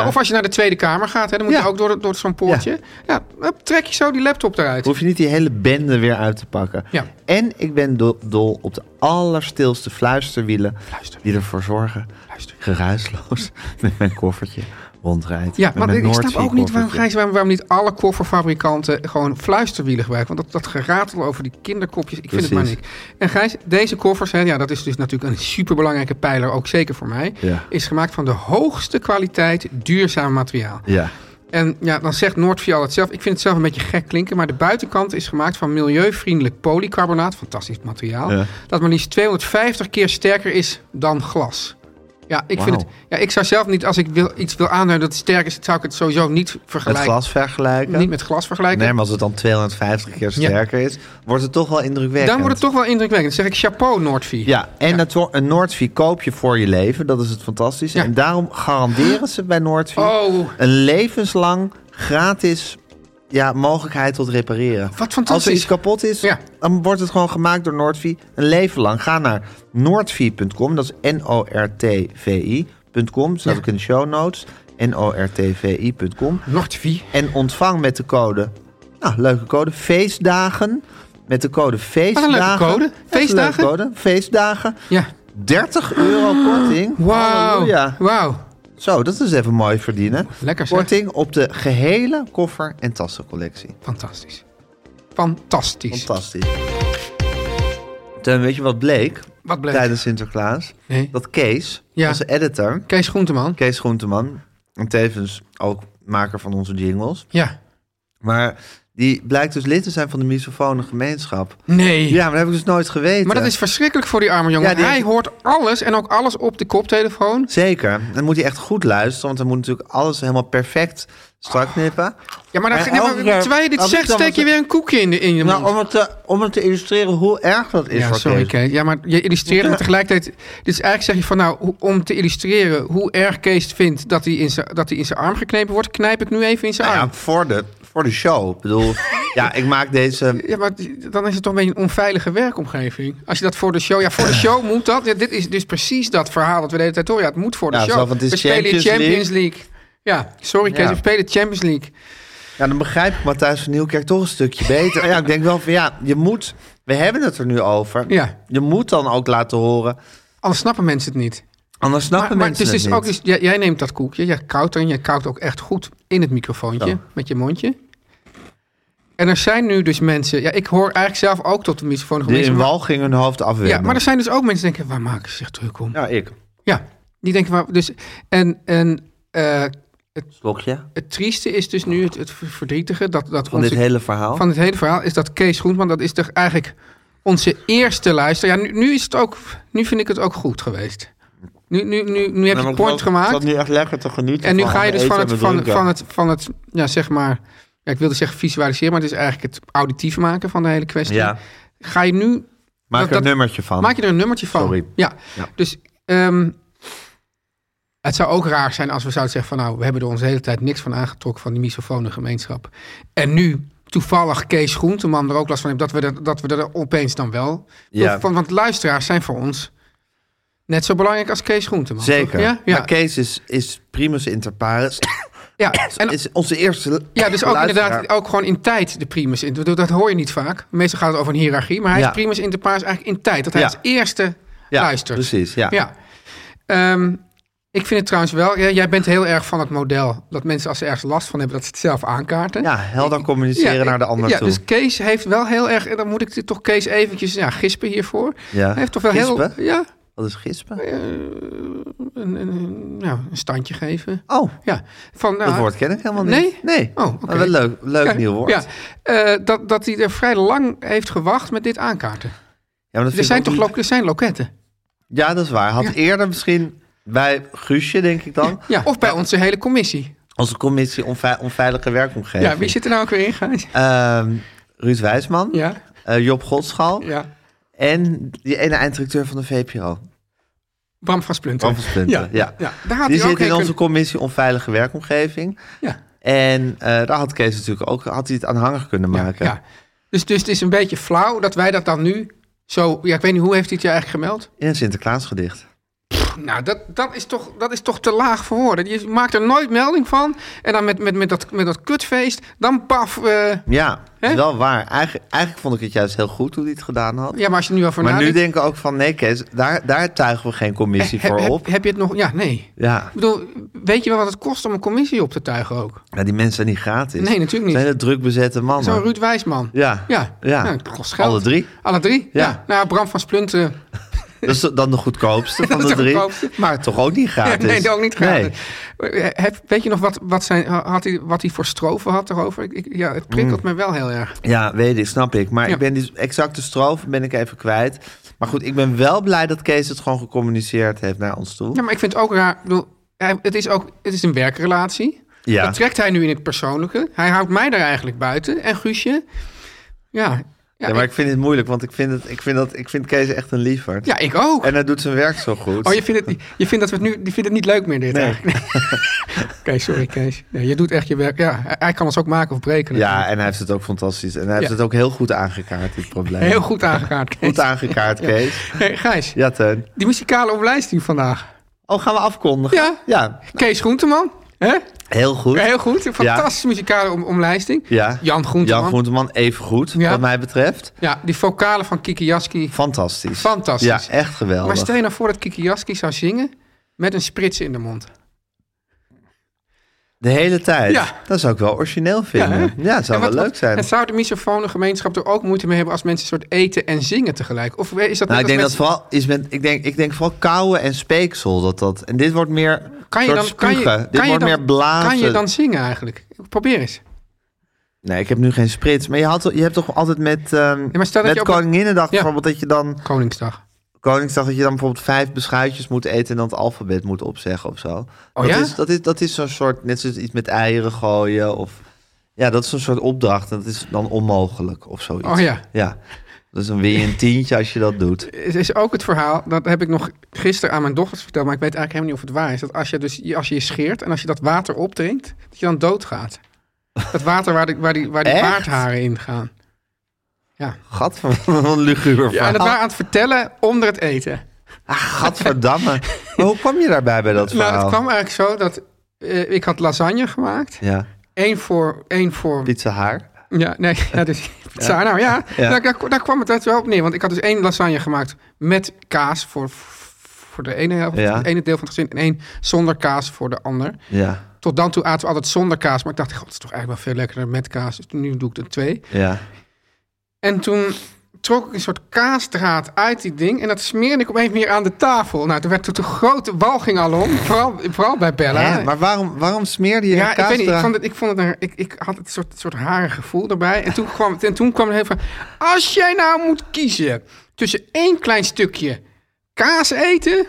Speaker 2: Ja.
Speaker 3: Of als je naar de Tweede Kamer gaat, hè, dan moet
Speaker 2: Ja.
Speaker 3: je ook door, dat- door zo'n poortje. Ja. hup, trek je zo die laptop eruit.
Speaker 2: Hoef je niet die hele bende weer uit te pakken.
Speaker 3: Ja.
Speaker 2: En ik ben do- dol op de allerstilste fluisterwielen.
Speaker 3: Fluister.
Speaker 2: Die ervoor zorgen.
Speaker 3: Luister.
Speaker 2: Geruisloos met mijn koffertje rondrijdt.
Speaker 3: Ja,
Speaker 2: Met
Speaker 3: maar
Speaker 2: mijn
Speaker 3: ik snap
Speaker 2: Noordvie
Speaker 3: ook niet waarom,
Speaker 2: koffertje.
Speaker 3: Gijs, waarom, waarom niet alle kofferfabrikanten gewoon fluisterwielen gebruiken. Want dat, dat geratel over die kinderkopjes, ik vind het
Speaker 2: Precies.
Speaker 3: maar niks. En Gijs, deze koffers, hè, ja, dat is dus natuurlijk een superbelangrijke pijler, ook zeker voor mij,
Speaker 2: Ja.
Speaker 3: is gemaakt van de hoogste kwaliteit duurzaam materiaal.
Speaker 2: Ja.
Speaker 3: En ja, dan zegt Noordvia al het zelf. Ik vind het zelf een beetje gek klinken, maar de buitenkant is gemaakt van milieuvriendelijk polycarbonaat, fantastisch materiaal,
Speaker 2: Ja.
Speaker 3: dat maar liefst 250 keer sterker is dan glas. Ja, ik vind
Speaker 2: Wauw.
Speaker 3: het. Ja, ik zou zelf niet, als ik wil, iets wil aanduiden dat het sterk is, zou ik het sowieso niet
Speaker 2: Het
Speaker 3: vergelijken.
Speaker 2: glas vergelijken.
Speaker 3: Niet met glas vergelijken.
Speaker 2: Nee, maar als het dan 250 keer sterker is, wordt het toch wel indrukwekkend.
Speaker 3: dan wordt het toch wel indrukwekkend. Dan zeg ik chapeau, Noordvia.
Speaker 2: Ja, en het wo- een Noordvie koop je voor je leven. Dat is het fantastische.
Speaker 3: Ja.
Speaker 2: En daarom garanderen ze bij Noordvie
Speaker 3: Oh.
Speaker 2: een levenslang gratis ja, mogelijkheid tot repareren.
Speaker 3: Wat fantastisch.
Speaker 2: Als er iets kapot is,
Speaker 3: Ja.
Speaker 2: dan wordt het gewoon gemaakt door Noordvie een leven lang. Ga naar noordvie.com, dat is N-O-R-T-V-I.com. Staat
Speaker 3: Ja.
Speaker 2: ook in de show notes. N-O-R-T-V-I.com.
Speaker 3: Noordvia.
Speaker 2: En ontvang met de code, nou, leuke code, feestdagen. Met de code feestdagen.
Speaker 3: code.
Speaker 2: Ja, dat is een leuke
Speaker 3: Feestdagen?
Speaker 2: code. Feestdagen.
Speaker 3: Ja.
Speaker 2: 30 euro korting.
Speaker 3: Wauw.
Speaker 2: Halleluja.
Speaker 3: Wauw.
Speaker 2: Zo, dat is even mooi verdienen.
Speaker 3: Lekker zeg.
Speaker 2: Korting op de gehele koffer- en tassencollectie.
Speaker 3: Fantastisch. Fantastisch.
Speaker 2: Fantastisch. Teun, weet je wat bleek?
Speaker 3: Wat bleek?
Speaker 2: Tijdens Sinterklaas.
Speaker 3: Nee.
Speaker 2: Dat Kees,
Speaker 3: Ja.
Speaker 2: onze editor,
Speaker 3: Kees Groenteman.
Speaker 2: Kees Groenteman, en tevens ook maker van onze jingles.
Speaker 3: Ja.
Speaker 2: Maar die blijkt dus lid te zijn van de misofone gemeenschap.
Speaker 3: Nee.
Speaker 2: Ja, maar dat heb ik dus nooit geweten.
Speaker 3: Maar dat is verschrikkelijk voor die arme jongen.
Speaker 2: Ja, die
Speaker 3: hij
Speaker 2: heeft-
Speaker 3: hoort alles en ook alles op de koptelefoon.
Speaker 2: Zeker. Dan moet hij echt goed luisteren, want dan moet natuurlijk alles helemaal perfect strak knippen.
Speaker 3: Ja, maar, dan,
Speaker 2: Maar
Speaker 3: nee, maar
Speaker 2: elke keer-
Speaker 3: terwijl je dit
Speaker 2: als ik
Speaker 3: zegt,
Speaker 2: dan
Speaker 3: steek
Speaker 2: wat-
Speaker 3: je weer een koekje in, de, in je
Speaker 2: Nou,
Speaker 3: mond.
Speaker 2: om het, te, om het te illustreren hoe erg dat is
Speaker 3: ja,
Speaker 2: voor
Speaker 3: sorry
Speaker 2: Kees.
Speaker 3: Kees. Ja, maar je illustreert het tegelijkertijd... Dus eigenlijk zeg je van, nou, hoe- om te illustreren hoe erg Kees vindt dat hij in zijn- dat hij in zijn arm geknepen wordt, knijp ik nu even in zijn
Speaker 2: Nou
Speaker 3: arm.
Speaker 2: ja, voor de, voor de show. Ik bedoel, ja, ik maak deze...
Speaker 3: Ja, maar dan is het toch een beetje een onveilige werkomgeving. Als je dat voor de show... Ja, voor de show moet dat. Ja, dit is dus precies dat verhaal dat we de hele tijd horen. Ja, het moet voor de
Speaker 2: Ja,
Speaker 3: show.
Speaker 2: zo van, het is
Speaker 3: we spelen in
Speaker 2: Champions
Speaker 3: Champions League. Ja, sorry Kees,
Speaker 2: Ja.
Speaker 3: we spelen Champions League.
Speaker 2: Ja, dan begrijp ik Matthijs van Nieuwkerk toch een stukje beter. Ja, ik denk wel van, ja, je moet... We hebben het er nu over.
Speaker 3: Ja.
Speaker 2: Je moet dan ook laten horen.
Speaker 3: Anders snappen mensen het niet.
Speaker 2: Anders snappen
Speaker 3: Maar, maar het
Speaker 2: mensen
Speaker 3: is dus
Speaker 2: het
Speaker 3: ook,
Speaker 2: niet.
Speaker 3: dus, jij, jij neemt dat koekje, jij koudt erin, jij koudt ook echt goed in het microfoontje
Speaker 2: Zo.
Speaker 3: met je mondje. En er zijn nu dus mensen, ja, ik hoor eigenlijk zelf ook tot de microfoon
Speaker 2: Die in
Speaker 3: geweest.
Speaker 2: wal gingen hun hoofd afwenden.
Speaker 3: Ja, maar er zijn dus ook mensen die denken, waar maken ze zich druk om?
Speaker 2: Ja,
Speaker 3: Ja,
Speaker 2: ik.
Speaker 3: die denken, waar, dus, en, en eh,
Speaker 2: Slokje.
Speaker 3: het trieste is dus nu, het, het verdrietige, dat, dat
Speaker 2: Van dit hele verhaal.
Speaker 3: van het hele verhaal is dat Kees Groenman, dat is toch eigenlijk onze eerste luister. Ja, nu, nu is het ook, nu vind ik het ook goed geweest. Nu, nu, nu, nu heb je het point gemaakt.
Speaker 2: Dat nu echt lekker te genieten.
Speaker 3: En nu
Speaker 2: van
Speaker 3: ga je dus van
Speaker 2: eten
Speaker 3: het,
Speaker 2: en
Speaker 3: van,
Speaker 2: drinken.
Speaker 3: van het, van het, ja, zeg maar, ja, ik wilde zeggen visualiseren, maar het is eigenlijk het auditief maken van de hele kwestie.
Speaker 2: Ja,
Speaker 3: Ga je nu,
Speaker 2: maak
Speaker 3: Dat-
Speaker 2: er een
Speaker 3: dat-
Speaker 2: nummertje van.
Speaker 3: maak je er een nummertje van?
Speaker 2: Sorry.
Speaker 3: Ja.
Speaker 2: Ja.
Speaker 3: Dus ehm, het zou ook raar zijn als we zouden zeggen van, nou, we hebben er onze hele tijd niks van aangetrokken van die misofone gemeenschap. En nu toevallig Kees Groenteman er ook last van heeft, dat we er, dat we er opeens dan wel.
Speaker 2: Ja.
Speaker 3: Van, want luisteraars zijn voor ons net zo belangrijk als Kees Groenteman.
Speaker 2: Zeker.
Speaker 3: Ja, ja.
Speaker 2: Maar Kees is, is primus inter pares.
Speaker 3: ja. En
Speaker 2: is onze eerste
Speaker 3: Ja, dus ook
Speaker 2: luisteraar.
Speaker 3: inderdaad, ook gewoon in tijd de primus in. Dat- Dat hoor je niet vaak. Meestal gaat het over een hiërarchie. Maar hij
Speaker 2: Ja.
Speaker 3: is primus inter pares eigenlijk in tijd. Dat hij
Speaker 2: Ja.
Speaker 3: als eerste
Speaker 2: ja, Dus
Speaker 3: luistert.
Speaker 2: Precies, ja.
Speaker 3: Ja. Ehm, ik vind het trouwens wel... ja, jij bent heel erg van het model. Dat mensen als ze ergens last van hebben, dat ze het zelf aankaarten.
Speaker 2: Ja, helder communiceren
Speaker 3: Ja, ik-
Speaker 2: naar de ander
Speaker 3: ja,
Speaker 2: toe.
Speaker 3: Dus Kees heeft wel heel erg... En dan moet ik dit toch Kees eventjes ja, gispen hiervoor.
Speaker 2: Ja.
Speaker 3: Hij heeft toch wel
Speaker 2: Gispen?
Speaker 3: heel... Ja,
Speaker 2: Wat is gispen?
Speaker 3: een, een, een- nou, een standje geven.
Speaker 2: Oh,
Speaker 3: Ja. Van, nou,
Speaker 2: dat woord ken ik helemaal niet.
Speaker 3: Nee?
Speaker 2: Nee.
Speaker 3: Oh, oké.
Speaker 2: Maar wel leuk, leuk nieuw woord.
Speaker 3: Ja, eh, dat, dat hij er vrij lang heeft gewacht met dit aankaarten.
Speaker 2: maar dat vind
Speaker 3: Er
Speaker 2: ik
Speaker 3: zijn
Speaker 2: ook
Speaker 3: toch
Speaker 2: niet-
Speaker 3: lo- er zijn loketten?
Speaker 2: Ja, dat is waar. Had eerder misschien bij Guusje, denk ik dan,
Speaker 3: Ja, of bij onze hele commissie.
Speaker 2: onze commissie onvei- onveilige werkomgeving.
Speaker 3: Ja, wie zit er nou ook weer in, Gijs?
Speaker 2: Ehm, Ruud Wijsman,
Speaker 3: Ja,
Speaker 2: eh, Job Godschal
Speaker 3: ja.
Speaker 2: en die ene einddirecteur van de VPRO.
Speaker 3: Bram van Splunten.
Speaker 2: Bram van Splunten, ja.
Speaker 3: Daar had
Speaker 2: Die
Speaker 3: hij
Speaker 2: zit
Speaker 3: ook
Speaker 2: in
Speaker 3: heen
Speaker 2: onze commissie onveilige werkomgeving.
Speaker 3: kunnen- Ja.
Speaker 2: En eh, daar had Kees natuurlijk ook had hij het aanhangig kunnen maken.
Speaker 3: Ja. Dus, dus het is een beetje flauw dat wij dat dan nu zo... Ja, ik weet niet, hoe heeft hij het je eigenlijk gemeld?
Speaker 2: In een Sinterklaasgedicht.
Speaker 3: Nou, dat, dat, is toch, dat is toch te laag voor woorden. Je maakt er nooit melding van. En dan met, met, met, dat, met dat kutfeest, dan paf. eh,
Speaker 2: Ja,
Speaker 3: Hè?
Speaker 2: is wel waar. Eigen- eigenlijk vond ik het juist heel goed hoe hij het gedaan had.
Speaker 3: ja, maar nou, als je nu al voor
Speaker 2: maar nu
Speaker 3: nadenkt...
Speaker 2: denken we ook van, nee Kees, daar, daar tuigen we geen commissie
Speaker 3: heb,
Speaker 2: voor
Speaker 3: heb-
Speaker 2: op.
Speaker 3: heb je het nog... Ja, nee.
Speaker 2: Ja,
Speaker 3: Ik bedoel, weet je wel wat het kost om een commissie op te tuigen ook?
Speaker 2: ja, die mensen zijn niet gratis.
Speaker 3: Nee, natuurlijk niet.
Speaker 2: Zijn het druk bezette mannen.
Speaker 3: Zo'n Ruud Wijsman.
Speaker 2: Ja,
Speaker 3: Ja,
Speaker 2: ja.
Speaker 3: Nou, het kost geld.
Speaker 2: Alle drie.
Speaker 3: Alle drie? Ja.
Speaker 2: Ja.
Speaker 3: Nou, Bram van Splunten.
Speaker 2: Dat is dan de goedkoopste van
Speaker 3: dat
Speaker 2: de,
Speaker 3: is de
Speaker 2: drie.
Speaker 3: goedkoopste. Maar
Speaker 2: Toch ook niet gratis.
Speaker 3: Nee, ook niet
Speaker 2: Nee.
Speaker 3: gratis. Eh, heb- Weet je nog wat, wat, zijn, had hij, wat hij voor strofen had erover? Ik, ik- ja, het prikkelt
Speaker 2: Mm.
Speaker 3: me wel heel erg.
Speaker 2: Ja, weet ik, snap ik. Maar
Speaker 3: Ja.
Speaker 2: ik ben die exacte stroof ben ik even kwijt. Maar goed, ik ben wel blij dat Kees het gewoon gecommuniceerd heeft naar ons toe.
Speaker 3: Ja, maar ik vind het ook raar. Ik bedoel, hij- het is ook het is een werkrelatie.
Speaker 2: Ja.
Speaker 3: Dat trekt hij nu in het persoonlijke. Hij houdt mij daar eigenlijk buiten. En Guusje. Ja, ja,
Speaker 2: Ja, maar
Speaker 3: ik,
Speaker 2: ik vind het moeilijk, want ik vind, het, ik vind, dat, ik vind Kees echt een lieverd.
Speaker 3: ja, ik ook.
Speaker 2: En hij doet zijn werk zo goed.
Speaker 3: Oh, je vindt, het, niet- je vindt dat we het nu je vindt het niet leuk meer, dit
Speaker 2: Nee.
Speaker 3: eigenlijk? Oké, sorry Kees. Nee, je doet echt je werk. Ja, hij- hij kan ons ook maken of breken.
Speaker 2: Ja, en hij heeft het ook fantastisch. En hij heeft
Speaker 3: Ja.
Speaker 2: het ook heel goed aangekaart, dit probleem.
Speaker 3: Heel goed aangekaart, Kees.
Speaker 2: Goed aangekaart, Kees.
Speaker 3: Hey, Gijs,
Speaker 2: Ja, Teun.
Speaker 3: die muzikale omlijsting vandaag.
Speaker 2: Oh, gaan we afkondigen?
Speaker 3: Ja.
Speaker 2: Ja,
Speaker 3: Kees Groenteman. hè?
Speaker 2: heel goed.
Speaker 3: Heel goed. Fantastische muzikale om- omlijsting.
Speaker 2: Ja.
Speaker 3: Jan Groenteman.
Speaker 2: Jan Groenteman, even goed,
Speaker 3: Ja.
Speaker 2: wat mij betreft.
Speaker 3: Ja, die vocalen van Kiki Jaski.
Speaker 2: Fantastisch.
Speaker 3: Fantastisch.
Speaker 2: Ja, echt geweldig.
Speaker 3: Maar stel je nou voor dat Kiki Jaski zou zingen met een sprits in de mond.
Speaker 2: De hele tijd.
Speaker 3: Ja.
Speaker 2: Dat zou ik wel origineel vinden. Ja,
Speaker 3: hè?
Speaker 2: dat zou
Speaker 3: En wat-
Speaker 2: wel leuk
Speaker 3: wat-
Speaker 2: zijn.
Speaker 3: En zou de misofone gemeenschap er ook moeite mee hebben als mensen een soort eten en zingen tegelijk? Of is dat
Speaker 2: nou, ik
Speaker 3: net
Speaker 2: denk dat
Speaker 3: als mensen-
Speaker 2: vooral is met, ik denk, ik denk vooral kauwen en speeksel dat dat. En dit wordt meer
Speaker 3: Kan je
Speaker 2: soort
Speaker 3: dan, kan je,
Speaker 2: spugen.
Speaker 3: kan
Speaker 2: dit
Speaker 3: je
Speaker 2: wordt
Speaker 3: dan,
Speaker 2: meer blazen.
Speaker 3: Kan je dan zingen eigenlijk? Probeer eens.
Speaker 2: Nee, ik heb nu geen sprits. Maar je, had, je hebt toch altijd met, ehm
Speaker 3: maar stel
Speaker 2: met
Speaker 3: dat je op een-
Speaker 2: Koninginnedag
Speaker 3: Ja.
Speaker 2: bijvoorbeeld dat je dan
Speaker 3: Koningsdag.
Speaker 2: Koningsdag dat je dan bijvoorbeeld vijf beschuitjes moet eten en dan het alfabet moet opzeggen of zo. dat,
Speaker 3: Oh ja?
Speaker 2: is, dat is dat is zo'n soort net zoals iets met eieren gooien of ja, dat is zo'n soort opdracht en dat is dan onmogelijk of zoiets.
Speaker 3: Oh ja.
Speaker 2: Ja. Dus dan win je een tientje als je dat doet.
Speaker 3: Het is ook het verhaal, dat heb ik nog gisteren aan mijn dochters verteld, maar ik weet eigenlijk helemaal niet of het waar is. Dat als je dus, je- als je, je scheert en als je dat water opdrinkt, dat je dan doodgaat. Dat water waar, de, waar die, waar die
Speaker 2: Echt?
Speaker 3: paardharen in gaan.
Speaker 2: Gadverdamme, wat een luguber
Speaker 3: Ja, en dat
Speaker 2: verhaal.
Speaker 3: waren aan het vertellen onder het eten.
Speaker 2: Gadverdamme. Maar hoe kwam je daarbij bij dat verhaal?
Speaker 3: Nou, het kwam eigenlijk zo dat eh, ik had lasagne gemaakt.
Speaker 2: Ja,
Speaker 3: Eén voor, één voor
Speaker 2: pizza haar.
Speaker 3: Ja, nee, ja, dus, Zo, nou ja,
Speaker 2: Ja.
Speaker 3: Daar, daar, daar kwam het uit wel op neer. Want ik had dus één lasagne gemaakt met kaas voor, voor de ene helft,
Speaker 2: Ja.
Speaker 3: het ene deel van het gezin. En één zonder kaas voor de ander.
Speaker 2: Ja,
Speaker 3: Tot dan toe aten we altijd zonder kaas. Maar ik dacht, god, het is toch eigenlijk wel veel lekkerder met kaas. Dus nu doe ik er twee.
Speaker 2: ja.
Speaker 3: En toen trok ik een soort kaasdraad uit die ding. En dat smeerde ik op een meer aan de tafel. Nou, toen werd het een grote walging al om. Vooral, vooral bij Bella.
Speaker 2: Hè, maar waarom, waarom smeerde je
Speaker 3: Ja,
Speaker 2: kaas
Speaker 3: ik weet niet. Ik,
Speaker 2: eraan?
Speaker 3: vond het, ik, vond het een, ik, ik had het soort, soort haren gevoel erbij. En toen kwam, het- en toen kwam er heel van... Als jij nou moet kiezen tussen één klein stukje kaas eten...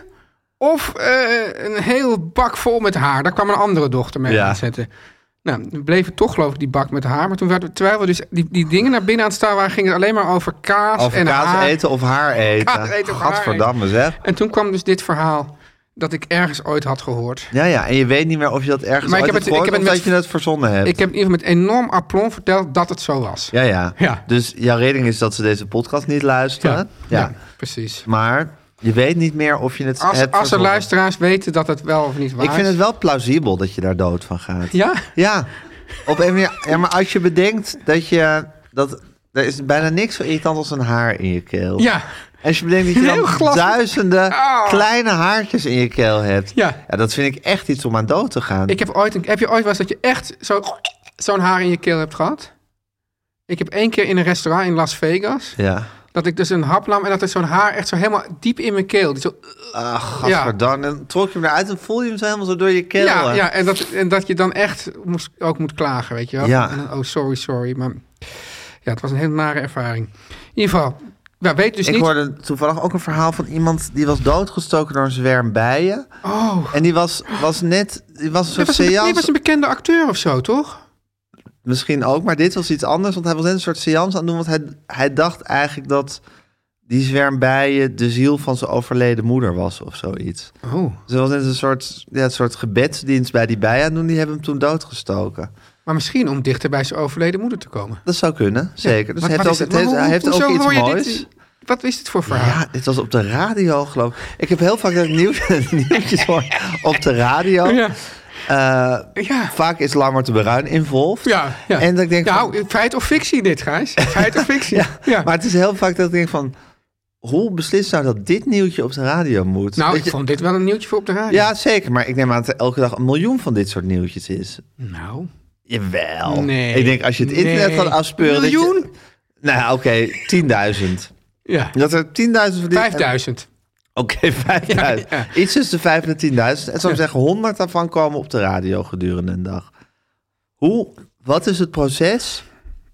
Speaker 3: of eh, een heel bak vol met haar. Daar kwam een andere dochter mee
Speaker 2: Ja.
Speaker 3: aanzetten. Nou, we bleven toch geloof ik die bak met haar. Maar toen werden we, terwijl we dus die, die dingen naar binnen aan het staan waren... ging het alleen maar over kaas
Speaker 2: Over
Speaker 3: en
Speaker 2: kaas
Speaker 3: haar.
Speaker 2: eten of haar eten?
Speaker 3: Kaas eten of haar
Speaker 2: Gadverdamme zeg.
Speaker 3: En toen kwam dus dit verhaal dat ik ergens ooit had gehoord.
Speaker 2: Ja, ja, en je weet niet meer of je dat ergens
Speaker 3: Maar ik
Speaker 2: ooit hebt
Speaker 3: heb het- ik
Speaker 2: gehoord
Speaker 3: heb het
Speaker 2: of
Speaker 3: met-
Speaker 2: dat je het verzonnen hebt.
Speaker 3: Ik heb in ieder geval met enorm aplomb verteld dat het zo was.
Speaker 2: Ja, ja,
Speaker 3: Ja.
Speaker 2: Dus jouw reding is dat ze deze podcast niet luisteren. Ja.
Speaker 3: precies.
Speaker 2: Maar je weet niet meer of je het
Speaker 3: Als,
Speaker 2: hebt
Speaker 3: als er
Speaker 2: verzonnen.
Speaker 3: luisteraars weten dat het wel of niet waar
Speaker 2: Ik vind
Speaker 3: is.
Speaker 2: het Oh. wel plausibel dat je daar dood van gaat.
Speaker 3: Ja?
Speaker 2: Ja, op een manier. Ja, maar als je bedenkt dat je. Dat, er is bijna niks zo irritant als een haar in je keel.
Speaker 3: Ja.
Speaker 2: En als je bedenkt dat je
Speaker 3: Een heel
Speaker 2: dan
Speaker 3: glas-
Speaker 2: duizenden
Speaker 3: Ah.
Speaker 2: kleine haartjes in je keel hebt.
Speaker 3: Ja.
Speaker 2: Dat vind ik echt iets om aan dood te gaan.
Speaker 3: Ik heb, ooit een, heb je ooit wel eens dat je echt zo, zo'n haar in je keel hebt gehad? Ik heb één keer in een restaurant in Las Vegas...
Speaker 2: Ja.
Speaker 3: dat ik dus een hap nam en dat er zo'n haar echt zo helemaal diep in mijn keel... die zo-
Speaker 2: Ach, gadverdamme. En Ah, dan trok je hem eruit en voelde je hem zo helemaal zo door je keel.
Speaker 3: ja,
Speaker 2: hè?
Speaker 3: ja en, dat, en dat je dan echt moest, ook moet klagen, weet je wel?
Speaker 2: Ja.
Speaker 3: En dan, oh, sorry, sorry, maar... Ja, het was een hele nare ervaring. In ieder geval, We weten dus
Speaker 2: ik
Speaker 3: niet...
Speaker 2: hoorde toevallig ook een verhaal van iemand die was doodgestoken door een zwerm bijen.
Speaker 3: Oh,
Speaker 2: En die was, was net, die was een soort
Speaker 3: dit was, een, dit
Speaker 2: seance.
Speaker 3: was een bekende acteur of zo, toch?
Speaker 2: Misschien ook, maar dit was iets anders. Want hij was net een soort seance aan het doen. Want hij, hij dacht eigenlijk dat die zwerm bijen de ziel van zijn overleden moeder was of zoiets.
Speaker 3: Oh.
Speaker 2: Dus er was net een soort, ja, een soort gebedsdienst bij die bijen aan het doen. Die hebben hem toen doodgestoken.
Speaker 3: Maar misschien om dichter bij zijn overleden moeder te komen.
Speaker 2: Dat zou kunnen, zeker. dus
Speaker 3: Wat-
Speaker 2: hij heeft
Speaker 3: wat
Speaker 2: ook,
Speaker 3: is dit?
Speaker 2: het heeft,
Speaker 3: Maar
Speaker 2: hij
Speaker 3: hoe-
Speaker 2: heeft
Speaker 3: hoezo
Speaker 2: ook iets
Speaker 3: hoor je
Speaker 2: moois.
Speaker 3: Dit, wat is dit voor verhaal?
Speaker 2: Ja, dit was op de radio, geloof ik. Ik heb heel vaak dat ik nieuws, nieuwtjes hoor op de radio.
Speaker 3: Ja.
Speaker 2: Eh,
Speaker 3: Ja.
Speaker 2: Vaak is Lammert de Bruin involved.
Speaker 3: Ja, ja.
Speaker 2: En dat ik denk
Speaker 3: nou,
Speaker 2: van-
Speaker 3: feit of fictie dit, Gijs? Feit of fictie? ja,
Speaker 2: Maar het is heel vaak dat ik denk van... Hoe beslist nou dat dit nieuwtje op de radio moet?
Speaker 3: nou,
Speaker 2: Dat
Speaker 3: ik
Speaker 2: je-
Speaker 3: vond dit wel een nieuwtje voor op de radio.
Speaker 2: Ja, zeker. Maar ik neem aan dat er elke dag een miljoen van dit soort nieuwtjes is.
Speaker 3: Nou,
Speaker 2: Jawel.
Speaker 3: Nee.
Speaker 2: Ik denk als je het internet
Speaker 3: Nee.
Speaker 2: gaat afspeuren... dat je-
Speaker 3: Miljoen?
Speaker 2: Nou, ja, oké. 10.000.
Speaker 3: ja.
Speaker 2: Dat er 10.000 van die...
Speaker 3: 5000.
Speaker 2: Oké, 5.000.
Speaker 3: Ja, ja.
Speaker 2: Iets tussen de 5 en de 10.000. En zou ik zeggen, 100 daarvan komen op de radio gedurende een dag. Hoe? Wat is het proces?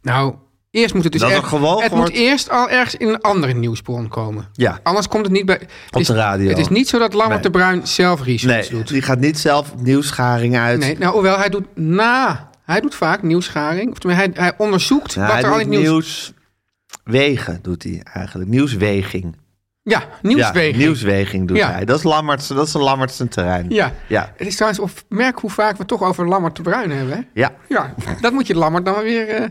Speaker 3: Nou, eerst moet het dus
Speaker 2: Dat er
Speaker 3: echt-
Speaker 2: gewoon
Speaker 3: het
Speaker 2: wordt-
Speaker 3: moet eerst al ergens in een andere nieuwsbron komen.
Speaker 2: Ja.
Speaker 3: Anders komt het niet bij... Op
Speaker 2: de radio.
Speaker 3: Het is niet zo dat Lammert
Speaker 2: Nee.
Speaker 3: de Bruin zelf research
Speaker 2: Nee,
Speaker 3: doet.
Speaker 2: die gaat niet zelf nieuwsgaringen uit.
Speaker 3: Nee, nou, hoewel hij doet na... Hij doet vaak nieuwsgaring. Of tenminste, hij, hij onderzoekt
Speaker 2: Ja,
Speaker 3: wat
Speaker 2: hij
Speaker 3: er al in
Speaker 2: doet
Speaker 3: het nieuws...
Speaker 2: nieuws... Wegen doet hij eigenlijk. Nieuwsweging.
Speaker 3: Ja, nieuwswegen.
Speaker 2: Ja, nieuwsweging doet
Speaker 3: Ja.
Speaker 2: hij. Dat is Lammerts, dat is een Lammerts terrein.
Speaker 3: Ja.
Speaker 2: Ja.
Speaker 3: Het is trouwens of merk hoe vaak we het toch over Lammert de Bruin hebben. Hè?
Speaker 2: Ja,
Speaker 3: Ja, dat moet je Lammert dan maar weer. eh,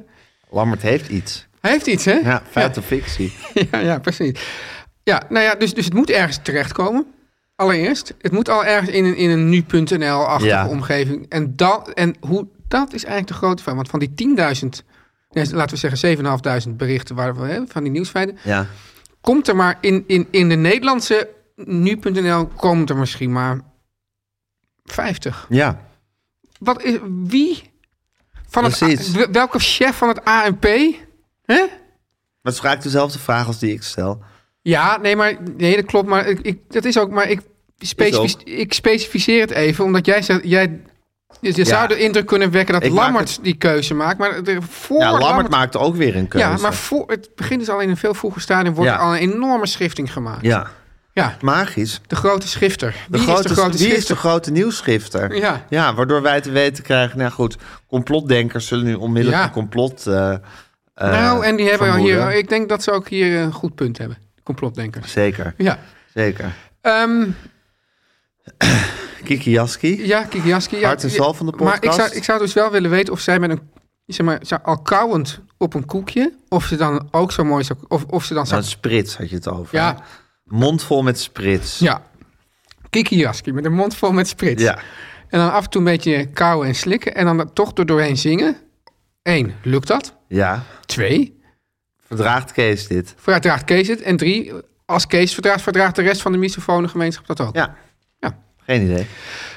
Speaker 2: Lammert heeft iets.
Speaker 3: hij heeft iets, hè?
Speaker 2: Ja, feit of fictie.
Speaker 3: ja, ja, precies. Ja, nou ja, dus, dus het moet ergens terechtkomen. Allereerst. Het moet al ergens in een, in een nu.nl-achtige
Speaker 2: Ja.
Speaker 3: omgeving. En, dat, en hoe, dat is eigenlijk de grote vraag. Want van die 10.000, nee, laten we zeggen 7.500 berichten waar we, hè, van die nieuwsfeiten...
Speaker 2: Ja.
Speaker 3: komt er maar in, in, in de Nederlandse nu.nl komt er misschien maar 50.
Speaker 2: Ja.
Speaker 3: Wat is, wie van het,
Speaker 2: Precies.
Speaker 3: A- welke chef van het ANP? Hè?
Speaker 2: Dat is vaak dezelfde vraag als die ik stel.
Speaker 3: Ja, nee, maar nee, dat klopt. Maar ik, ik- dat is ook. Maar ik, specific, ik specificeer het even, omdat jij zegt, jij dus je je
Speaker 2: Ja.
Speaker 3: zou de indruk kunnen wekken dat
Speaker 2: Ik maak
Speaker 3: Lammert die keuze maakt, maar de, voor
Speaker 2: Ja, Lammert maakte ook weer een keuze.
Speaker 3: ja, maar voor het begint dus al in een veel vroeger stadium wordt
Speaker 2: Ja.
Speaker 3: er al een enorme schifting gemaakt.
Speaker 2: Ja,
Speaker 3: Ja,
Speaker 2: magisch.
Speaker 3: de grote schifter. Wie is de grote
Speaker 2: wie is de
Speaker 3: schifter?
Speaker 2: grote nieuwsschifter?
Speaker 3: Ja.
Speaker 2: ja, waardoor wij te weten krijgen... Nou goed, complotdenkers zullen nu onmiddellijk
Speaker 3: Ja.
Speaker 2: een complot... eh, eh,
Speaker 3: nou, en die hebben al
Speaker 2: vermoeden.
Speaker 3: hier. Ik denk dat ze ook hier een goed punt hebben. Complotdenkers.
Speaker 2: Zeker,
Speaker 3: Ja.
Speaker 2: zeker.
Speaker 3: Ehm,
Speaker 2: Kiki Jaski.
Speaker 3: Ja, Kikiaski. Ja,
Speaker 2: Hart en zal van de podcast.
Speaker 3: Maar ik zou, ik zou dus wel willen weten of zij met een, zeg maar, zou- al kauwend op een koekje, of ze dan ook zo mooi zou, of, of ze dan
Speaker 2: Nou,
Speaker 3: zou,
Speaker 2: een sprits had je het over.
Speaker 3: ja,
Speaker 2: Mond vol met sprits.
Speaker 3: ja. Kikiaski met een mond vol met sprits.
Speaker 2: Ja.
Speaker 3: En dan af en toe een beetje kauwen en slikken en dan er toch er doorheen zingen. Eén, lukt dat?
Speaker 2: Ja.
Speaker 3: Twee,
Speaker 2: Verdraagt Kees dit?
Speaker 3: verdraagt Kees het? En drie, als Kees verdraagt, verdraagt de rest van de misofone gemeenschap dat ook.
Speaker 2: Ja.
Speaker 3: Ja.
Speaker 2: Geen idee.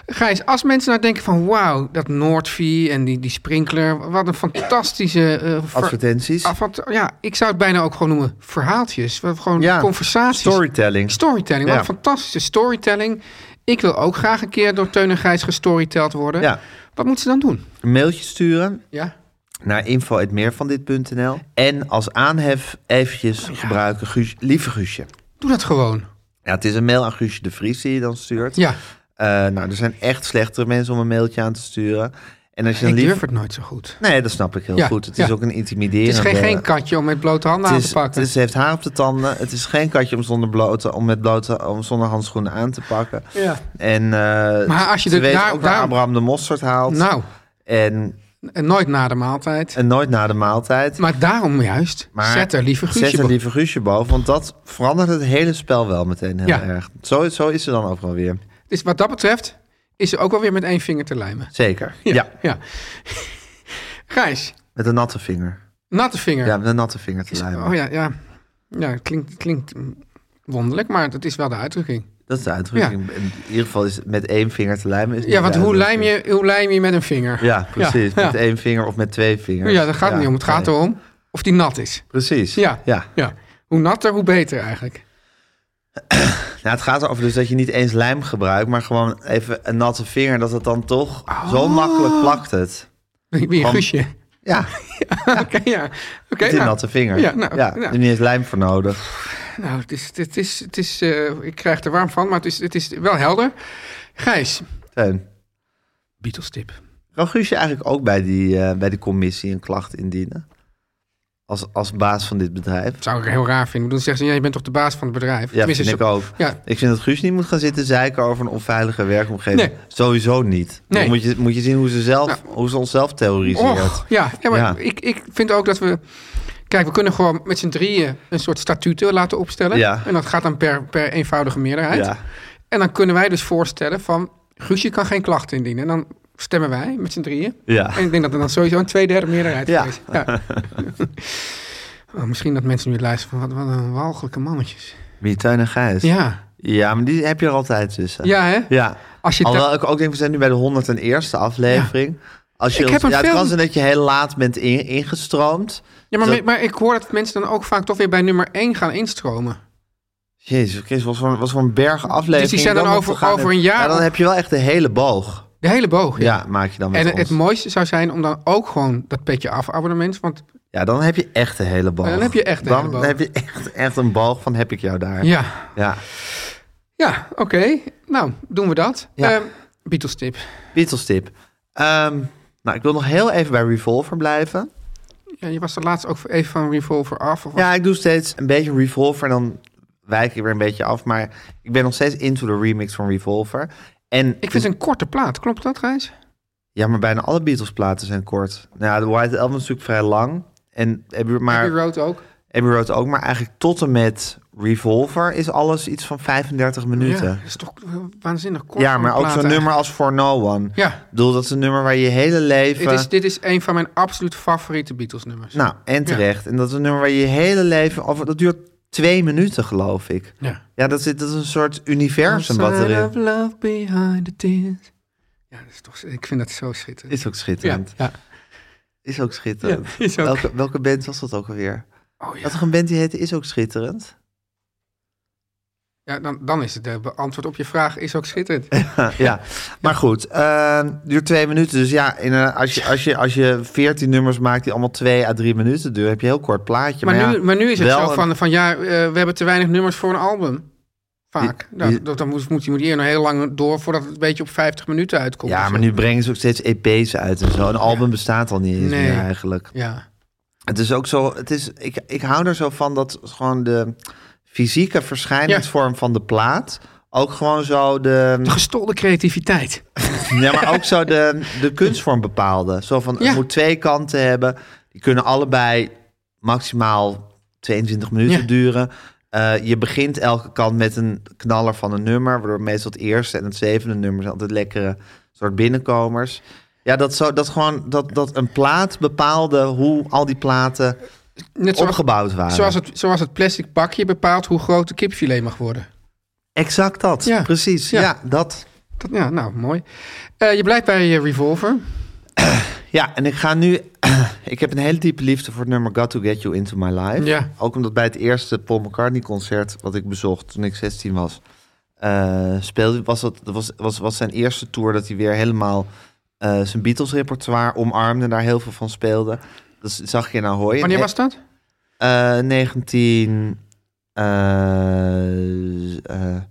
Speaker 3: Gijs, als mensen nou denken van wauw, dat Noordvie en die, die sprinkler, wat een fantastische eh, ver-
Speaker 2: Advertenties.
Speaker 3: Ah, want, ja, ik zou het bijna ook gewoon noemen verhaaltjes. Wat- Gewoon
Speaker 2: Ja,
Speaker 3: conversaties.
Speaker 2: Storytelling.
Speaker 3: Storytelling. Wat
Speaker 2: Ja.
Speaker 3: een fantastische storytelling. Ik wil ook graag een keer door Teun en Gijs gestoryteld worden.
Speaker 2: Ja.
Speaker 3: Wat moeten ze dan doen?
Speaker 2: Een mailtje sturen
Speaker 3: Ja.
Speaker 2: naar info.meervandit.nl. En als aanhef
Speaker 3: Oh
Speaker 2: eventjes gebruiken Guus, lieve Guusje.
Speaker 3: Doe dat gewoon.
Speaker 2: Ja, het is een mail aan Guusje de Vries die je dan stuurt.
Speaker 3: Ja.
Speaker 2: Eh, nou, er zijn echt slechtere mensen om een mailtje aan te sturen. En als je dan
Speaker 3: Ik
Speaker 2: lief...
Speaker 3: durf het nooit zo goed.
Speaker 2: Nee, dat snap ik heel
Speaker 3: Ja,
Speaker 2: goed. Het
Speaker 3: ja.
Speaker 2: is ook een
Speaker 3: Het
Speaker 2: intimiderende...
Speaker 3: is geen, geen katje om met blote handen
Speaker 2: Het
Speaker 3: aan
Speaker 2: is,
Speaker 3: te pakken.
Speaker 2: het is- ze heeft haar op de tanden. Het is geen katje om, zonder blote, om, met blote, om zonder handschoenen aan te pakken.
Speaker 3: Ja.
Speaker 2: En eh,
Speaker 3: Maar als je
Speaker 2: ze
Speaker 3: de-
Speaker 2: weet
Speaker 3: daar-
Speaker 2: ook waar
Speaker 3: daar-
Speaker 2: Abraham de mosterd haalt.
Speaker 3: nou,
Speaker 2: En,
Speaker 3: en nooit na de maaltijd.
Speaker 2: en nooit na de maaltijd.
Speaker 3: Maar daarom juist,
Speaker 2: Maar
Speaker 3: zet er liever
Speaker 2: Zet
Speaker 3: Guusje
Speaker 2: er
Speaker 3: op.
Speaker 2: liever Guusje boven, want dat verandert het hele spel wel meteen heel
Speaker 3: Ja.
Speaker 2: erg. Zo, zo is ze dan overal weer.
Speaker 3: Dus wat dat betreft is ze ook wel weer met één vinger te lijmen.
Speaker 2: Zeker. Ja.
Speaker 3: ja. Gijs,
Speaker 2: Met een natte vinger.
Speaker 3: natte vinger.
Speaker 2: Ja, met een natte vinger te lijmen.
Speaker 3: Oh ja, ja. Ja, het klinkt, het klinkt mm, wonderlijk, maar dat is wel de uitdrukking.
Speaker 2: Dat is de uitdrukking. In ieder geval is het met één vinger te lijmen. Is niet
Speaker 3: Ja, want
Speaker 2: de
Speaker 3: hoe lijm,
Speaker 2: uitdrukking.
Speaker 3: je, hoe lijm je met een vinger?
Speaker 2: Ja, precies.
Speaker 3: Ja,
Speaker 2: Met
Speaker 3: ja.
Speaker 2: één vinger of met twee vingers.
Speaker 3: Ja, dat gaat niet om. Het gaat
Speaker 2: nee.
Speaker 3: erom of die nat is.
Speaker 2: Precies.
Speaker 3: Ja.
Speaker 2: ja.
Speaker 3: Ja. Hoe natter, hoe beter eigenlijk.
Speaker 2: Nou, het gaat erover dus dat je niet eens lijm gebruikt, maar gewoon
Speaker 3: Oh.
Speaker 2: even een natte vinger. Dat het dan toch zo makkelijk plakt het.
Speaker 3: Wie een
Speaker 2: Van-
Speaker 3: guusje.
Speaker 2: Ja,
Speaker 3: Oké, ja. Oké.
Speaker 2: met die
Speaker 3: nou,
Speaker 2: natte vinger.
Speaker 3: Ja, nou,
Speaker 2: ja,
Speaker 3: ja.
Speaker 2: Er niet eens lijm voor nodig.
Speaker 3: nou, het is, het is, het is, eh, ik krijg er warm van, maar het is, het is wel helder. Gijs,
Speaker 2: Teun.
Speaker 3: Beatles tip.
Speaker 2: Kan Guusje eigenlijk ook bij die, eh, bij die commissie een klacht indienen? Als, als baas van dit bedrijf?
Speaker 3: Zou ik heel raar vinden. Ik bedoel, zeggen ze, ja, je bent toch de baas van het bedrijf?
Speaker 2: Ja,
Speaker 3: Tenminste,
Speaker 2: vind ik
Speaker 3: zo-
Speaker 2: ook.
Speaker 3: Ja,
Speaker 2: Ik vind dat Guus niet moet gaan zitten zeiken over een onveilige werkomgeving.
Speaker 3: Nee.
Speaker 2: Sowieso niet.
Speaker 3: Nee.
Speaker 2: Dan moet je, moet je zien hoe ze, zelf,
Speaker 3: Nou.
Speaker 2: hoe ze onszelf terroriseert.
Speaker 3: Och, ja, ja, maar
Speaker 2: Ja.
Speaker 3: Ik, ik vind ook dat we... Kijk, we kunnen gewoon met z'n drieën een soort statuten laten opstellen.
Speaker 2: Ja.
Speaker 3: En dat gaat dan per, per eenvoudige meerderheid.
Speaker 2: Ja.
Speaker 3: En dan kunnen wij dus voorstellen van... Guusje kan geen klacht indienen. En dan stemmen wij met z'n drieën.
Speaker 2: Ja.
Speaker 3: En ik denk dat er dan sowieso een tweederde meerderheid
Speaker 2: Ja.
Speaker 3: is. Ja. Oh, misschien dat mensen nu luisteren van wat, wat een walgelijke mannetjes.
Speaker 2: Wie Teun en Gijs.
Speaker 3: Ja,
Speaker 2: Ja, maar die heb je er altijd tussen.
Speaker 3: ja hè?
Speaker 2: Ja.
Speaker 3: Als je
Speaker 2: Alhoewel ik ook denk, we zijn nu bij de 101ste aflevering. Als je
Speaker 3: Ik
Speaker 2: ons-
Speaker 3: heb een
Speaker 2: ja, het
Speaker 3: film-
Speaker 2: kan zijn dat je heel laat bent in- ingestroomd.
Speaker 3: ja, maar,
Speaker 2: Zo-
Speaker 3: maar ik hoor dat mensen dan ook vaak toch weer bij nummer 1 gaan instromen.
Speaker 2: Jezus Christus, wat voor, wat voor een berg aflevering.
Speaker 3: Dus die zijn
Speaker 2: je
Speaker 3: dan
Speaker 2: moet
Speaker 3: over-
Speaker 2: gaan.
Speaker 3: over een jaar
Speaker 2: Ja, dan
Speaker 3: op-
Speaker 2: heb je wel echt de hele boog.
Speaker 3: De hele boog.
Speaker 2: Ja, maak je dan met
Speaker 3: En het,
Speaker 2: ons.
Speaker 3: het mooiste zou zijn om dan ook gewoon dat petje af abonnement. Want
Speaker 2: Ja, dan heb je echt de hele boog.
Speaker 3: Dan heb je echt de
Speaker 2: Dan
Speaker 3: hele boog.
Speaker 2: heb je echt, echt een boog van heb ik jou daar.
Speaker 3: ja,
Speaker 2: ja.
Speaker 3: ja oké. Nou, doen we dat.
Speaker 2: Ja.
Speaker 3: Ehm, Beatles tip.
Speaker 2: Beatles tip. Ehm, nou, ik wil nog heel even bij Revolver blijven.
Speaker 3: Ja, je was er laatst ook even van Revolver af. Of wat?
Speaker 2: Ja, ik doe steeds een beetje Revolver en dan wijk ik weer een beetje af. Maar ik ben nog steeds into de remix van Revolver. En
Speaker 3: Ik vind het een korte plaat. Klopt dat, Gijs?
Speaker 2: Ja, maar bijna alle Beatles platen zijn kort. Nou, ja, de White Album is natuurlijk vrij lang. En Abbey, maar,
Speaker 3: Abbey
Speaker 2: Abbey,
Speaker 3: Road ook.
Speaker 2: Road ook. Maar eigenlijk tot en met Revolver is alles iets van 35
Speaker 3: Ja,
Speaker 2: minuten.
Speaker 3: dat is toch waanzinnig
Speaker 2: Ja,
Speaker 3: kort. voor een
Speaker 2: maar ook
Speaker 3: plaat
Speaker 2: zo'n nummer als For No One.
Speaker 3: Ja.
Speaker 2: Ik bedoel, dat is een nummer waar je hele leven...
Speaker 3: Dit is, dit is een van mijn absoluut favoriete Beatles nummers.
Speaker 2: Nou, en terecht. En dat is een nummer waar je je hele leven... Of, dat duurt twee minuten, geloof ik.
Speaker 3: Ja.
Speaker 2: Ja, dat, zit, dat is een soort universum wat
Speaker 3: Outside
Speaker 2: erin...
Speaker 3: of love behind the tears. Ja, dat is toch, ik vind dat zo schitterend.
Speaker 2: Is ook
Speaker 3: ja,
Speaker 2: schitterend.
Speaker 3: ja.
Speaker 2: Is ook schitterend.
Speaker 3: Ja, is ook.
Speaker 2: Welke, welke band was dat ook alweer?
Speaker 3: Oh, ja.
Speaker 2: Dat er een band die heette Is ook schitterend?
Speaker 3: ja dan, dan is het eh, antwoord op je vraag is ook schitterend.
Speaker 2: ja, maar goed. eh, duurt twee minuten. Dus ja, in, eh, als, je, als, je, als je 14 nummers maakt die allemaal twee à drie minuten duren, heb je een heel kort plaatje.
Speaker 3: maar,
Speaker 2: Maar,
Speaker 3: nu,
Speaker 2: ja,
Speaker 3: maar nu is het
Speaker 2: wel
Speaker 3: zo
Speaker 2: een-
Speaker 3: van, van ja, eh, we hebben te weinig nummers voor een album. Vaak.
Speaker 2: Die-
Speaker 3: Nou,
Speaker 2: die-
Speaker 3: dat, dan moet, moet, je- moet je hier nog heel lang door voordat het een beetje op 50 minuten uitkomt.
Speaker 2: ja,
Speaker 3: of
Speaker 2: maar
Speaker 3: zo.
Speaker 2: nu brengen ze ook steeds EP's uit en zo. Een album bestaat al niet eens
Speaker 3: Nee.
Speaker 2: meer eigenlijk.
Speaker 3: Ja.
Speaker 2: Het is ook zo. Het is, ik, ik hou er zo van dat gewoon de fysieke verschijningsvorm van de plaat. Ook gewoon zo de.
Speaker 3: De gestolen creativiteit.
Speaker 2: Ja, maar ook zo de, de kunstvorm bepaalde. Zo van, het
Speaker 3: Ja.
Speaker 2: moet twee kanten hebben. Die kunnen allebei maximaal 22 minuten
Speaker 3: Ja.
Speaker 2: duren. Eh, je begint elke kant met een knaller van een nummer... waardoor meestal het eerste en het zevende nummer... zijn altijd lekkere soort binnenkomers. Ja, dat, zo, dat, gewoon, dat, dat een plaat bepaalde hoe al die platen
Speaker 3: Net zoals,
Speaker 2: opgebouwd waren.
Speaker 3: zoals, het, zoals het plastic bakje bepaalt hoe groot de kipfilet mag worden.
Speaker 2: Exact dat,
Speaker 3: Ja.
Speaker 2: precies.
Speaker 3: Ja.
Speaker 2: Ja. dat.
Speaker 3: Dat, ja, nou, mooi. Eh, je blijft bij eh, Revolver.
Speaker 2: Ja, en ik ga nu... ik heb een hele diepe liefde voor het nummer Got To Get You Into My Life.
Speaker 3: Ja.
Speaker 2: Ook omdat bij het eerste Paul McCartney concert wat ik bezocht toen ik 16 was, eh, speelde, was, dat, dat was, was, was zijn eerste tour dat hij weer helemaal eh, zijn Beatles repertoire omarmde, daar heel veel van speelde. Dat zag je in Ahoy.
Speaker 3: Wanneer was dat?
Speaker 2: Eh, 19... eh, eh,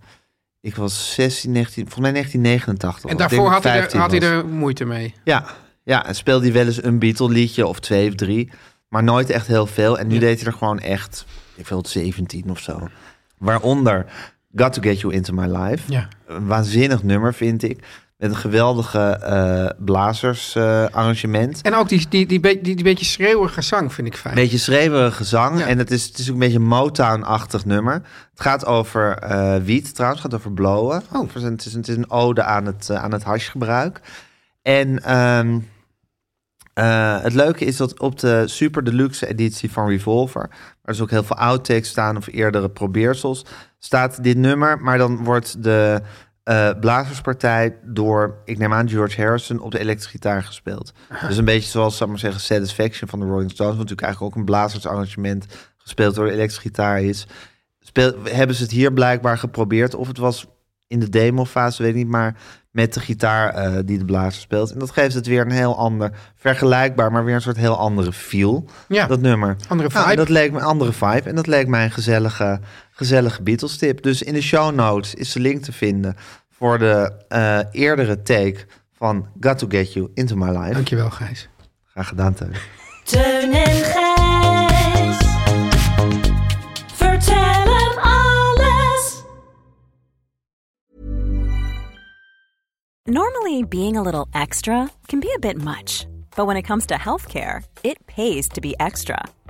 Speaker 2: ik was 16, 19, volgens mij 1989.
Speaker 3: En
Speaker 2: was. Ik
Speaker 3: daarvoor
Speaker 2: denk
Speaker 3: had hij,
Speaker 2: dat ik
Speaker 3: er, had
Speaker 2: 15
Speaker 3: hij
Speaker 2: was.
Speaker 3: er moeite mee.
Speaker 2: Ja, ja en speelde hij wel eens een Beatle liedje of twee of drie. Maar nooit echt heel veel. En nu deed hij er gewoon echt, ik wil het 17 of zo. Waaronder Got To Get You Into My Life.
Speaker 3: Ja.
Speaker 2: Een waanzinnig nummer vind ik. Met een geweldige eh blazers eh, arrangement.
Speaker 3: En ook die, die, die, be- die, die beetje schreeuwige zang vind ik fijn.
Speaker 2: Beetje schreeuwerige zang.
Speaker 3: Ja.
Speaker 2: En het is, het is ook een beetje Motown-achtig nummer. Het gaat over eh wiet trouwens. Het gaat over blowen.
Speaker 3: Oh.
Speaker 2: Over zijn- Het, is, een- het is een ode aan het, eh, aan het hashgebruik. En ehm, eh, het leuke is dat op de super deluxe editie van Revolver... waar dus ook heel veel outtakes staan of eerdere probeersels... staat dit nummer, maar dan wordt de eh, blazerspartij... door, ik neem aan, George Harrison op de elektrische gitaar gespeeld. Dus een beetje zoals, zou ik maar zeggen, Satisfaction van de Rolling Stones... wat natuurlijk eigenlijk ook een blazersarrangement gespeeld door de elektrische gitaar is... Speel, hebben ze het hier blijkbaar geprobeerd of het was in de demofase, weet ik niet, maar met de gitaar eh, die de blazer speelt. En dat geeft het weer een heel ander, vergelijkbaar, maar weer een soort heel andere feel,
Speaker 3: Ja.
Speaker 2: dat nummer.
Speaker 3: Andere
Speaker 2: Nou, en
Speaker 3: vibe.
Speaker 2: dat leek me een andere vibe en dat leek mij een gezellige, gezellige Beatles tip. Dus in de show notes is de link te vinden voor de eh, eerdere take van Got To Get You Into My Life.
Speaker 3: Dankjewel, Gijs.
Speaker 2: Graag gedaan, Teun.
Speaker 6: Teun en Gijs. Vertel hem alles.
Speaker 8: Normally, being a little extra can be a bit much, but when it comes to healthcare, it pays to be extra.